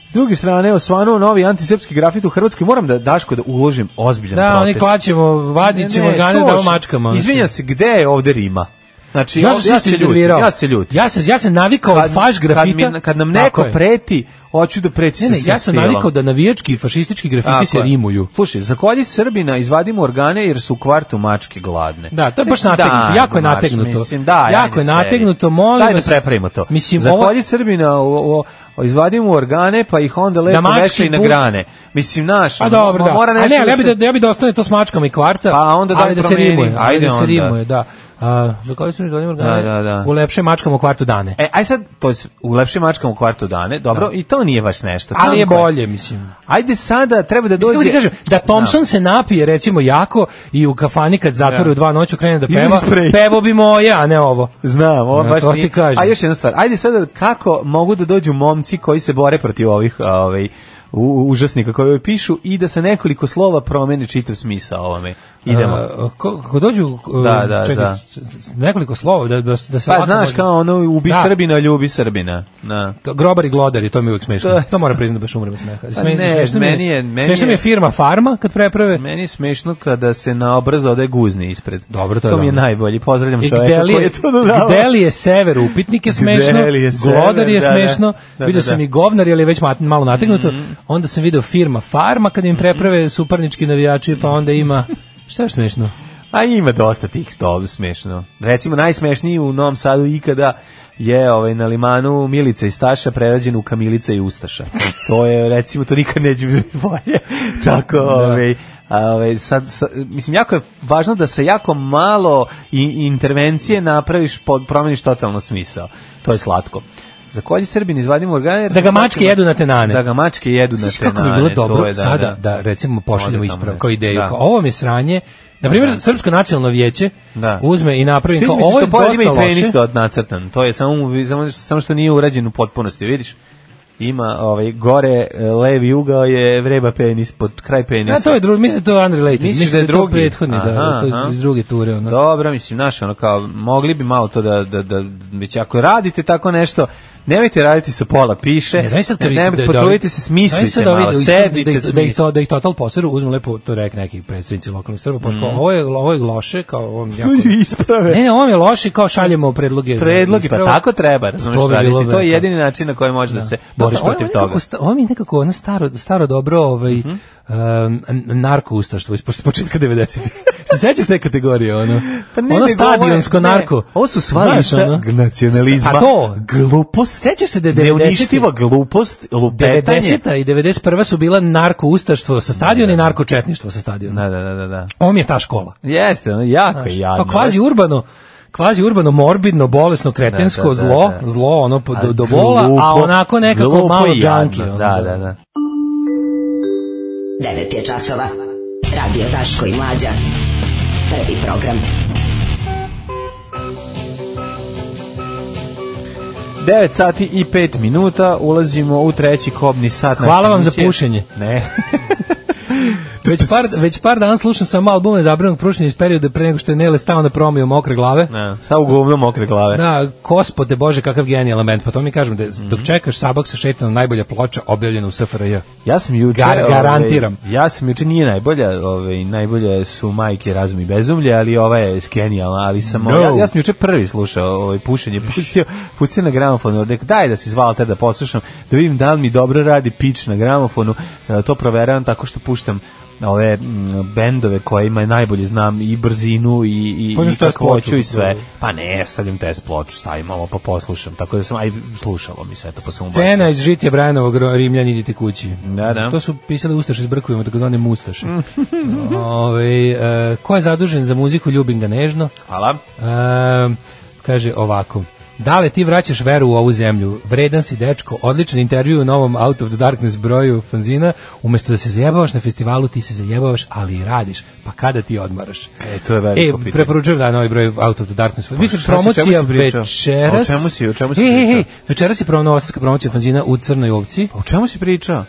S druge strane, osvanuo novi antisrpski grafit u Hrvatskoj. Moram da, Daško, da uložim ozbiljan
Da, oni
protest.
klaćemo,
Ne,
vadit ćemo
ne,
organe da
slušaj,
ovo mačkama. ono
Izvinjam se, gde je ovde Rima? Znači,
Ja
ovde-
sam se isto iznervirao.
ja se ljutim.
Ja se, ja se navikao od faš grafita.
Kad, mi- kad nam
Tako
neko
je.
preti, hoću da preti
Ne,
sa
ne, ja sam
stilom.
navikao da navijački i fašistički grafiti
Tako
se
je.
rimuju.
Slušaj, zakolji Srbina, izvadimo organe jer su u kvartu mačke gladne.
Da, to je baš
Mislim,
nategnuto,
da,
jako je
mač,
nategnuto.
Mislim, da,
Jako
ajde
je
seri.
nategnuto, molim
Daj da
vas.
prepravimo to.
Mislim,
zakolji
ovo-
Srbina, o, o, o, izvadimo organe, pa ih onda lepo
mački
vešaj na
put-
grane. Mislim, naš,
Pa
ono,
dobro, da.
mora
A
nešto
ne, ali ja
se-
bi da, ja bi da ostane to s mačkama i kvarta,
Pa onda daj
ali da se
promeni.
rimuje. ali
Ajde
da se
onda.
rimuje, da. A, za koji su mi donijeli organe?
Da, da, da.
U lepše mačkama u kvartu dane.
E, aj sad, to je s- u lepšim mačkama u kvartu dane, dobro, i to nije baš nešto.
ali je
Tanko
bolje, mislim.
Ajde sada, treba da dođe...
Kako ti kažem, da Thompson se napije recimo jako i u kafani kad zatvori
Da.
u dva noću krene da
Ili
peva,
sprej.
pevo bi moje, a ne ovo.
Znam, ovo
Ja,
baš
to
nije-
ti kažem.
A još jedna stvar, ajde sada kako mogu da dođu momci koji se bore protiv ovih ovaj, u- u- užasnika koji ovo pišu i da se nekoliko slova promeni čitav smisao ovome. Idemo.
A, E, ko, ko dođu uh,
Da, da,
čekaj,
da.
s- s- nekoliko slova da da, da se
Pa
lako
znaš
može-
kao ono, ubi
Da.
Srbina, ljubi Srbina. Da.
Ka- grobar i glodar je to mi je uvek smešno.
To- Pa
To, moram priznati da baš umrem od smeha.
ne,
smešno mi
meni je- meni
smešno mi
je-
je firma Farma kad preprave.
Meni je smešno kada se na obraz ode guzni ispred.
Dobro, to je
to mi je
dobro.
najbolji. Pozdravljam
I
čoveka
gde li
koji
je,
je to dodao.
gde li je sever upitnik je smešno,
Gde li je sever,
glodar je
da, da.
smešno,
Da, Mhm.
vidio
da,
sam
da.
i govnar, ali je već mat- malo nategnuto, onda sam video firma Farma kad
Mhm.
im preprave suparnički navijači, pa onda ima, šta je smešno?
A ima dosta tih to smešno. Recimo najsmešniji u Novom Sadu ikada je ovaj na limanu Milica i Staša prerađen u Kamilica i Ustaša. To je recimo to nikad neće biti bolje. Tako, ovaj a, ovaj, sad, sa- mislim, jako je važno da se jako malo i, i intervencije napraviš, pod, promeniš totalno smisao. To je slatko. Za kolji Srbin izvadimo organe... jer
Da ga
smo
mačke jedu na tenane.
Da ga mačke jedu na
Znaš
tenane.
kako bi bilo
to
dobro
je,
sada da, recimo pošaljemo
Ode tamo,
isprav
da.
kao ideju,
Da.
kao ovo mi je sranje, Na primjer, Srpsko nacionalno vijeće
Da.
uzme i napravi
Sviđa
kao
mi se
ovo je
što pored ima
dosta
i penis
loše.
da nacrtan. To je samo mu- samo što- samo što nije urađen u potpunosti, vidiš? Ima ovaj gore e, levi ugao je vreba penis pod kraj penisa.
Ja, to je drugi, mislim da je to unrelated,
Misliš
mislim da je to
drugi?
prethodni, da,
Aha,
to
aha.
je iz druge ture. Ono.
Dobro, mislim, znaš, ono kao, mogli bi malo to da, da, da, već ako radite tako nešto, nemojte radite sa pola piše,
Ne, znam sad kad
ne,
vidite
nemojte,
da- da ovi-
potrudite se,
znaš
smislite
sad da ovi-
malo,
da ih-
sedite,
da, ih- da, ih
smislite.
to, da ih total poseru, uzmu lepo, to rek neki predstavnici lokalnih Srba, pošto
Mhm.
kao, ovo je, ovo je loše, kao ovo je jako...
Isprave.
Ne, ne, ovo je loše, kao šaljemo predloge. za
predlogi, pa
ispravu.
tako treba, razumeš,
To bi bilo
raditi. To je
veliko.
jedini način na koji možeš da, se boriš
Ovo je
protiv
nekako
toga. Mhm.
sta- Ovo mi je nekako ono staro, staro dobro ovaj, um, narko-ustaštvo iz pos- početka 90-ih. Se sećaš te kategorije? Ono,
Pa
ono
ne, nego ovo je-
stadionsko
ne,
narko.
Ovo su sva
Znaš,
lica
ono?
nacionalizma.
A to,
glupost.
Sećaš se da je 90-ih?
Neuništiva glupost, lupetanje.
90 i 91 su bila narko-ustaštvo sa stadiona i narko-četništvo sa stadiona.
Da, da, da, da, da.
Ovo mi je ta škola.
Jeste, ono, jako je jadno.
Pa kvazi urbano, kvazi urbano, morbidno, bolesno, kretensko
Da, da, da,
zlo,
da.
zlo ono po- do, do
Glupo,
bola, a onako nekako
glupo
malo
i jadno.
džanki. ono,
Da, da, da.
9 je časova. Radio Daško i Mlađa. Prvi program.
9 sati i 5 minuta, ulazimo u treći kobni sat. naše
Hvala vam za
emisije.
pušenje.
Ne.
Već par, već par dana slušam samo albume zabranog prušenja iz perioda pre nego što je Nele stao na promiju mokre glave.
Ne, Stav u govno mokre glave.
Da, gospode bože, kakav genijalan band. Pa to mi kažem, da, je- dok
Mhm.
čekaš Sabak sa šetanom, najbolja ploča objavljena u SFRJ.
Ja sam juče...
Gar- garantiram.
Ovaj, ja sam juče, nije najbolja, ovaj, najbolje su majke razum i bezumlje, ali ova je genijalna, ali sam... ovaj,
No.
Ja, ja sam juče prvi slušao ovaj, pušenje, pustio, pustio na gramofonu, rekao, daj da se zvala te da poslušam, da vidim da li mi dobro radi pič na gramofonu, E, to proveravam tako što puštam ove m, bendove koje ima najbolje znam i brzinu i, i,
Pa imaš
i
test
kakvoću
ploču.
i sve. Pa ne, stavljam test ploču, stavim ovo pa poslušam, tako da sam, aj, slušalo mi se, eto, pa sam ubacio.
Cena iz žitja Brajanovog ro- Rimljani idite kući.
Da, da.
To su pisali Ustaše s Brkovima, takozvane Mustaše.
Mm.
Ove, e, ko je zadužen za muziku, ljubim ga nežno.
Hvala.
Ehm, kaže ovako. Da li ti vraćaš veru u ovu zemlju? Vredan si dečko, odličan intervju u novom Out of the Darkness broju fanzina. Umesto da se zajebavaš na festivalu, ti se zajebavaš, ali i radiš. Pa kada ti odmaraš?
E, to je veliko
E,
pitanje. Pa,
preporučujem da novi broj Out of the Darkness. Mislim,
šta si, o čemu si
promocija
pričao?
večeras...
O čemu si, o čemu si
Ej, ej,
pričao?
ej, večeras je prvo novostavska promocija fanzina u Crnoj ovci.
O čemu si pričao?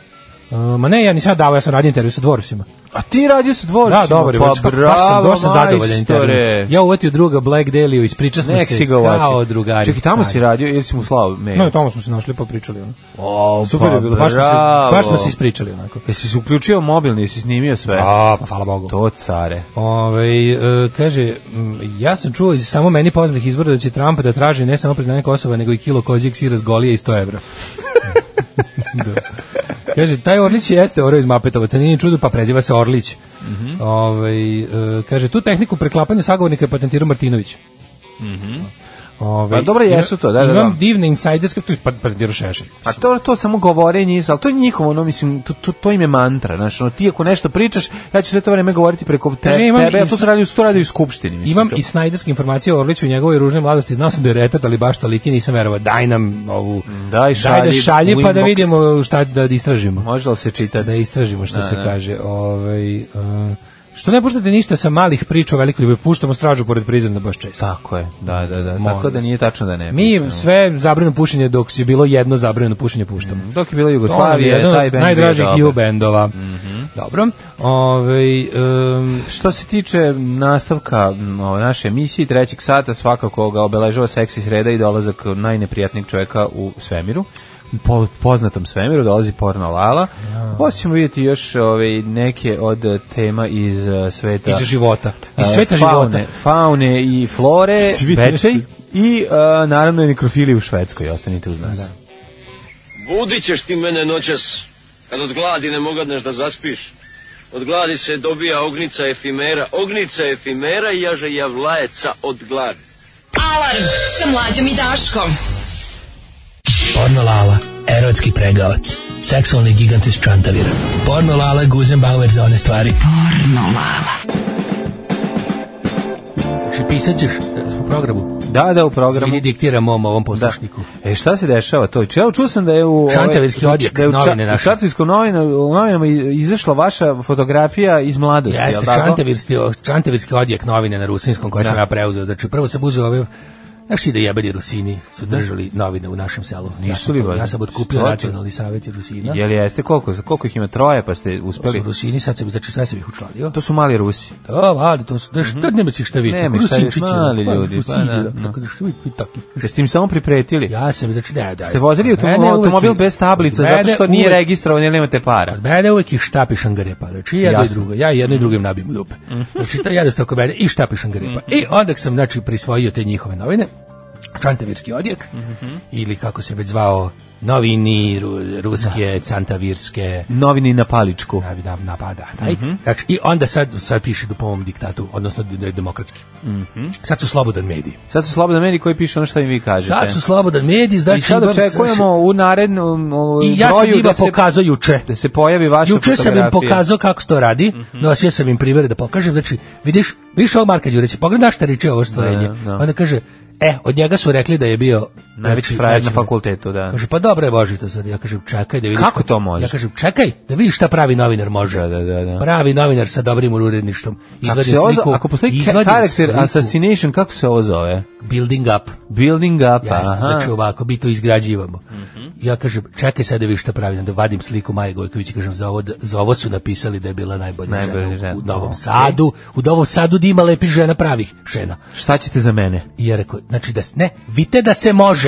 E, ma ne, ja nisam ja davao, ja sam radio intervju sa dvorusima.
A ti radio sa dvorcima.
Da, dobro,
pa
baš, baš
bravo,
sam, baš sam zadovoljan
majstore.
intervjuom. Ja uvetio druga Black Delio, ispričao smo
Nek
se
si ga ovako.
kao drugari.
Čekaj, tamo si
stari. Pa
radio ili si mu slao mail?
No, i tamo smo se našli pa pričali. Ono.
O,
Super
pa
je bilo, baš smo, se,
bravo.
baš smo se ispričali onako.
Jesi se uključio mobilni, jesi snimio sve?
A, pa hvala Bogu.
To care.
Ovaj, e, kaže, m, ja sam čuo iz samo meni poznatih izbora da će Trump da traži ne samo priznanje Kosova, nego i kilo kozijeg sira s golije i 100 evra. Da. Kaže, taj Orlić jeste Oreo iz Mapetovaca, nije ni čudo, pa preziva se Orlić.
Mhm.
Ovaj, e, kaže, tu tehniku preklapanja sagovornika je patentirao Martinović. Ovaj,
Mhm. Pa dobro,
ima-
jesu to, da, da,
Imam
da.
divne insajderske, tu je pa- patentirao Šešelj.
A to, to samo govorenje, ali to je njihovo, ono, mislim, to, to, to im je mantra, znaš, ono, ti ako nešto pričaš, ja ću sve to vreme govoriti preko te,
Kaže, imam
tebe, a
i
to su
s-
radili, su to radili u skupštini, mislim.
Imam
to-
i snajderske informacije o Orliću i njegovoj ružnoj mladosti. Znao sam da je retard, ali baš toliki nisam verovao. Daj nam ovu...
Daj,
da
šalji
šalji
u
pa da
inbox.
vidimo šta da istražimo.
Može li se čitati?
Da istražimo što
Da,
se
da.
kaže. Ovaj, e, što ne puštate ništa sa malih priča o velikoj ljubavi, puštamo stražu pored prizemna baš često.
Tako je, da, da, da,
Molim
tako da
vas.
nije tačno da ne.
Mi sve zabrano pušenje dok si bilo jedno zabrano pušenje puštamo.
Dok
To
je bila
nam je
Jugoslavija,
jedan
Mhm. taj
od
bend
najdražih
bio dobar. Mhm.
ju bendova. Dobro. Ove, um,
Što se tiče nastavka m, ove naše emisije i trećeg sata, svakako ga obeležava seksi sreda i dolazak najneprijatnijeg čovjeka u svemiru. Po, poznatom svemiru dolazi porno Lala. Poslije ćemo vidjeti još ove, neke od eh, tema iz eh, sveta
iz života. Iz
eh,
sveta
faune,
života.
faune i flore,
Si vidio
bečej i eh, naravno i nekrofili u Švedskoj. Ostanite uz nas.
Budit ćeš ti mene noćas, kad od gladi ne mogadneš da zaspiš. Od gladi se dobija ognica efimera, ognica efimera i jaže javlajeca od gladi.
Alarm sa mlađom i Daškom.
Porno Lala, erotski pregavac. Seksualni gigant iz Čantavira. Porno Lala, Guzenbauer za one stvari. Porno Lala.
Znači, pisat ćeš e, u programu.
Da, da, u programu.
Mi diktira mom ovom poslušniku.
E šta se dešava to? Čeo čuo sam da je u
Šantavirski
ovaj,
odjek,
da je u ča-
novine
u
naše.
Šantavirskom novina- u novinama i- izašla vaša fotografija iz mladosti,
Jeste,
jel tako?
čantevirski, čantevirski odjek novine na rusinskom koje sam ja preuzeo. Znači, prvo sam uzeo ove Znaš ti da jebeni Rusini su držali novine u našem selu? Ja
Nisu
sam
li,
to-
valjda?
Ja sam odkupio
Stoče.
nacionalni savjet Rusina.
Jel jeste koliko koliko ih ima troje pa ste
To su
uspeli?
Rusini, sad sam, znači sve sam ih učlanio.
To su mali Rusi.
Da, vali, to su, da šta nema si šta vidjeti.
Mhm. Nema
kako
šta
si
vidjeti,
čičina,
mali
pa,
ljudi,
kako
pa
si
da,
ide,
da.
Tako da šta vidjeti, vidjeti tako.
Jeste im samo pripretili?
Ja sam, znači, ne, da.
Ste vozili autom-
Mene uvek-
automobil bez tablica
Mene
zato što nije
uvek-
registrovan jer nemate para.
Od mene uvek i štapi šangarepa. Znači, i jedno
Jasno. Mhm.
i drugo. Ja i jedno i drugim nabim u dupe. Znači, to jedu oko mene i štapi šangarepa. I onda sam, znači, prisvojio te njihove novine. Čantavirski odjek,
Mhm.
ili kako se već zvao, novini ru- ruske, cantavirske,
Novini na paličku.
da, da napada taj. Znači, i onda sad, sad piše da po ovom diktatu, odnosno da je demokratski. Sad su slobodan medij.
Sad su slobodni mediji koji piše ono što im vi kažete.
Sad su slobodan medij, znači...
I sad
imam-
očekujemo u narednom o,
I ja sam
broju
njima
da se,
pokazao juče.
da se pojavi vaša
Juče sam im
fotografija.
pokazao kako se to radi, nosio sam im primere da pokažem, znači, vidiš, vidiš ovog Marka Đurića, pogledaj šta riče ovo stvorenje.
Da, da.
Onda kaže, e, od njega su rekli da je bio...
Najveći
znači,
frajer na
znači,
fakultetu, da.
Kaže, pa dobro je Boži to sad. Ja kažem, čekaj da vidiš.
Kako to može?
Ja kažem, čekaj da vidiš šta pravi novinar može.
Da, da, da, da.
Pravi novinar sa dobrim uredništvom.
Ako,
Izvadim
se ovo,
sliku,
Znači, ako postoji ka-
izvadim
karakter
sliku,
assassination, kako se ovo zove?
Building up.
Building up,
Jeste,
aha. Mhm.
znači ovako, mi to izgrađivamo. Ja kažem, čekaj sad da vidiš šta pravi, onda vadim sliku Maje Gojković i kažem, za ovo, za ovo su napisali da je bila najbolja,
Najbolja
žena, u-
žena.
u Novom
Ok.
Sadu, u Novom Sadu da ima lepih žena pravih žena.
Šta ćete za mene?
I ja rekao, znači da, s- ne, vidite da se može.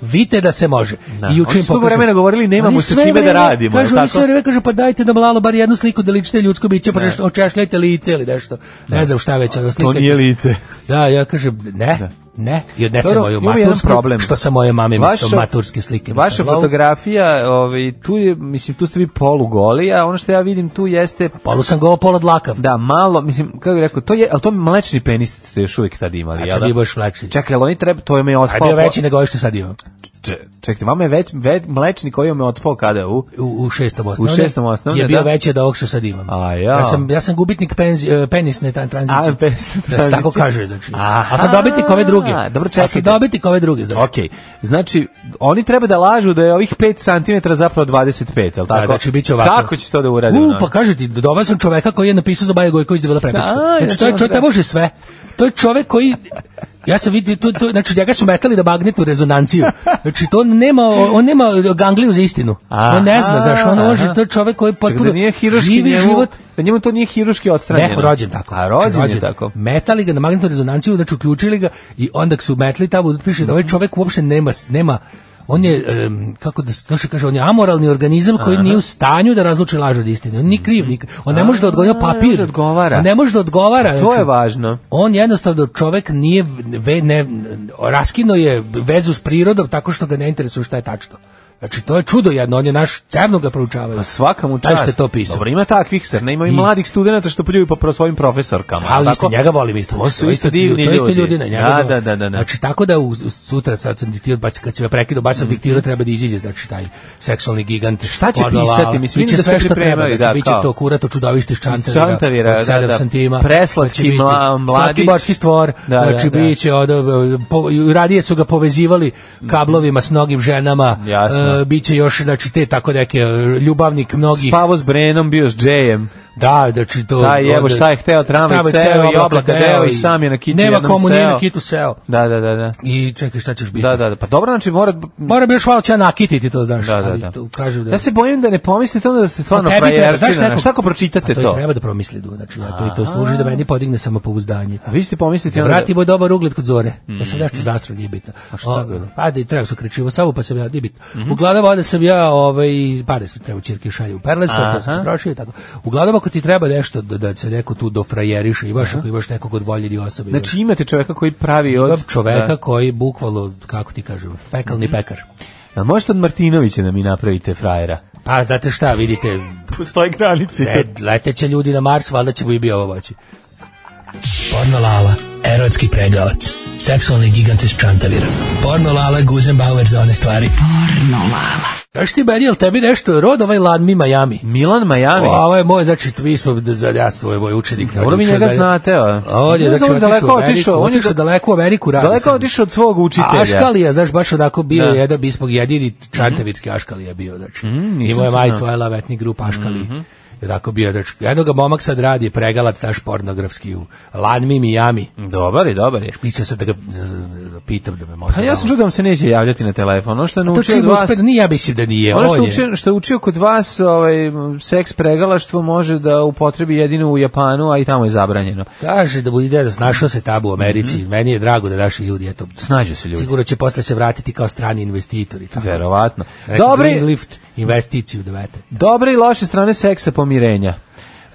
Vidite da se može.
Da.
I juče
Oni
im
su dugo
pokažem-
vremena govorili, nemamo
Oni
sa
sve
čime da
vreme
radimo,
Kažu,
jel
oni sve
tako?
vreme kažu, pa dajte nam lalo bar jednu sliku da ličite ljudsko biće, pa nešto očešljajte lice ili nešto. Ne, znam šta već, ali
To
slikajte
nije
se.
lice.
Da, ja kažem, ne, ne, i odnesem
Dobro,
moju
imamo jedan
matursku,
problem.
što sa moje mame isto maturske slike.
Vaša
Wow.
fotografija, ovaj, tu, je, mislim, tu ste vi polugoli, a ono što ja vidim tu jeste
Polu sam go polu dlakav.
Da, malo, mislim, kako bih rekao, to je, ali to mlečni penis ste još uvijek tad imali,
Kad
jel
sam
da?
bio baš mlečni.
Čekaj, ali oni treba, to je me
A je
otpao.
bio veći nego ovo što sad imam.
Če- Čekajte, vama je već, već mlečni koji me otpao kada u...
U, u šestom osnovne.
šestom osnovne,
Je bio
da.
veći od ovog što sad imam.
A, ja.
sam, ja sam gubitnik penzi, e, penisne tan- tranzicije.
A, penisne
Da se tako
tranzicije.
kaže, znači.
Aha.
A sam dobitnik ove druge.
Dobro,
A sam
čekajte.
dobitnik ove druge, znači.
Ok, znači, oni treba da lažu da je ovih 5 cm zapravo 25, jel tako?
Da, znači biće ovako.
Kako će to da uradi?
U,
ono?
pa kaže ti, doveo sam čoveka koji je napisao za Baja Gojković da je bila prepička.
Da,
znači, to je
ja
čovjek,
sam-
taj može sve. To je čovek koji, ja sam vidio, to, to, znači, njega su metali da magnetnu rezonanciju. Znači, to on nema, on nema gangliju za istinu. on ne zna,
Aha,
znaš, on može,
aha.
to je čovek koji
Čekaj,
potpuno
da nije hiruški
živi
njemu,
život.
Da njemu to nije hiruški
Ne,
odstranjeno.
rođen tako.
A rođen,
Znači,
je tako.
Metali ga na magnetnu rezonanciju, znači uključili ga i onda su metli tamo, piše da ovaj čovek uopšte nema, nema on je, em, kako da se to se kaže, on je amoralni organizam koji nije u stanju da razluči laž od istine. On nije kriv, ni- on ne može da odgovara
A,
papir.
ne može da odgovara. Pa
On ne može da odgovara.
To
znači,
je važno.
On jednostavno čovek nije, ve, ne, raskino je vezu s prirodom tako što ga ne interesuje šta je tačno. Znači, to je čudo jedno, on je naš, cerno ga proučavaju.
Pa svaka mu
Taj
čast.
što je to pisao.
Dobro, ima takvih, zar ne ima i
I-
mladih studenta što pljuju po svojim profesorkama.
Ali
jel
isto
tako?
njega volim isto.
To su isto
ljudi,
divni
to isto
ljudi.
ljudi na njega.
Da,
znam.
da, da, da, da.
Znači tako da u, u- sutra sad sam diktirao, baš kad se me prekidao, baš sam diktirao treba da iziđe znači taj seksualni gigant.
Mhm. Šta će
Porno
pisati?
Lala.
Mislim,
biće
vidim da
sve
ste
što treba,
pripremali,
znači
da,
biće
kao.
to kurato čudovište iz Čantavira.
Čantavira,
od sedam
da, da.
santima.
Preslatki
Znači, biti
mla- mladić.
Slatki bočki stvor.
Da, da,
znači
da.
biće od, po, radije su ga povezivali kablovima s mnogim ženama.
Jasno. ono.
biće još znači te tako neke e, ljubavnik mnogih.
Spavo s Brenom, bio s Jayem.
Da, znači to.
Da, i evo
onda-
šta je hteo, tramvaj
Tramvaj
ceo i oblaka deo i sam je na kitu
Nema
jednom
komu, nije
seo.
na kitu seo.
Da, da, da, da.
I čekaj, šta ćeš biti?
Da, da, da. Pa dobro, znači mora...
Mora bi još malo će nakititi to, znaš.
Da, da,
ali
da.
to kažu da...
Ja se bojim da ne pomislite onda da ste stvarno
Pa tebi treba,
frajerčina.
znaš, neko-
Šta ako
A
pročitate
to,
to?
i treba da promisli, du, znači, a to, i to služi da meni podigne samopouzdanje.
A vi ste pomisliti
Da
onda... Mhm.
vratimo dobar ugled kod zore. Ja sam nešto zastro, nije bitno. A
šta bilo? Mhm.
Ajde, treba sam krečivo samo, pa sam ja, nije bitno. Uglavnom, onda sam ja, ovaj, pare sam treba čirke šalje u perles, pa to sam
Aha.
potrošio i tako. Uglavnom, ako ti treba nešto da, da se neko tu dofrajeriše, imaš, ako imaš nekog od voljenih osoba. imaš-
Znači imate čoveka koji pravi od...
imam čoveka
Da. Mhm.
koji bukvalno, kako ti kažem, fekalni pekar.
Jel možete od Martinovića da mi napravite frajera? E,
Pa, znate šta, vidite,
Postoje granice.
ne, leteće ljudi na Mars, valjda ćemo i bi ovo moći.
Porno Lala, erotski pregavac. Seksualni gigant iz Čantavira. Porno Lala, Guzenbauer za one stvari. Porno Lala.
Kaš ti meni, jel tebi nešto rod ovaj Lan Mi Miami?
Milan Miami.
A, ovo je moj, znači, mi smo, da- za ja svoj moj učenik.
Dobro mi
Učio
njega
da je-
znate, a?
A on je,
Ne
znači,
znam,
otišao u Ameriku,
on je
otišao daleko u Ameriku, radi
Daleko
sad.
otišao od svog učitelja.
A Aškalija, znaš, baš onako bio
Da.
je jedan ispog jedini čantavitski Aškalija bio, znači.
Mm, nisam
Imao je
to
majicu
znao. Mhm.
Ajla Vetni grup Aškali. I onako bio, znači, jedno ga momak sad radi, pregalac naš pornografski u Lanmi, Miami.
Dobar je, dobar je.
Mislio sam da ga e, da pitam da me može.
Pa ja sam
malo-
čuo da vam se neće javljati na telefon. Ono što je
To
naučio od
čim
vas...
uspe, nije, ja mislim da nije.
Ono
on
što,
je.
učio, što je učio kod vas ovaj, seks pregalaštvo može da upotrebi jedino u Japanu, a i tamo je zabranjeno.
Kaže da bude da snašao se tabu u Americi. Meni je drago da naši ljudi eto
Snađu Mhm. se ljudi.
Sigurno će posle se vratiti kao strani investitori. Tako.
Verovatno.
Rekao,
Dobri,
Greenlift investiciju dovete.
dobre i loše strane seksa pomirenja.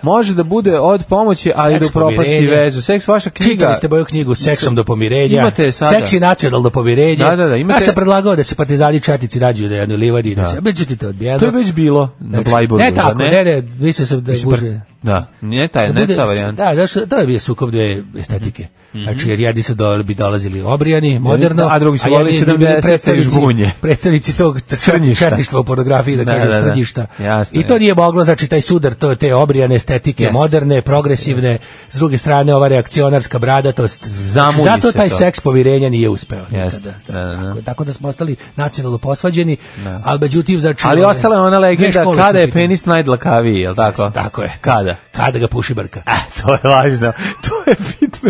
Može da bude od pomoći, ali
Seks
do propasti
pomirenja.
vezu. Seks vaša knjiga.
Čitali ste moju knjigu Seksom do pomirenja.
Imate sada.
Seks i nacional do pomirenja.
Da, da, da, imate-
Ja sam predlagao da se partizani četnici nađu na jednoj livadi. Da. da se, međutim, to je odbijeno.
To je već bilo na
Znači,
Blajburgu.
Ne
zar
tako, ne, ne, mislio sam da je
Mislim, par-
buže.
Da, ne taj, ne ta varijanta.
Da, znaš, to je bio sukob dve estetike. Znači, jer jedni su do, bi dolazili obrijani, moderno,
a drugi su
jedni
volili
bi bili
70-te i
predstavnici-
žbunje.
Predstavnici tog
Strnjišta.
četništva u pornografiji, da,
Da,
kažem,
da, da.
strnjišta.
Jasno,
I to
je.
nije moglo, znači, taj sudar, to, te obrijane estetike,
Jeste.
moderne, progresivne, s druge strane, ova reakcionarska bradatost.
Zamulji
znači, Zato
se
taj
to.
seks pomirenja nije uspeo.
Jeste,
nikada.
da, da, da.
Tako, tako da smo ostali nacionalno posvađeni, ali međutim, znači...
Ali
one-
ostala je ona
dve
legenda
škole su
kada
u
je
pitanju.
penis najdlakaviji, je li tako?
Tako je.
Kada?
Kada ga puši brka.
E, to je važno. To je bitno.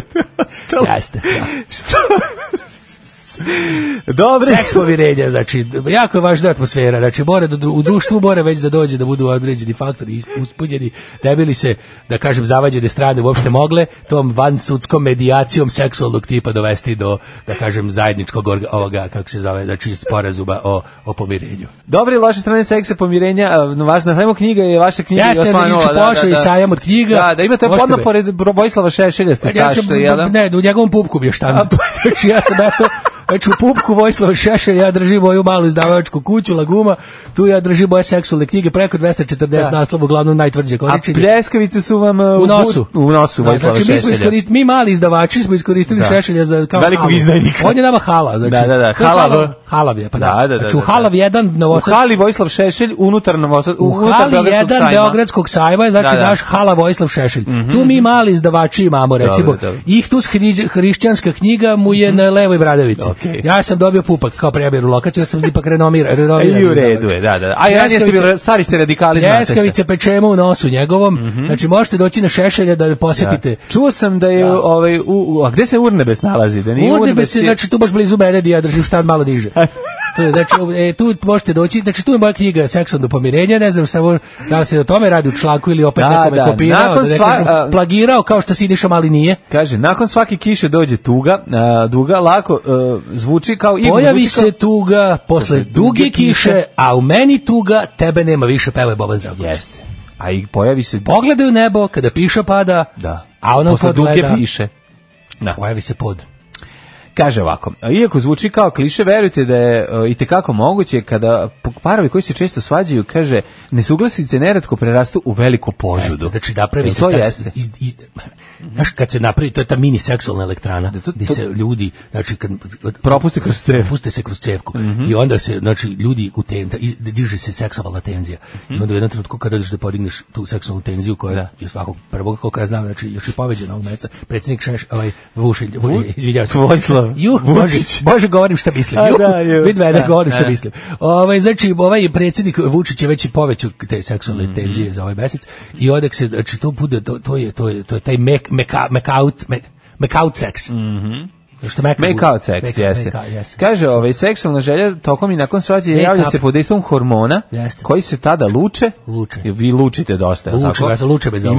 Ostalo-
Jeste, da.
Što? Dobre.
Seks pomirenja, znači, jako je važna atmosfera, znači, mora da, dru- u društvu mora već da dođe da budu određeni faktori is- ispunjeni, da bi li se, da kažem, zavađene strane uopšte mogle tom van sudskom medijacijom seksualnog tipa dovesti do, da kažem, zajedničkog orga- ovoga, kako se zove, znači, sporazuma o, o pomirenju.
Dobre i loše strane seksa pomirenja, a, važna samo knjiga je vaša knjiga
Jeste,
Osmanova,
juče pošao i sajam od knjiga.
Da, da imate
Možete
odmah
me.
pored Bro- Vojislava Šešelja ste
Ja
stašte,
sam,
jel da?
ne, u njegovom pupku bi je štand.
pa,
Znači, ja sam eto, znači u pupku Vojislava Šešelj, ja držim moju malu izdavačku kuću, Laguma, tu ja držim moje seksualne knjige, preko 240 naslova, uglavnom najtvrđe
A
koričenje.
pljeskavice su vam a,
U
bu-
nosu.
U nosu
Da,
Vojislava
znači, mi, smo
Šešelja.
iskorist, mi mali izdavači smo iskoristili
Da.
Šešelja za kao
Velikog
halu.
izdajnika.
On je nama hala. Znači,
Da, da, da,
to je
hala V.
Halav je, pa da.
Da, da, da,
znači, u
da,
Halav
da.
1
U
Novosadski
hali Vojislav Šešelj unutar na
u hali 1 Beogradskog sajma, je, znači
Da, da.
naš hala Vojislav Šešelj. Tu mi mali izdavači imamo, recimo,
Dobro, Mhm. dobro.
Ihtus hriđ- hrišćanska knjiga mu je na levoj bradavici.
Okej.
Ja sam dobio pupak kao prebiru lokaciju, ja sam ipak renomira,
E, I
renomiran.
u redu je, da, da. da. A ja niste
Pljeskavice-
bili, stari ste radikali, znate se.
Ljeskavice pečemo u nosu njegovom, znači možete doći na Šešelja da posjetite.
Čuo sam da je ovaj u, u- a gde se Urnebes nalazi? Da nije
Urnebes se,
je-
znači tu baš blizu mene, gdje ja držim štan malo niže. To je, znači, e, tu možete doći, znači tu je moja knjiga Seksualno pomirenje, ne znam samo da li se o tome radi u članku ili opet
Da,
nekome
da,
kopirao, da
nakon
ne
sva-
kažem,
a-
plagirao kao što Siniša mali nije.
Kaže, nakon svake kiše dođe tuga, a, duga, lako e, zvuči kao igru.
Pojavi
zvuči kao-
se tuga posle duge kiše, a u meni tuga, tebe nema više, peva je Boban Dragović.
Jeste. A i pojavi se...
Pogledaj u nebo, kada piša pada,
Da.
a ono
Posle
pod
duge
gleda,
piše. Da.
pojavi se pod.
Kaže ovako, iako zvuči kao kliše, verujte da je i tekako moguće kada parovi koji se često svađaju, kaže, nesuglasice neretko prerastu u veliku požudu.
Jeste, znači napravi
E,
se
to
ta-
jeste.
iz- iz- znaš, kad se napravi, to je ta mini seksualna elektrana,
Da, to-
gdje
to-
se ljudi, znači, kad,
Propusti kroz cev. Mhm.
puste se kroz cevku i onda se, znači, ljudi u tenta, i- diže se seksualna tenzija.
Mhm.
I onda u jednom trenutku kada dođeš da podigneš tu seksualnu tenziju koja je svakog prvog, koliko ja znam, znači, još i poveđena ovog meca, predsjednik Šeš, ovaj, Vušelj, Vu- izvinjavam se.
Vojislav
Ju, Bože, Bože, govorim šta mislim.
A,
Ju,
da, ju.
vidi mene,
Da,
govorim šta
da.
mislim. Ovaj, znači, ovaj predsjednik Vučić je već i povećao te seksualne
Mhm.
tenzije za ovaj mesec i odak se, znači, to bude, to, to je, to je, to je taj mek, meka, mekaut, me, mekaut seks. Mm Što meka
Make
bude.
out sex,
Meka-
Mhm. jeste.
meka, jeste.
Kaže, ovaj, seksualna želja tokom i nakon svađe
Make
javlja
up.
se pod istom hormona
Jeste.
koji se tada luče.
Luče.
I Vi lučite dosta, je li
Luče,
tako?
ja sam luče bez
I
ovog.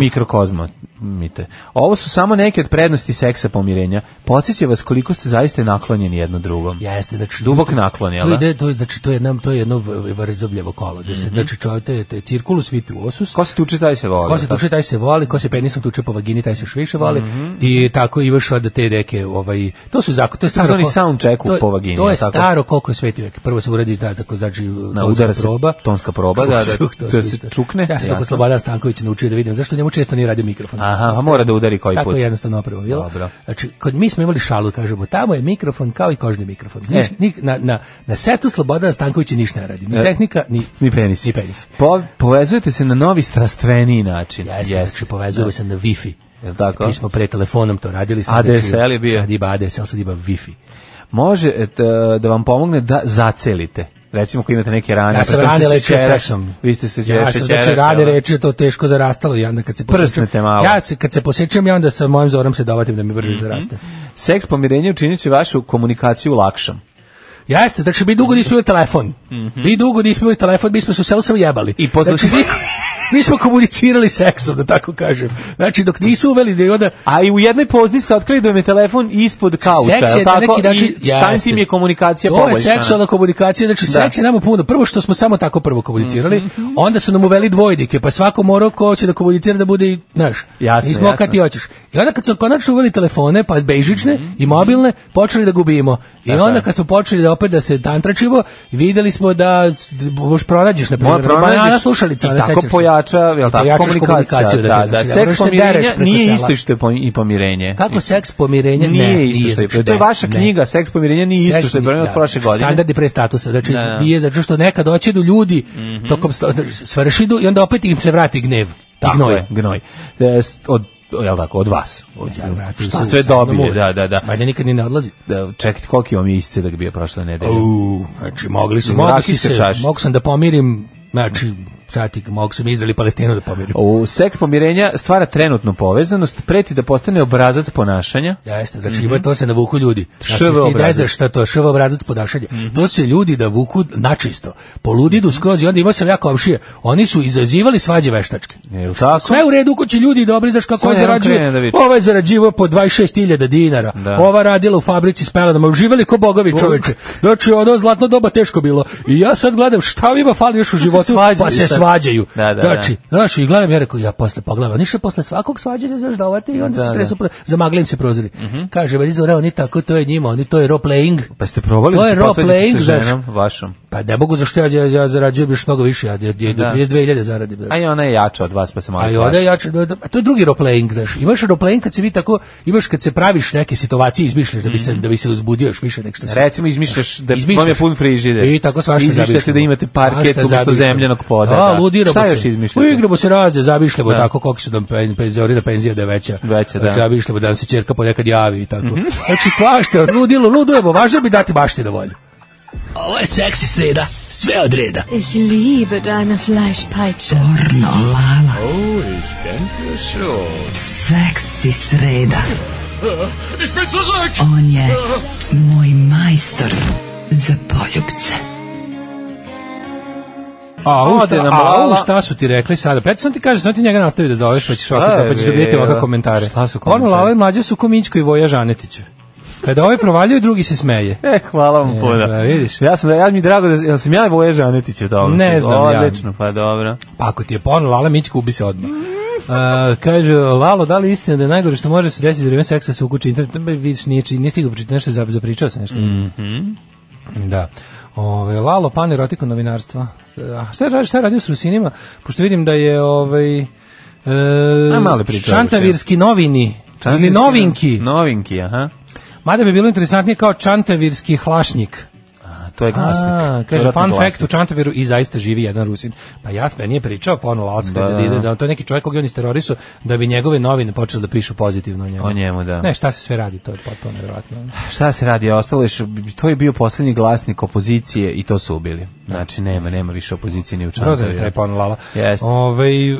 mikrokozmite. Ovo su samo neke od prednosti seksa pomirenja. Podsjeća vas koliko ste zaista naklonjeni jedno drugom.
Jeste, znači
Dubok
to-
naklon, jel
To
da? Mhm.
ide, to je znači to je nam to je jedno v- varzovljevo kolo. Da se znači čovjek te, te cirkulus viti u osus.
Ko se tuče, taj se voli.
Ko se tuče, taj se voli, ko se penisom tuče po vagini, taj se još više voli.
Mhm.
I tako i još od te neke, ovaj, to su zakon, to je staro.
Takozvani
ko-
sound check u
to je-
po vagini,
To je
jel tako?
staro koliko je sveti vek. Prvo se uradi da tako znači na
udara se
proba.
tonska proba, da, da,
Čuk,
da
su
se
isto.
čukne,
Ja sam
jasno.
tako Slobodan Stanković naučio da vidim zašto njemu često nije radio mikrofon.
Aha, pa mora da udari koji
Tako
put.
je jednostavno opravo bilo.
Dobro.
Znači, kod mi smo imali šalu, kažemo, tamo je mikrofon kao i kožni mikrofon. Niš,
E.
ni- na, na, na setu Slobodana Stankovića niš ne radi. Ni
E.
tehnika, ni,
Ni penis.
Ni penis.
Po, povezujete se na novi strastveniji način.
Jeste, znači povezujemo se na Wi-Fi.
Jel tako?
Mi smo pre telefonom to radili. sad
ADSL je bio.
Sad ima ADSL, sad ima Wi-Fi.
Može et, e, da vam pomogne da zacelite. Recimo ako imate neke rane.
Ja sam
pritom
rane
se
lečio
šećeraš.
seksom.
Vi ste se
Ja
šećeraš,
sam znači
jel da?
rane rečio, to teško zarastalo. I onda kad se posjećam-
Prsnete malo. Mhm.
Ja se, kad se posjećam, ja onda sa mojim zorom se dovatim da mi brže zaraste.
Seks pomirenja učinit će vašu komunikaciju lakšom.
Jeste, znači mi dugo nismo imali telefon. Mi dugo nismo imali telefon, mi smo se u selu samo jebali.
I posle
Znači, mi, mi smo komunicirali seksom, da tako kažem. Znači, dok nisu uveli da je onda...
A i u jednoj pozni ste otkrili da vam je telefon ispod kauča,
Seks
jel
je na
tako?
neki način...
I samim
jeste.
tim je komunikacija
To je
poboljšana.
seksualna komunikacija, znači seks je nama puno. Prvo što smo samo tako prvo komunicirali,
Mhm,
onda su nam uveli dvojdike, pa svako morao ko će da komunicira da bude i, znaš,
Jasno,
nismo
jasno. Mhm,
kad ti hoćeš. I onda kad su konačno uveli telefone, pa bežične i mobilne, počeli da gubimo. I
Tako
onda
je.
kad smo počeli da opet da se tantračivo, vidjeli smo da s- d- možeš pronađeš, na
Moja
primjer, banana
pronađeš
slušalica,
i
ne
tako
sećaš se.
pojača, jel
I
tako,
pojačaš
komunikacija.
komunikaciju,
Da, da,
znači, ne
seks
moraš se
pomirenja
dereš preko
nije
sela.
isto što je po- i pomirenje.
Kako seks pomirenja?
Nije
ne,
isto što je.
znači,
to je
ne,
vaša
ne.
knjiga, seks pomirenja nije isto što je
Seksni,
pomirenje od
da,
prošle godine.
Standardi pre statusa, znači
Da, da. Mhm.
nije zato što nekad doći do ljudi tokom sta- svršidu i onda opet im se vrati gnev.
Tako
i gnoj.
je, gnoj. E, s- od, jel tako, od vas. Od,
Da, vrati
šta
se
sve
u samom
dobije,
uve.
da, da, da.
Valjda nikad ni ne odlazi.
da čekajte, koliki vam je iscedak bio prošle nedelje?
U, znači mogli su,
Vrati
mogli
se
se,
čašica.
mogu sam da pomirim, znači, sati, mogu sam Izrael i Palestinu da pomirim.
U seks pomirenja stvara trenutnu povezanost, preti da postane obrazac ponašanja.
Jeste, znači ima to se navuku ljudi. Znači, ti
ŠV
ne
Mhm. obrazac. Mhm.
znaš šta to je, šv obrazac podašanja. To se ljudi navuku načisto. Poludidu skroz i onda ima se jako opšije. Oni su izazivali svađe veštačke.
Jel tako?
Sve u redu, ko će ljudi dobri, znaš kako
Sve
je
jednom
zarađuje.
krene da viče.
Ova je zarađivao po 26.000 dinara.
Da.
Ova radila u fabrici s pelenama. Uživali ko bogovi čoveče. Znači, ono zlatno doba teško bilo. I ja sad gledam šta ima fali još u
se
životu,
svađaju
pa se
sad.
svađaju.
Da, da, da.
znači, znaš, i gledam, ja rekao, ja posle pogledam. Niše posle svakog svađanja znaš dovate i onda se tresu, pro- zamagli im se prozori.
Mhm.
Kaže, veli zore, oni tako, to je njima, oni to je role playing.
Pa ste probali
To
da
je
se
role
posvađate
playing,
sa
znaš.
ženom vašom?
Pa ne mogu zašto ja, ja, ja zarađujem još mnogo više, ja, ja, ja do
Da.
32.000 zaradim. znaš.
A i ona je jača od vas, pa se malo
A i
plaši.
onda ja ću, da- da- a to je drugi roleplaying, znaš. Imaš roleplaying kad se vi tako, imaš kad se praviš neke situacije, izmišljaš da bi se, da bi se uzbudio još više nek što se.
Recimo, izmišljaš Mhm. da
Izmišljaš.
vam je pun frižider.
I tako svašta
Izmišljate
zamišljamo.
da imate parket
Svašta
umjesto
zamišljamo.
zemljanog poda.
Da, ludiramo
Šta
se.
još izmišljate?
Uigramo se razne, zamišljamo
Da.
tako koliko su nam pen, penzioneri da penzija da je veća.
Veća, da. Mhm.
Znači, zamišljamo da nam se čerka ponekad javi i tako. Znači, svašta, ludilo, ludujemo, važno bi dati bašti na volju.
Ovo je seksi sreda, sve od reda.
Ich liebe deine Fleischpeitsche.
Pornolala. Oh, ich denke schon. Seksi sreda. On je moj majstor za poljubce.
A, u
Ode
šta,
nam
a,
lala.
u šta su ti rekli sada? Pet sam ti kaže, sam ti njega nastavi da zoveš, pa ćeš
Šta
ovako,
je
da, pa ćeš dobijeti
bilo?
ovakve komentare.
Šta su
Ono,
komentari?
lala i mlađe su Komićko i Voja Žanetić. Kada ovaj provaljuje, drugi se smeje.
E, hvala vam puno.
da, vidiš.
Ja sam, ja mi je drago da, jel sam ja Voježa Anetić u tom?
Ne znam ja.
Odlično, pa dobro.
Pa ako ti je porno, Lala Mićka ubi se odmah. Uh, kaže, Lalo, da li je istina da je najgore što može se desiti za vreme seksa se ukući internet? Ba, Vidiš, nije, či- nije stigao pričati nešto, za- zapričao se nešto. Da. Ove, Lalo, pan erotika novinarstva. A Šta je, radio- šta je radio s Rusinima? Pošto vidim da je ovaj, e,
A, malo je pričao
čantavirski novini ili
Čantavirski-
novinki.
Novinki, aha.
Mada bi bilo interesantnije kao čantavirski hlašnik.
A, to je glasnik.
A,
To je
kaže,
ratni
fun
glasnik.
fact, u Čantaviru i zaista živi jedan Rusin. Pa ja sam nije pričao, pa ono Lalac
Da,
da,
da,
da,
da.
ide, da, to je neki čovjek koga je on isterorisu, da bi njegove novine počele da pišu pozitivno o njemu.
O njemu, da.
Ne, šta se sve radi, to je potpuno nevjerojatno.
Šta se radi, ostalo je, š- to je bio poslednji glasnik opozicije i to su ubili. Znači, nema, nema više opozicije ni u Čantaviru.
Prozor je taj pon lala.
Jeste.
Ovaj, e,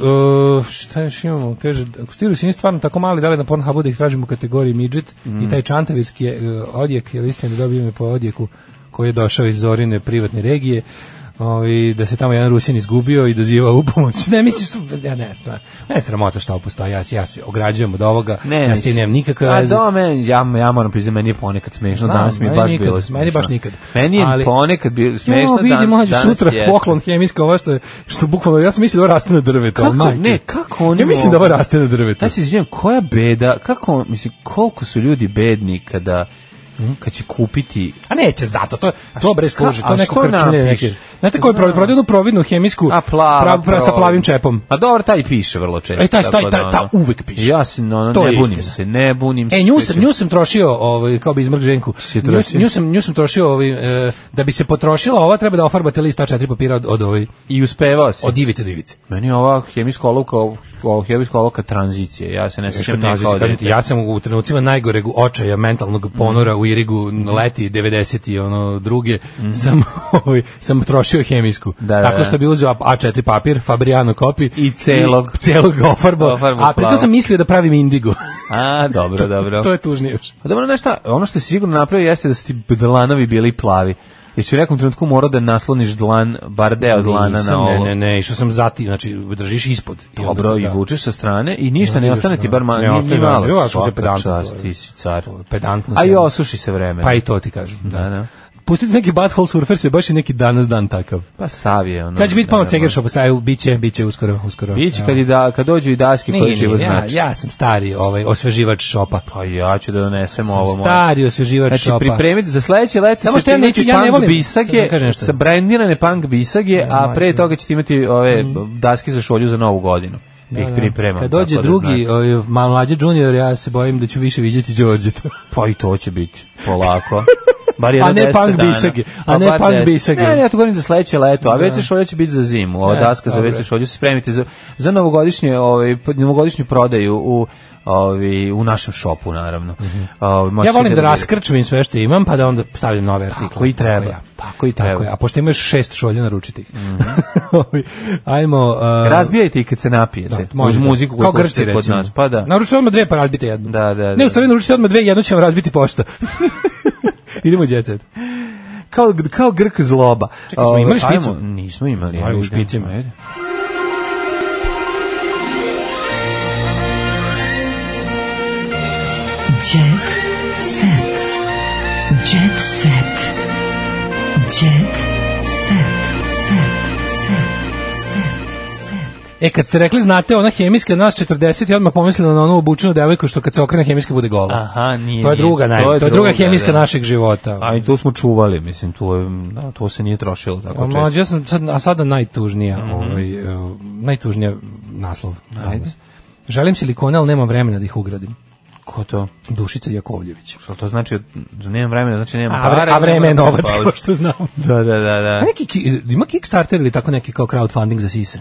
šta još imamo? Kaže, ako stiru si stvarno tako mali, da li na Pornhubu da ih tražimo u kategoriji midget
Mm.
i taj čantavirski e, odjek, jer istina da dobijem je po odjeku koji je došao iz Zorine privatne regije, ovaj, da se tamo jedan Rusin izgubio i dozivao u pomoć. Ne, mislim, su- ja ne, stvarno. Ne sramota šta postoji, ja, se- ja se ograđujem od ovoga,
Ne,
ja s tim nemam nikakve
A
veze.
da, meni, ja, ja moram priznati, meni je ponekad smešno,
Znam,
danas mi je
meni
baš
nikad,
bilo
meni
smešno.
baš nikad.
Meni je
Ali-
ponekad bilo smešno,
Jo, vidi
dan-
mlađe
danas
sutra
jeste.
poklon hemijska ova što je, što bukvalno ja sam mislio da ovo raste na drvetu, al
Kako,
majke.
ne, kako oni
Ja mislim da ovo raste na drvetu.
Ja se izvinjam, koja beda, kako, mislim, koliko su ljudi bedni kada, kad će kupiti...
A neće zato, to, to bre služi, to
a
neko
što
krčulje
napiše?
neke. Znate ko je prodaje prodaje jednu providnu hemijsku a
plava
sa
providna.
plavim čepom.
A dobro, taj i piše vrlo često.
E, taj- taj-
tako da,
taj- ta
ono,
uvek piše.
Ja se, no,
To
ne
je
bunim
istina.
se, ne bunim se.
E, nju sam, nju sam trošio, ovaj, kao bi izmrk ženku. Nju,
trošio?
nju sam, nju sam trošio, ovaj, e, da bi se potrošila, ova treba da ofarbate list A4 papira od, od ovaj.
I uspevao si.
Od ivice do ivice.
Meni je ova hemijska olovka, ova hemijska olovka tranzicije. Ja se ne sjećam
Teško nazivci,
kao
kažete,
dete. Mm.
ja sam u trenucima najgoreg očaja mentalnog ponora u Irigu leti 90 i ono druge sam ovaj, sam trošio hemijsku.
da,
Tako
da.
što bi uzeo A4 papir, Fabriano kopi
I celog.
i celog ofarbo.
Ofarbao
A pritom
plavo.
sam mislio da pravim indigo.
A, dobro, dobro.
to je tužnije još.
A dobro, znaš šta, ono što si sigurno napravio jeste da su ti dlanovi bili plavi. Jer si u nekom trenutku morao da nasloniš dlan, bar deo dlana
Nisam,
na ovo.
Ne, ne, ne, išao sam zati, znači držiš ispod. I onda-
Dobro, i
da.
vučeš sa strane i ništa
Da,
ne
ideš,
ostane ti
da.
bar ma,
Ne
ni- ni
ostaje, da.
malo.
Jo, ja sam se
Svaka
pedantno, to
čast,
je.
ti si car.
Pedantno
A
sam.
i osuši se vreme.
Pa i to ti kažem. Da.
Da, da.
Pustite neki butthole surfer se baš i neki danas dan takav.
Pa sav je ono.
Kad će biti
ne,
pomac
ne,
Cegeršopa, saju, biće, biće uskoro, uskoro.
Biće
Evo.
kad, i da, kad dođu i daske
Ne,
koje
ne,
život
ja-
znači.
ja sam stari ovaj, osveživač šopa.
Pa ja ću da donesem
Sam
ovo moje.
stari osveživač
znači,
šopa.
pripremiti za sledeće leto
Samo
Samo
što
što
ja neću,
imati
ja ne
punk
volim- Sad da
bisage,
kažem nešto.
sa brendirane punk bisage, a pre toga ćete imati ove daske za šolju za novu godinu. Da, ih
Mhm. Da, da.
pripremam.
Kad dođe
tako da znači.
drugi,
znate.
ovaj, malo mlađi junior, ja se bojim da ću više vidjeti Đorđeta.
Pa i to će biti polako. Bar
A
jedno
ne
10
punk
dana.
bisage, a
Pa
ne
bar
punk
10.
bisage.
Ne, ne, ja to govorim za sledeće leto, a
Da.
WC šolja će biti za zimu. Ova
E,
daska za
dobro.
WC šolju se spremite za, za novogodišnje, ovaj, pod- novogodišnju prodaju u Ovi, u našem šopu, naravno. Ovi, moći
Mhm. ja volim
ćete
da
vidite.
raskrčmim sve što imam, pa da onda stavljam nove artikle.
Tako i treba.
Tako, ja.
Tako i
Tako je.
treba.
A pošto imaš šest šolja naručiti ih.
Mhm.
Ajmo... Uh,
Razbijajte i kad se napijete.
može
Uz
da.
muziku koju
Kao Grci,
slušate kod
recimo.
nas. Pa da.
Naručite odmah dve, pa razbite jednu.
Da, da, da.
Ne, u stvari naručite odmah dve, jednu će vam razbiti pošta. Idemo u jet set.
Kao, kao Grk zloba. Ovaj,
Čekaj, smo imali
Ajmo,
špicu?
Nismo imali.
Ajmo
evo,
u
idemo,
špicima.
ajde.
Jet set. Jet set. Jet set. Set. Set. Set. Set.
E, kad ste rekli, znate, ona hemijska nas 40 je odmah pomislila na onu obučenu devojku što kad se okrene hemijska bude gola.
Aha, nije.
to je
nije.
druga, naj, to je druga hemijska
da.
našeg života.
A i to smo čuvali, mislim, to, je, da, to se nije trošilo tako često.
Pa, Mlađe, ja sam sad, a sada najtužnija, ovaj, eh, najtužnija naslov.
Mhm. Ajde.
Želim silikone, ali nemam vremena da ih ugradim.
Ko to?
Dušica Jakovljević.
Što to znači, da nemam vremena, znači nemam
A, vre,
para.
a vreme je
nemam
novac,
pauze.
kao što znam.
Da, da, da, da.
A neki, ki- ima Kickstarter ili tako neki kao crowdfunding za sise?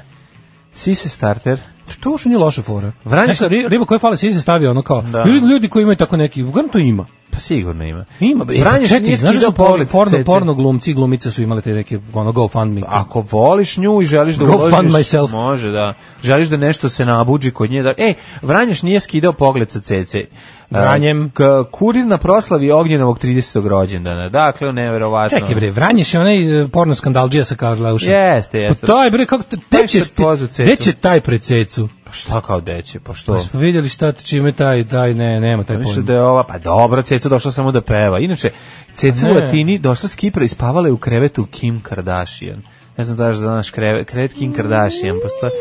Sise starter.
To uopšte nije loša fora.
Vranjić-
Znaš šta, ri- riba koja fale sise stavi ono kao,
Da.
ljudi, ljudi koji imaju tako neki, uglavnom to ima.
Pa sigurno ima.
Ima, bre,
Vranjić
čekaj,
nije
znaš da
skidao
su porno,
polic,
porno,
cece.
porno glumci i glumice su imali te neke, ono, GoFundMe.
Ako voliš nju i želiš da
Go
uložiš,
fund myself.
može da. Želiš da nešto se nabuđi kod nje. da- E, Ej, Vranješ nije skidao pogled sa cece. E,
Vranjem.
K- kurir na proslavi Ognjenovog 30. rođendana. Dakle, neverovatno.
Pa Čekaj bre, Vranješ je onaj e, porno skandalđija sa Karleušem.
Jeste, jeste.
Pa to je bre, kako te, te će,
što
ste-
pozu cecu.
gde će taj pred cecu?
Pa šta kao deće, pa što?
Pa smo vidjeli šta čime taj, taj, ne, nema taj
Mislim
pojma.
da je ova, pa dobro, Ceca došla samo da peva. Inače, Ceca u
Ne.
Latini došla s Kipra i spavala je u krevetu Kim Kardashian. ne znam da li znaš krevet, krevet Kim Kardashian, postoje,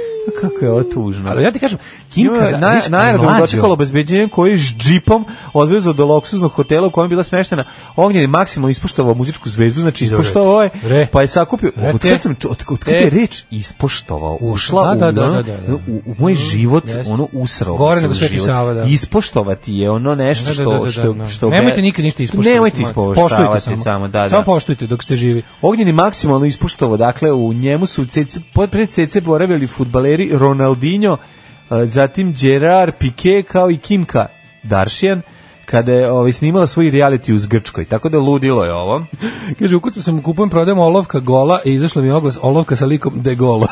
kako je ovo tužno.
Ali ja ti kažem, Kim
Ima
Karda-
Na,
viš,
na aerodromu
mlađo.
dočekalo obezbeđenje koji je s džipom odvezao do luksuznog hotela u kojem je bila smeštena. Ognjen je maksimalno ispoštovao muzičku zvezdu, znači
Izvore.
ispoštovao je,
Re.
pa je sakupio.
Re,
Od
te.
kada sam čuo, od od kad je
Te.
reč ispoštovao, ušla
Da,
u,
da, da, da,
ono,
da, da.
u, u moj život,
jeste.
ono usrao.
Gore
se
nego
u
Sveti
život.
Sava, da.
Ispoštovati je ono nešto
Da, da,
što...
da, da, da,
što,
da.
što
Nemojte nikad ništa ispoštovati.
Nemojte ispoštavati
Poštujte
samo.
samo.
da, da.
Samo poštujte dok ste živi.
Ognjen je maksimalno ispoštovao, dakle u njemu su CC, pod pred CC boravili futbaleri Ronaldinho, e, zatim Gerard Piqué kao i Kimka Daršian kada je ovaj, snimala svoj reality uz Grčkoj, tako da ludilo je ovo.
Kaže, u kucu sam kupujem, prodajem olovka gola i izašlo mi je oglas olovka sa likom de gola.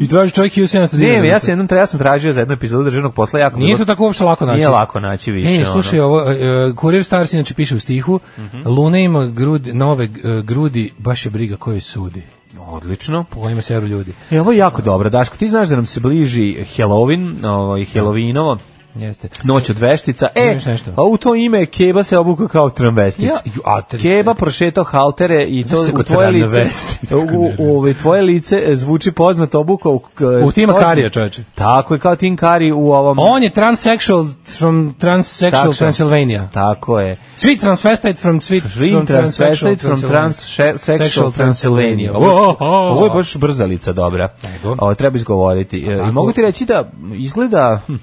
I traži čovjek 1700 dinara.
Ne, ja sam, jednom, tra- ja sam tražio za jednu epizodu državnog posla jako
Nije
bilo-
to tako uopšte lako naći.
Nije lako naći više.
E,
ono. Mhm.
slušaj, ovo, e, Kurir Stars inače piše u stihu, Luna ima grudi, nove e, grudi, baš je briga koji sudi.
Odlično.
Pojma se eru ljudi.
E, ovo je jako dobro, Daško, ti znaš da nam se bliži Halloween, ovaj, Halloweenovo,
Jeste.
Noć od veštica. E,
Imaš nešto?
a u to ime Keba se obuka kao tramvestic.
Ja, ju, a, tri-
Keba prošetao haltere i to
Znaš kako
u tvoje lice,
tramvestic?
u, u, u- tvoje lice e, zvuči poznat obuka. U, k-
U Tima
kožnu.
Karija, čoveče.
Tako je, kao Tim Kari u ovom...
On je transsexual from transsexual
Tako.
Transylvania.
Tako je.
Sweet transvestite from sweet
Dream Transvestite from
Sexual
Transsexual Transylvania. Ovo,
Wow.
ovo je baš brzalica dobra.
Nego?
Ovo treba izgovoriti. E, I
tako?
mogu ti reći da izgleda... hm,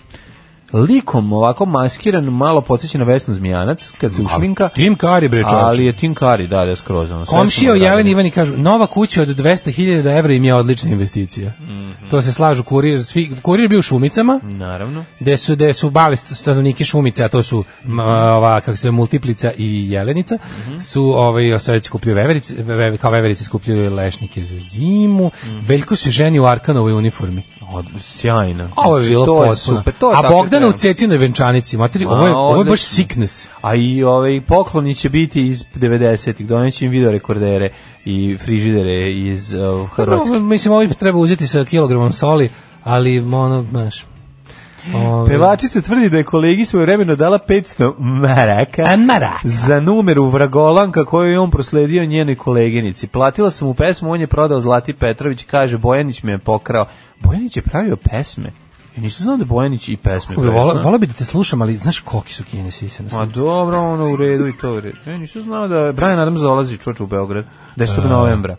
likom ovako maskiran, malo podsjeća na Vesnu Zmijanac, kad se ušminka.
Tim Curry, bre, čoveče.
Ali je Tim Curry, da, da, skroz. ono, sve
Komšija
su mu
Jelen
radili.
Ivani kažu, nova kuća od 200.000 evra im je odlična investicija.
Mhm.
To se slažu kurir, svi, kurir je bio u Šumicama,
Naravno.
gde su, gde su bali st- stanovnike Šumice, a to su m, ova, kako se zove, Multiplica i Jelenica,
Mhm.
su ovaj, sad već kupljuju veverice, veve- kao veverice skupljuju lešnike za zimu,
Mhm.
Veljko se ženi u Arkanovoj uniformi.
Od, sjajno.
Ovo je
Znači,
bilo
to je
potpuno.
super, to je
a
tako
Bogdana u
treba.
Cecinoj venčanici, materi, ovo je,
Ma,
ovo je baš
odlično.
sickness.
A i ovaj pokloni će biti iz 90-ih, doneće im videorekordere i frižidere iz uh, Hrvatske.
No, mislim, ovo treba uzeti sa kilogramom soli, ali ono, znaš... ovaj-
Pevačica tvrdi da je kolegi svoje vremeno dala 500 maraka
A E, maraka.
za numeru Vragolanka koju je on prosledio njenoj koleginici. Platila sam mu pesmu, on je prodao Zlati Petrović, kaže Bojanić me je pokrao. Bojanić je pravio pesme. Ja nisam znao da je Bojanić i pesme.
Vola,
pravi, znaš?
volao bi da te slušam, ali znaš koliki su kine sise na
Ma
svijetu?
dobro, ono u redu i to u redu. Ja nisam znao da je Brian Adams dolazi čoč u Beograd 10. novembra.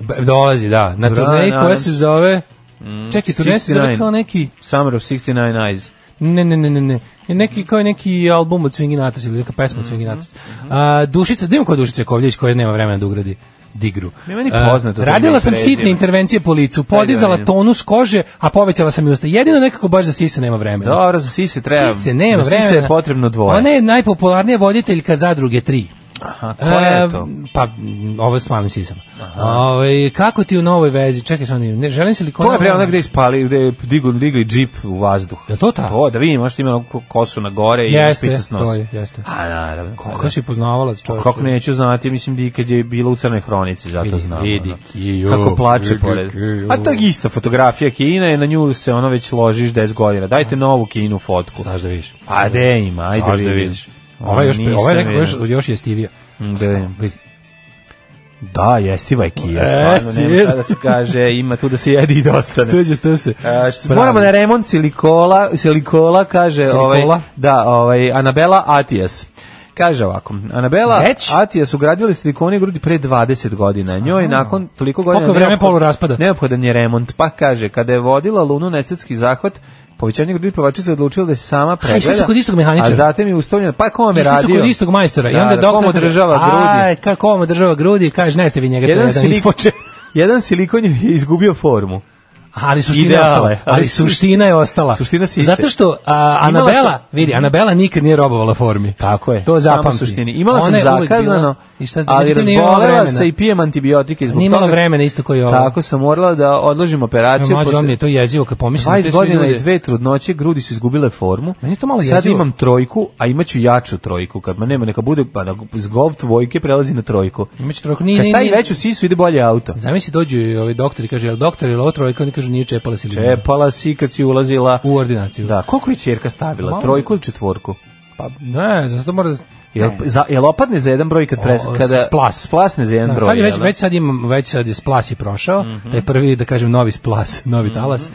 Ba- Dolazi, da. Na
Bra-
turneji koja
Adam.
se zove...
Mm,
Čekaj, turneji se zove
69.
kao neki...
Summer of 69 Eyes.
Ne, ne, ne, ne, ne. Je Neki, kao je neki album od Swingin' Atas ili neka pesma
Mhm,
od Swingin' Atas. A, Dušica, da ima koja Dušica Jakovljević koja nema vremena da ugradi digru.
Nema ni poznato
A,
to ime
radila
i
sam
prezime.
sitne intervencije po licu, podizala
da, da.
tonus kože, a povećala sam i usta. Jedino nekako baš za sise nema vremena.
Dobro, za sise treba.
Sise nema
za
vremena.
Sise je potrebno dvoje.
Ona je najpopularnija voditeljka zadruge 3.
Aha, koja je
E,
to?
Pa, m, ovo je s malim sisama. Ovaj, kako ti u novoj vezi? Čekaj, sam, pa ne, želim si li
To je prema gde ispali, gde je digu, digli džip u vazduh.
Je to ta?
To, da vidim, možete ima onako kosu na gore i
Jeste,
pica s nosa.
to je, jeste.
A, naravno.
Kako si poznavala čovječe?
Kako neću znati, mislim da i kad je bila u Crnoj Hronici, zato
Vidi,
znam.
vidi,
ono.
Kiju,
Kako plače
vidi,
pored.
Kiju.
A to je ista fotografija Kina i na nju se ono već ložiš 10 godina. Dajte novu Kinu fotku.
Znaš da vidiš.
A de ima, ajde
Znaš da
vidim.
vidiš. Ovo je još,
Ono, Nisam
ovo je nekako još,
vidio.
još jestivija.
Da vidim.
Vidi.
Da, jestiva je Kija,
E,
stvarno, nema
sjed.
šta da se kaže, ima tu da se jedi i dosta.
Tuđe ste se.
A, s- moramo na remont silikola, silikola kaže
Silikola?
ovaj da, ovaj Anabela Atijas. Kaže ovako, Anabela
Već?
Atijas ugradili silikoni grudi pre 20 godina. Njoj nakon toliko godina
Koliko je vreme
neopho-
poluraspada?
Neophodan je remont, pa kaže kada je vodila Lunu na estetski zahvat, povećanje grudi pevačica je odlučila da se sama
A, išli su
pregleda.
kod istog mehaničara?
A zatim je ustavljena, pa ko vam je
Išli su
radio?
kod istog majstora i
Da,
onda
da, ko
doktor...
mu održava grudi?
Aj, kako vam održava grudi? Kaže, ne ste vi njega, to je
Jedan,
jedan
silik-
ispoče.
jedan silikon je izgubio formu.
Ali suština je
Ideale,
ostala.
ali
Ali suština je ostala.
Suština sise.
Zato što a,
Imala
Anabela,
sam-
vidi, Anabela nikad nije robovala formi.
Tako je.
To
samo
zapamti.
suštini. Imala sam
Ona je uvek
zakazano,
bila- I šta,
ali
međutim, nije imala
razbolela
vremena.
se i pijem antibiotike zbog
Nije imala
toga.
vremena isto kao i ova.
Tako sam morala da odložim
Ja,
operaciju.
mlađe,
posle
vam je to jezivo kad pomislim. na te
20
sve
godina i
ljude.
dve trudnoće, grudi su izgubile formu.
Meni je to malo
Sad
jezivo.
imam trojku, a imaću jaču trojku. Kad me nema, neka bude, pa da zgov tvojke prelazi na trojku.
Imaće trojku, nije,
Kad
nije,
stavi
nije.
veću sisu, ide bolje auto.
Zamisli dođu i ovaj doktor i kaže, jel doktor ili ovo trojka? Oni kažu, nije čepala si limuna."
Čepala si kad si ulazila.
U ordinaciju.
Da, koliko je čerka stavila?
Malo.
Trojku ili četvorku?
Pa ne, zato mora da...
Jel, za, jel opadne za jedan broj kad pres,
O,
kada
splas.
splasne za jedan
Da,
broj?
sad je već,
jel da? Mhm.
već sad imam, već sad je splas je prošao, taj prvi, da kažem, novi splas, novi talas,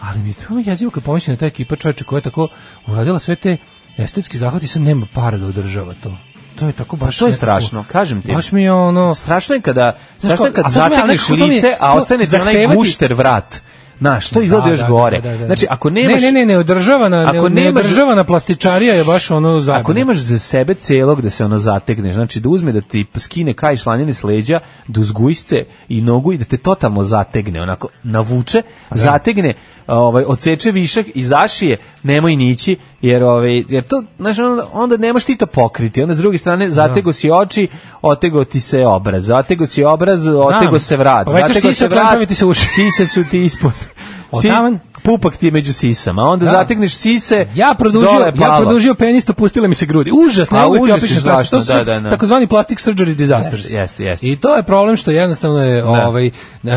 ali mi je to jezivo kad pomislim na ta ekipa čovječa koja je tako uradila sve te estetski zahvati, sad nema para da održava to. To je tako baš...
Pa to je
nekako-
strašno, kažem ti.
Baš mi je ono...
Strašno je kada, strašno je
kao,
kad
a to sam ja,
zategneš
nekako to mi je-
lice, a
to
ostane se onaj
zahtevati-
gušter vrat. Znaš, to izgleda
Da,
još
da,
gore.
da, da, da.
Znači, ako nemaš...
Ne, ne, ne, neodržavana,
Ako
ako ne,
nemaš-
neodržavana plastičarija je baš ono zajebano.
Ako nemaš za sebe celog da se ono zategneš, znači da uzme da ti skine kaj šlanjene s leđa, do zgujsce i nogu i da te totalno zategne, onako navuče, zategne, ovaj, odseče višak i zašije, nemoj nići, jer, ovaj, jer to, znaš, onda, onda nemaš ti to pokriti. Onda s druge strane, zatego si oči, otego ti se obraz, zatego si obraz, otego se vrat,
Povećaš
zatego
sise,
se vrat,
oklampaviti se uši.
sise su ti ispod.
O,
Si-
taman.
pupak ti je među sisama, onda
Da.
zategneš sise,
Ja
dole
produžio, ja
palo.
produžio penis, pustile mi se grudi. Užasno,
A,
ja uvek
užas je
opišem šta
strašno,
to su
da, da, da.
takozvani plastic surgery disasters.
Jeste, jeste, jeste.
I to je problem što jednostavno je ovaj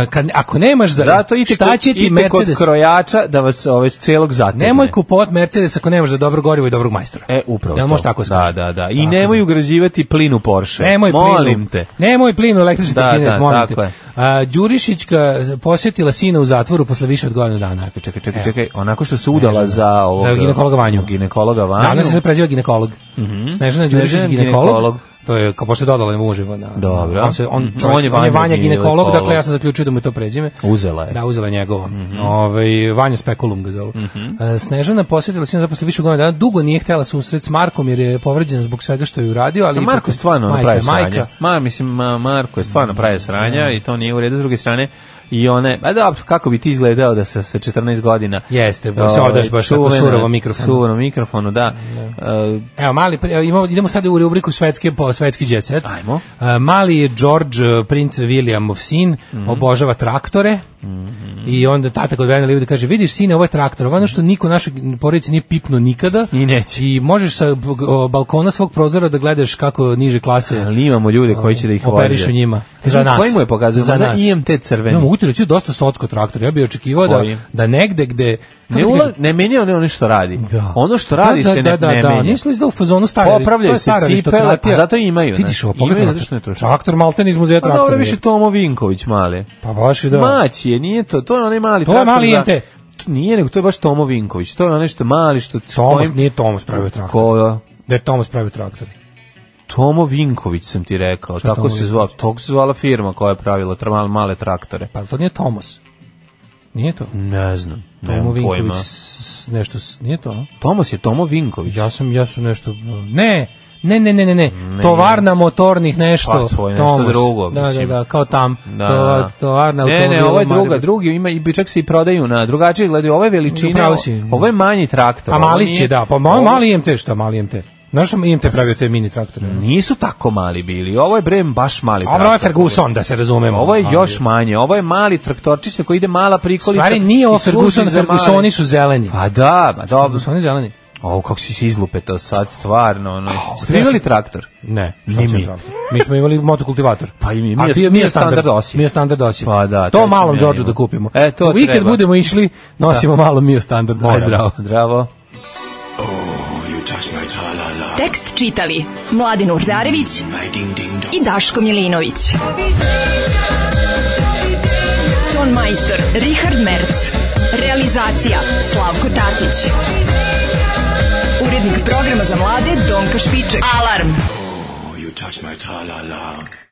kad ako nemaš za
Zato idite
šta
kod,
će ti
idite kod
Mercedes?
krojača da vas ove celog zategne.
Nemoj kupovat Mercedes ako nemaš za dobro gorivo i dobrog majstora.
E, upravo.
Jel
to.
može tako se
Da,
kaže?
da, da. I
Tako
nemoj ugrađivati plin u Porsche.
Nemoj plinu.
Molim te.
Nemoj plinu električni
Da,
da,
da,
molim
tako je.
te. A, Đurišićka posjetila sina u zatvoru posle više od godinu dana.
Čekaj, čekaj, čekaj, čekaj. Onako što se udala za ovog...
Za ginekologa Vanju.
Ginekologa Vanju.
Da, ona se sad preziva ginekolog. Snežana Đurišić
Mhm. Snežana
ginekolog.
ginekolog.
To je kao pošto je dodala mu uživo na.
Dobro.
On se on,
Mhm.
čovjek-
On je
on je
Vanja
Vanja ginekolog,
ginekolog.
dakle ja sam zaključio da mu je to prezime.
Uzela je. Mhm.
Da, uzela je njegovo. Ovaj Vanja Spekulum ga zovu. E, Snežana posjetila sina zaposle više od godinu dana, dugo nije htjela susret s Markom jer je povređena zbog svega što je uradio, ali
Ali
ipak
Marko
je-
stvarno ono
majka
pravi
je majka. Mm.
sranja. Ma, mislim, ma, Marko je stvarno pravi sranja i to nije u redu. S druge strane, i one, a da, kako bi ti izgledao da se sa 14 godina... Ovaj,
Jeste, bo se odaš baš tako
čuvena-
surovom mikrofonu.
Surovom mikrofonu, da. E,
Evo, mali, pri- evo, imamo, idemo sad u rubriku svetske, po svetski jet set.
Ajmo.
E, mali je George, e, princ Williamov sin,
Mhm.
obožava traktore i onda tata kod Vena Livode kaže, vidiš sine, ovo je traktor, ovo je ono što niko u našoj porodici nije pipno nikada.
I neće.
I možeš sa b- o, balkona svog prozora da gledaš kako niže klase
Ali imamo ljude koji će da ih voze.
operišu njima. Za nas.
Koji mu je pokazao?
Za nas.
IMT crveni.
No, mogu ti reći, dosta socko traktor. Ja bih očekivao da,
Koji?
da negde gde... kako
Ne,
ti
ula,
kažem,
ne menja ono što radi.
Da.
Ono što radi
da,
se
da,
ne,
da,
ne
da,
menja.
Nisu li da u fazonu stare,
Popravljaju
to je
se
stara
cipele,
aristokratija.
a zato imaju,
Vidiš,
znaš,
ovo pogledaj.
imaju zato
traktor.
što ne troše.
Traktor malten iz muzeja
Pa
traktora.
dobro,
je.
više Tomo Vinković mali.
Pa baš i da.
Mać je, nije to, to je onaj mali
To je
traktor
mali
za-
IMT.
To Nije, nego to je baš Tomo Vinković. To je onaj što mali što... s
Tomas,
kojim-
nije Tomas pravio traktor.
Ko,
Da je Tomas pravio traktor.
Tomo Vinković sam ti rekao.
Šta
tako
Tomo
se zvala, tako se zvala firma koja je pravila tra- male, male traktore.
Pa to nije Tomas. Nije to.
Ne znam,
Tomo
nemam pojma.
Vinković s- nešto, s- nije to, a?
Tomos je Tomo Vinković.
Ja sam, ja sam nešto... Ne, ne, ne, ne, ne, ne. Tovarna motornih nešto.
Pa, to je nešto
Tomas.
drugo,
Da, da,
mislim.
da, kao tam.
Da,
To,
da.
tovarna
ne, ne,
automobila
ovo je druga,
Maribor.
drugi ima i čak se i prodaju na drugačije izgledaju, ove veličine,
Upravo si.
ovo je manji traktor.
A
ovo
malić
nije-
je, da. Pa ma-
ovo-
mali IMT, šta mali IMT? Znaš što IMT pravio te mini traktore?
Nisu tako mali bili, ovo je brem baš mali
A Ovo je Ferguson, da se razumemo.
Ovo je
Ali-
još manje, ovo je mali traktorčić na koji ide mala prikolica.
Stvari nije ovo
i služi
Ferguson,
za male.
Fergusoni su zeleni.
Pa da, ma dobro.
Fergusoni zeleni.
Ovo kako si se izlupetao sad, stvarno. Ono. Ste vi imali traktor?
Ne,
Ni
šta
mi.
mi. Mi smo imali motokultivator.
Pa i mi, mi
A
je-
ti-
mi je standard Osip.
Mi je standard Osip.
Pa da,
To
taj sam
malom
ja
Đorđu
imao.
da kupimo.
E, to
U vikend
treba.
budemo išli, nosimo malo Mio standard. Aj, zdravo.
Zdravo.
Tekst čitali Mladin Urdarević i Daško Milinović. Ton majstor Richard Merc. Realizacija Slavko Tatić. Urednik programa za mlade Donka Špiček. Alarm!
You touch my tra-la-la.